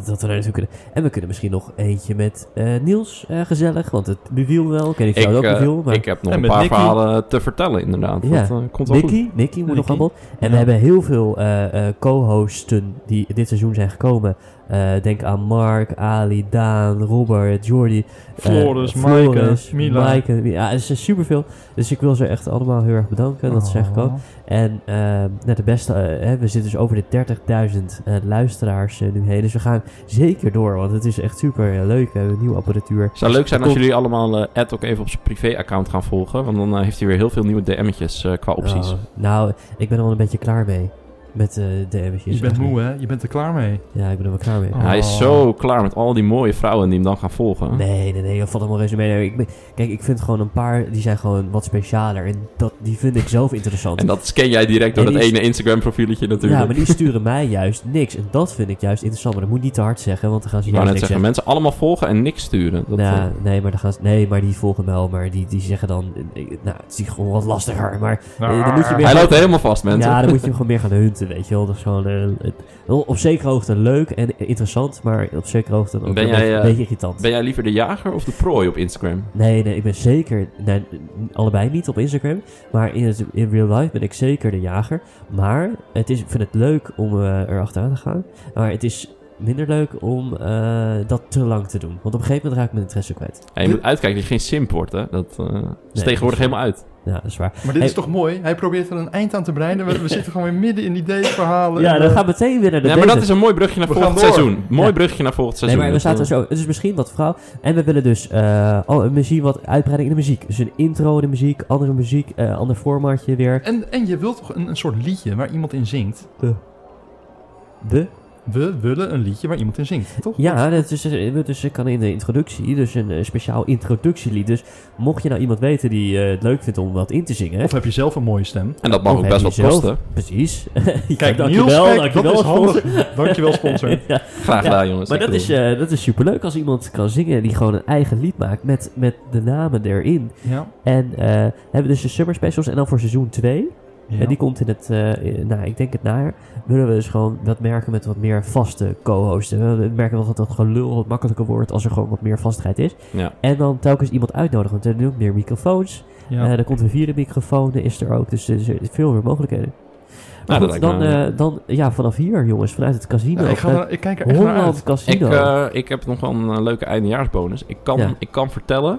Speaker 1: dat we daar naartoe kunnen. En we kunnen misschien nog eentje met eh, Niels eh, gezellig. Want het beviel wel. Ik weet niet of jou het ook
Speaker 3: eh,
Speaker 1: beviel. Maar
Speaker 3: ik heb nog
Speaker 2: En
Speaker 3: een
Speaker 2: met
Speaker 3: paar
Speaker 2: Nicky.
Speaker 3: verhalen te vertellen, inderdaad.
Speaker 1: Ja.
Speaker 3: Dat eh, komt wel goed.
Speaker 1: Nicky, Nicky moet nog
Speaker 2: Nicky.
Speaker 1: allemaal. En
Speaker 2: Ja.
Speaker 1: we hebben heel veel eh, eh, co-hosten die dit seizoen zijn gekomen. Eh, denk aan Mark, Ali, Daan, Robert, Jordi. eh,
Speaker 2: Floris,
Speaker 1: Floris,
Speaker 2: Maaike, Mila.
Speaker 1: Maaike, Ja, er zijn superveel. Dus ik wil ze echt allemaal heel erg bedanken dat ze
Speaker 2: Oh.
Speaker 1: zijn gekomen. En ehm nou, de beste, eh, hè, we zitten dus over de 30.000 eh, luisteraars eh, nu heen. Dus we gaan zeker door, want het is echt super eh, leuk. We hebben nieuwe apparatuur.
Speaker 3: Het zou leuk zijn als
Speaker 1: Komt-
Speaker 3: jullie allemaal eh Ed ook even op zijn privé-account gaan volgen. Want dan eh, heeft hij weer heel veel nieuwe DM'tjes eh, qua opties.
Speaker 1: Oh, nou, ik ben er wel een beetje klaar mee. Met eh, de DM'tjes.
Speaker 2: Je bent moe, hè? Je bent er klaar mee.
Speaker 1: Ja, ik ben er wel klaar mee.
Speaker 2: Oh.
Speaker 3: Hij is zo klaar met al die mooie vrouwen die hem dan gaan volgen.
Speaker 1: Nee, nee, nee, dat valt allemaal reuze mee. Nee, ik ben- kijk, ik vind gewoon een paar, die zijn gewoon wat specialer. En dat, die vind ik zelf interessant.
Speaker 3: En dat scan jij direct door
Speaker 1: En
Speaker 3: dat
Speaker 1: die-
Speaker 3: ene Instagram-profieletje natuurlijk.
Speaker 1: ja, maar die sturen mij juist niks. En dat vind ik juist interessant. Maar dat moet niet te hard zeggen, want dan gaan ze
Speaker 3: Ik wou
Speaker 1: juist
Speaker 3: net
Speaker 1: niks
Speaker 3: zeggen,
Speaker 1: zeggen.
Speaker 3: mensen allemaal volgen en niks sturen. Dat, eh,
Speaker 1: Nou, nee, maar dan gaan ze, nee, maar die volgen me wel. Maar die, die zeggen dan... eh, eh, Nou, het is gewoon wat lastiger. Maar
Speaker 2: Nou,
Speaker 1: eh, dan moet je meer...
Speaker 3: hij loopt helemaal vast, mensen.
Speaker 1: ja, dan moet je hem gewoon meer gaan hunten, weet je wel. Dat is gewoon... eh, het- wel op zekere hoogte leuk en interessant, maar op zekere hoogte ook
Speaker 3: Ben
Speaker 1: een
Speaker 3: jij,
Speaker 1: beetje-
Speaker 3: eh,
Speaker 1: beetje irritant.
Speaker 3: Ben jij liever de jager of de prooi op Instagram?
Speaker 1: Nee, nee, ik ben zeker... Nee, allebei niet op Instagram. Maar in, het, in real life ben ik zeker de jager. Maar het is, ik vind het leuk om eh erachteraan te gaan. Maar het is minder leuk om eh, dat te lang te doen. Want op een gegeven moment raak ik mijn interesse kwijt.
Speaker 3: Ja, je moet uitkijken dat je geen simp wordt, hè. Dat eh, is
Speaker 1: Nee,
Speaker 3: tegenwoordig helemaal uit.
Speaker 1: Ja, dat is waar.
Speaker 2: Maar dit is
Speaker 1: Hey.
Speaker 2: toch mooi? Hij probeert er een eind aan te breiden. We, we zitten gewoon weer midden in die dateverhalen.
Speaker 1: Ja,
Speaker 2: En,
Speaker 1: dan
Speaker 2: eh,
Speaker 1: gaan we meteen weer naar de
Speaker 3: Ja, maar dat
Speaker 1: derde.
Speaker 3: is een mooi brugje naar
Speaker 2: We
Speaker 3: volgend
Speaker 2: gaan door.
Speaker 3: seizoen. Mooi
Speaker 1: Ja.
Speaker 3: brugje naar volgend
Speaker 1: Nee,
Speaker 3: seizoen.
Speaker 1: maar we zaten zo. Het is misschien wat vrouw. En we willen dus eh, al, misschien wat uitbreiding in de muziek. Dus een intro in de muziek, andere muziek, eh, ander formatje weer.
Speaker 2: En, en je wilt toch een, een soort liedje waar iemand in zingt?
Speaker 1: De?
Speaker 2: We willen een liedje waar iemand in zingt, toch?
Speaker 1: Ja, dat is, eh, dus ik kan in de introductie, dus een eh, speciaal introductielied. Dus mocht je nou iemand weten die eh, het leuk vindt om wat in te zingen.
Speaker 2: Of heb je zelf een mooie stem?
Speaker 3: En dat mag
Speaker 1: Of
Speaker 3: ook
Speaker 1: Oh, heb
Speaker 3: best
Speaker 1: je zelf-
Speaker 3: wat kosten.
Speaker 1: Precies.
Speaker 2: Kijk,
Speaker 1: dankjewel,
Speaker 2: Niels, kijk,
Speaker 1: dankjewel,
Speaker 2: dat is
Speaker 1: sponsor.
Speaker 2: handig. Dankjewel, sponsor.
Speaker 1: Ja,
Speaker 3: Graag
Speaker 1: Ja,
Speaker 3: gedaan, jongens.
Speaker 1: maar dat is, eh, dat is superleuk als iemand kan zingen die gewoon een eigen lied maakt met, met de namen erin.
Speaker 2: Ja.
Speaker 1: En eh, hebben we dus de summer specials en dan voor seizoen 2.
Speaker 2: ja.
Speaker 1: En die komt in het, eh, in- nou, ik denk het najaar, willen we dus gewoon dat merken met wat meer vaste co-hosten. We merken wel dat dat gelul wat makkelijker wordt als er gewoon wat meer vastigheid is.
Speaker 3: Ja.
Speaker 1: En dan telkens iemand uitnodigen, want er zijn nu ook meer microfoons.
Speaker 2: ja.
Speaker 1: Eh, er komt een vierde microfoon, eh, is er ook, dus er zijn veel meer mogelijkheden. Maar
Speaker 3: Nou, dat
Speaker 1: goed,
Speaker 3: lijkt
Speaker 1: dan,
Speaker 3: me-
Speaker 1: eh, dan, ja, vanaf hier jongens, vanuit het casino.
Speaker 2: Ja, Nou, ik, ga
Speaker 1: vanuit
Speaker 2: er, ik kijk er echt naar
Speaker 1: Holland
Speaker 2: uit.
Speaker 3: Ik,
Speaker 1: Casino.
Speaker 3: eh, ik heb nog wel een eh, leuke eindejaarsbonus. Ik kan,
Speaker 1: Ja.
Speaker 3: ik kan vertellen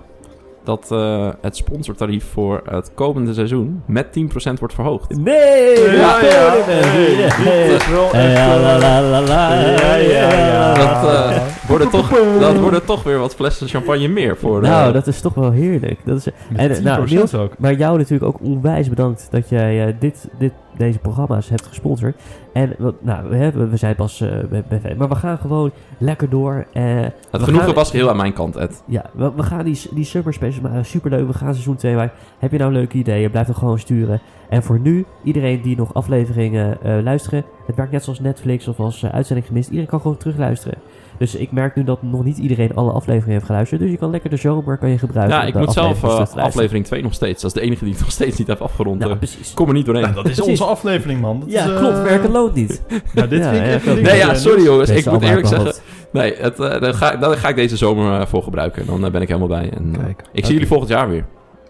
Speaker 3: dat eh, het sponsortarief voor het komende seizoen met 10% wordt verhoogd.
Speaker 1: nee!
Speaker 2: Ja, ja. Hey, dit
Speaker 1: Hey.
Speaker 2: is wel
Speaker 1: Eh,
Speaker 2: echt,
Speaker 1: la,
Speaker 2: eh,
Speaker 1: la, la, la, la.
Speaker 2: Ja, ja, ja.
Speaker 3: Dat, eh, worden toch, dat worden toch weer wat flessen champagne meer voor. eh,
Speaker 1: Nou, dat is toch wel heerlijk. Dat is,
Speaker 2: met
Speaker 1: en, nou,
Speaker 2: 10%
Speaker 1: Niels,
Speaker 2: ook.
Speaker 1: Maar jou natuurlijk ook onwijs bedankt dat jij eh, dit, dit, deze programma's hebt gesponsord. En wat- nou, we, hebben, we zijn pas eh, bij, bij vijf. Maar we gaan gewoon lekker door. eh,
Speaker 3: het
Speaker 1: we
Speaker 3: genoegen
Speaker 1: gaan-
Speaker 3: was heel aan mijn kant, Ed.
Speaker 1: Ja, we, we gaan die, die summer specials maken. Superleuk. We gaan seizoen 2 maken. Heb je nou leuke ideeën? Blijf dan gewoon sturen. En voor nu, iedereen die nog afleveringen eh, luisteren. Het werkt net zoals Netflix of als eh, uitzending gemist. Iedereen kan gewoon terugluisteren. Dus ik merk nu dat nog niet iedereen alle afleveringen heeft geluisterd. Dus je kan lekker de zomer kan je gebruiken.
Speaker 3: Ja,
Speaker 1: om
Speaker 3: ik
Speaker 1: de
Speaker 3: moet zelf
Speaker 1: afleveringen
Speaker 3: eh,
Speaker 1: terug te luisteren.
Speaker 3: aflevering 2 nog steeds. Dat is de enige die ik nog steeds niet heb afgerond.
Speaker 1: Nou,
Speaker 3: eh.
Speaker 1: precies.
Speaker 3: kom er niet doorheen.
Speaker 2: Nou, dat is
Speaker 1: Precies.
Speaker 2: onze aflevering, man. Dat
Speaker 1: Ja,
Speaker 2: is, eh,
Speaker 1: klopt. Werken loont niet.
Speaker 2: Nou, dit
Speaker 1: Ja,
Speaker 2: vind ik
Speaker 1: ja,
Speaker 2: echt
Speaker 1: klopt.
Speaker 2: een
Speaker 3: Nee,
Speaker 2: ding.
Speaker 3: ja, sorry jongens. Dus Ik
Speaker 1: Beste
Speaker 3: moet eerlijk
Speaker 1: allemaal
Speaker 3: zeggen. Nee, het, eh, daar, ga, daar ga ik deze zomer eh, voor gebruiken. Dan eh, ben ik helemaal bij. En, eh,
Speaker 2: Kijk.
Speaker 3: ik zie jullie volgend jaar weer.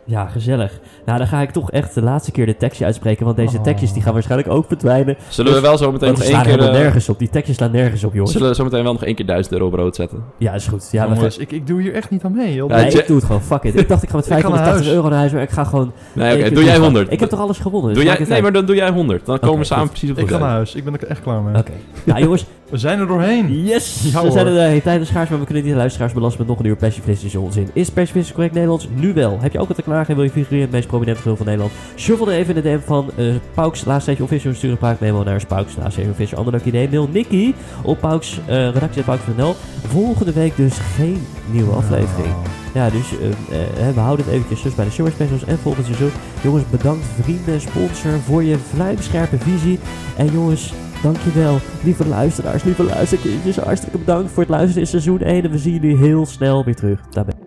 Speaker 1: Ja, gezellig. Nou, dan ga ik toch echt de laatste keer de tekstje uitspreken. Want deze
Speaker 2: Oh.
Speaker 1: tekstjes die gaan waarschijnlijk ook verdwijnen.
Speaker 3: Zullen we wel zo meteen
Speaker 1: Want
Speaker 3: nog
Speaker 1: die
Speaker 3: één
Speaker 1: slaan
Speaker 3: keer.
Speaker 1: helemaal
Speaker 3: eh,
Speaker 1: nergens op. Die tekstjes slaan nergens op, jongens.
Speaker 3: zullen we zo meteen wel nog één keer 1000 euro op rood zetten?
Speaker 1: Ja, is goed. Ja, we gaan...
Speaker 2: Jongens, ik, ik doe hier echt niet aan mee. joh.
Speaker 3: Ja,
Speaker 1: Nee,
Speaker 3: je-
Speaker 1: ik doe het gewoon. Fuck it. Ik dacht, ik ga met
Speaker 2: Ik ga naar
Speaker 1: 580
Speaker 2: huis.
Speaker 1: euro naar huis. Maar ik ga gewoon...
Speaker 3: Nee, oké.
Speaker 1: Ik-
Speaker 3: doe jij
Speaker 1: ik-
Speaker 3: 100.
Speaker 1: Ik heb toch alles gewonnen? dus
Speaker 3: doe jij,
Speaker 1: maakt het
Speaker 3: nee,
Speaker 1: uit.
Speaker 3: maar dan doe jij 100. Dan komen we
Speaker 1: Oké,
Speaker 3: samen
Speaker 1: goed.
Speaker 3: precies op
Speaker 2: ik ga
Speaker 3: elkaar.
Speaker 2: naar huis. Ik ben er echt klaar mee.
Speaker 1: Oké. Nou, jongens.
Speaker 2: We zijn er doorheen.
Speaker 1: Yes!
Speaker 2: Ja,
Speaker 1: we zijn
Speaker 2: hoor.
Speaker 1: er uh, tijdens schaars, maar we kunnen niet de luisteraars belasten met nog een uur plasje onzin. Is plasje correct Nederlands? Nu wel. Heb je ook wat te klagen en wil je figureren in het meest prominente geheel van Nederland? Shuffle dan even in de DM van eh Pauks, laatstreetje official. Stuur een Pauk memo naar Pauks, laatstreetje official. Ander leuk idee. Mail Nicky op Pauks, eh redactie.pauks.nl. Volgende week dus geen nieuwe aflevering. Ja, dus eh, eh, we houden het eventjes dus bij de Summer Specials en volgend seizoen. Jongens, bedankt vrienden, sponsor voor je vlijmscherpe visie. En jongens, Dankjewel, lieve luisteraars, lieve luisterkindjes. Hartstikke bedankt voor het luisteren in seizoen 1. En we zien jullie heel snel weer terug. Daarbij.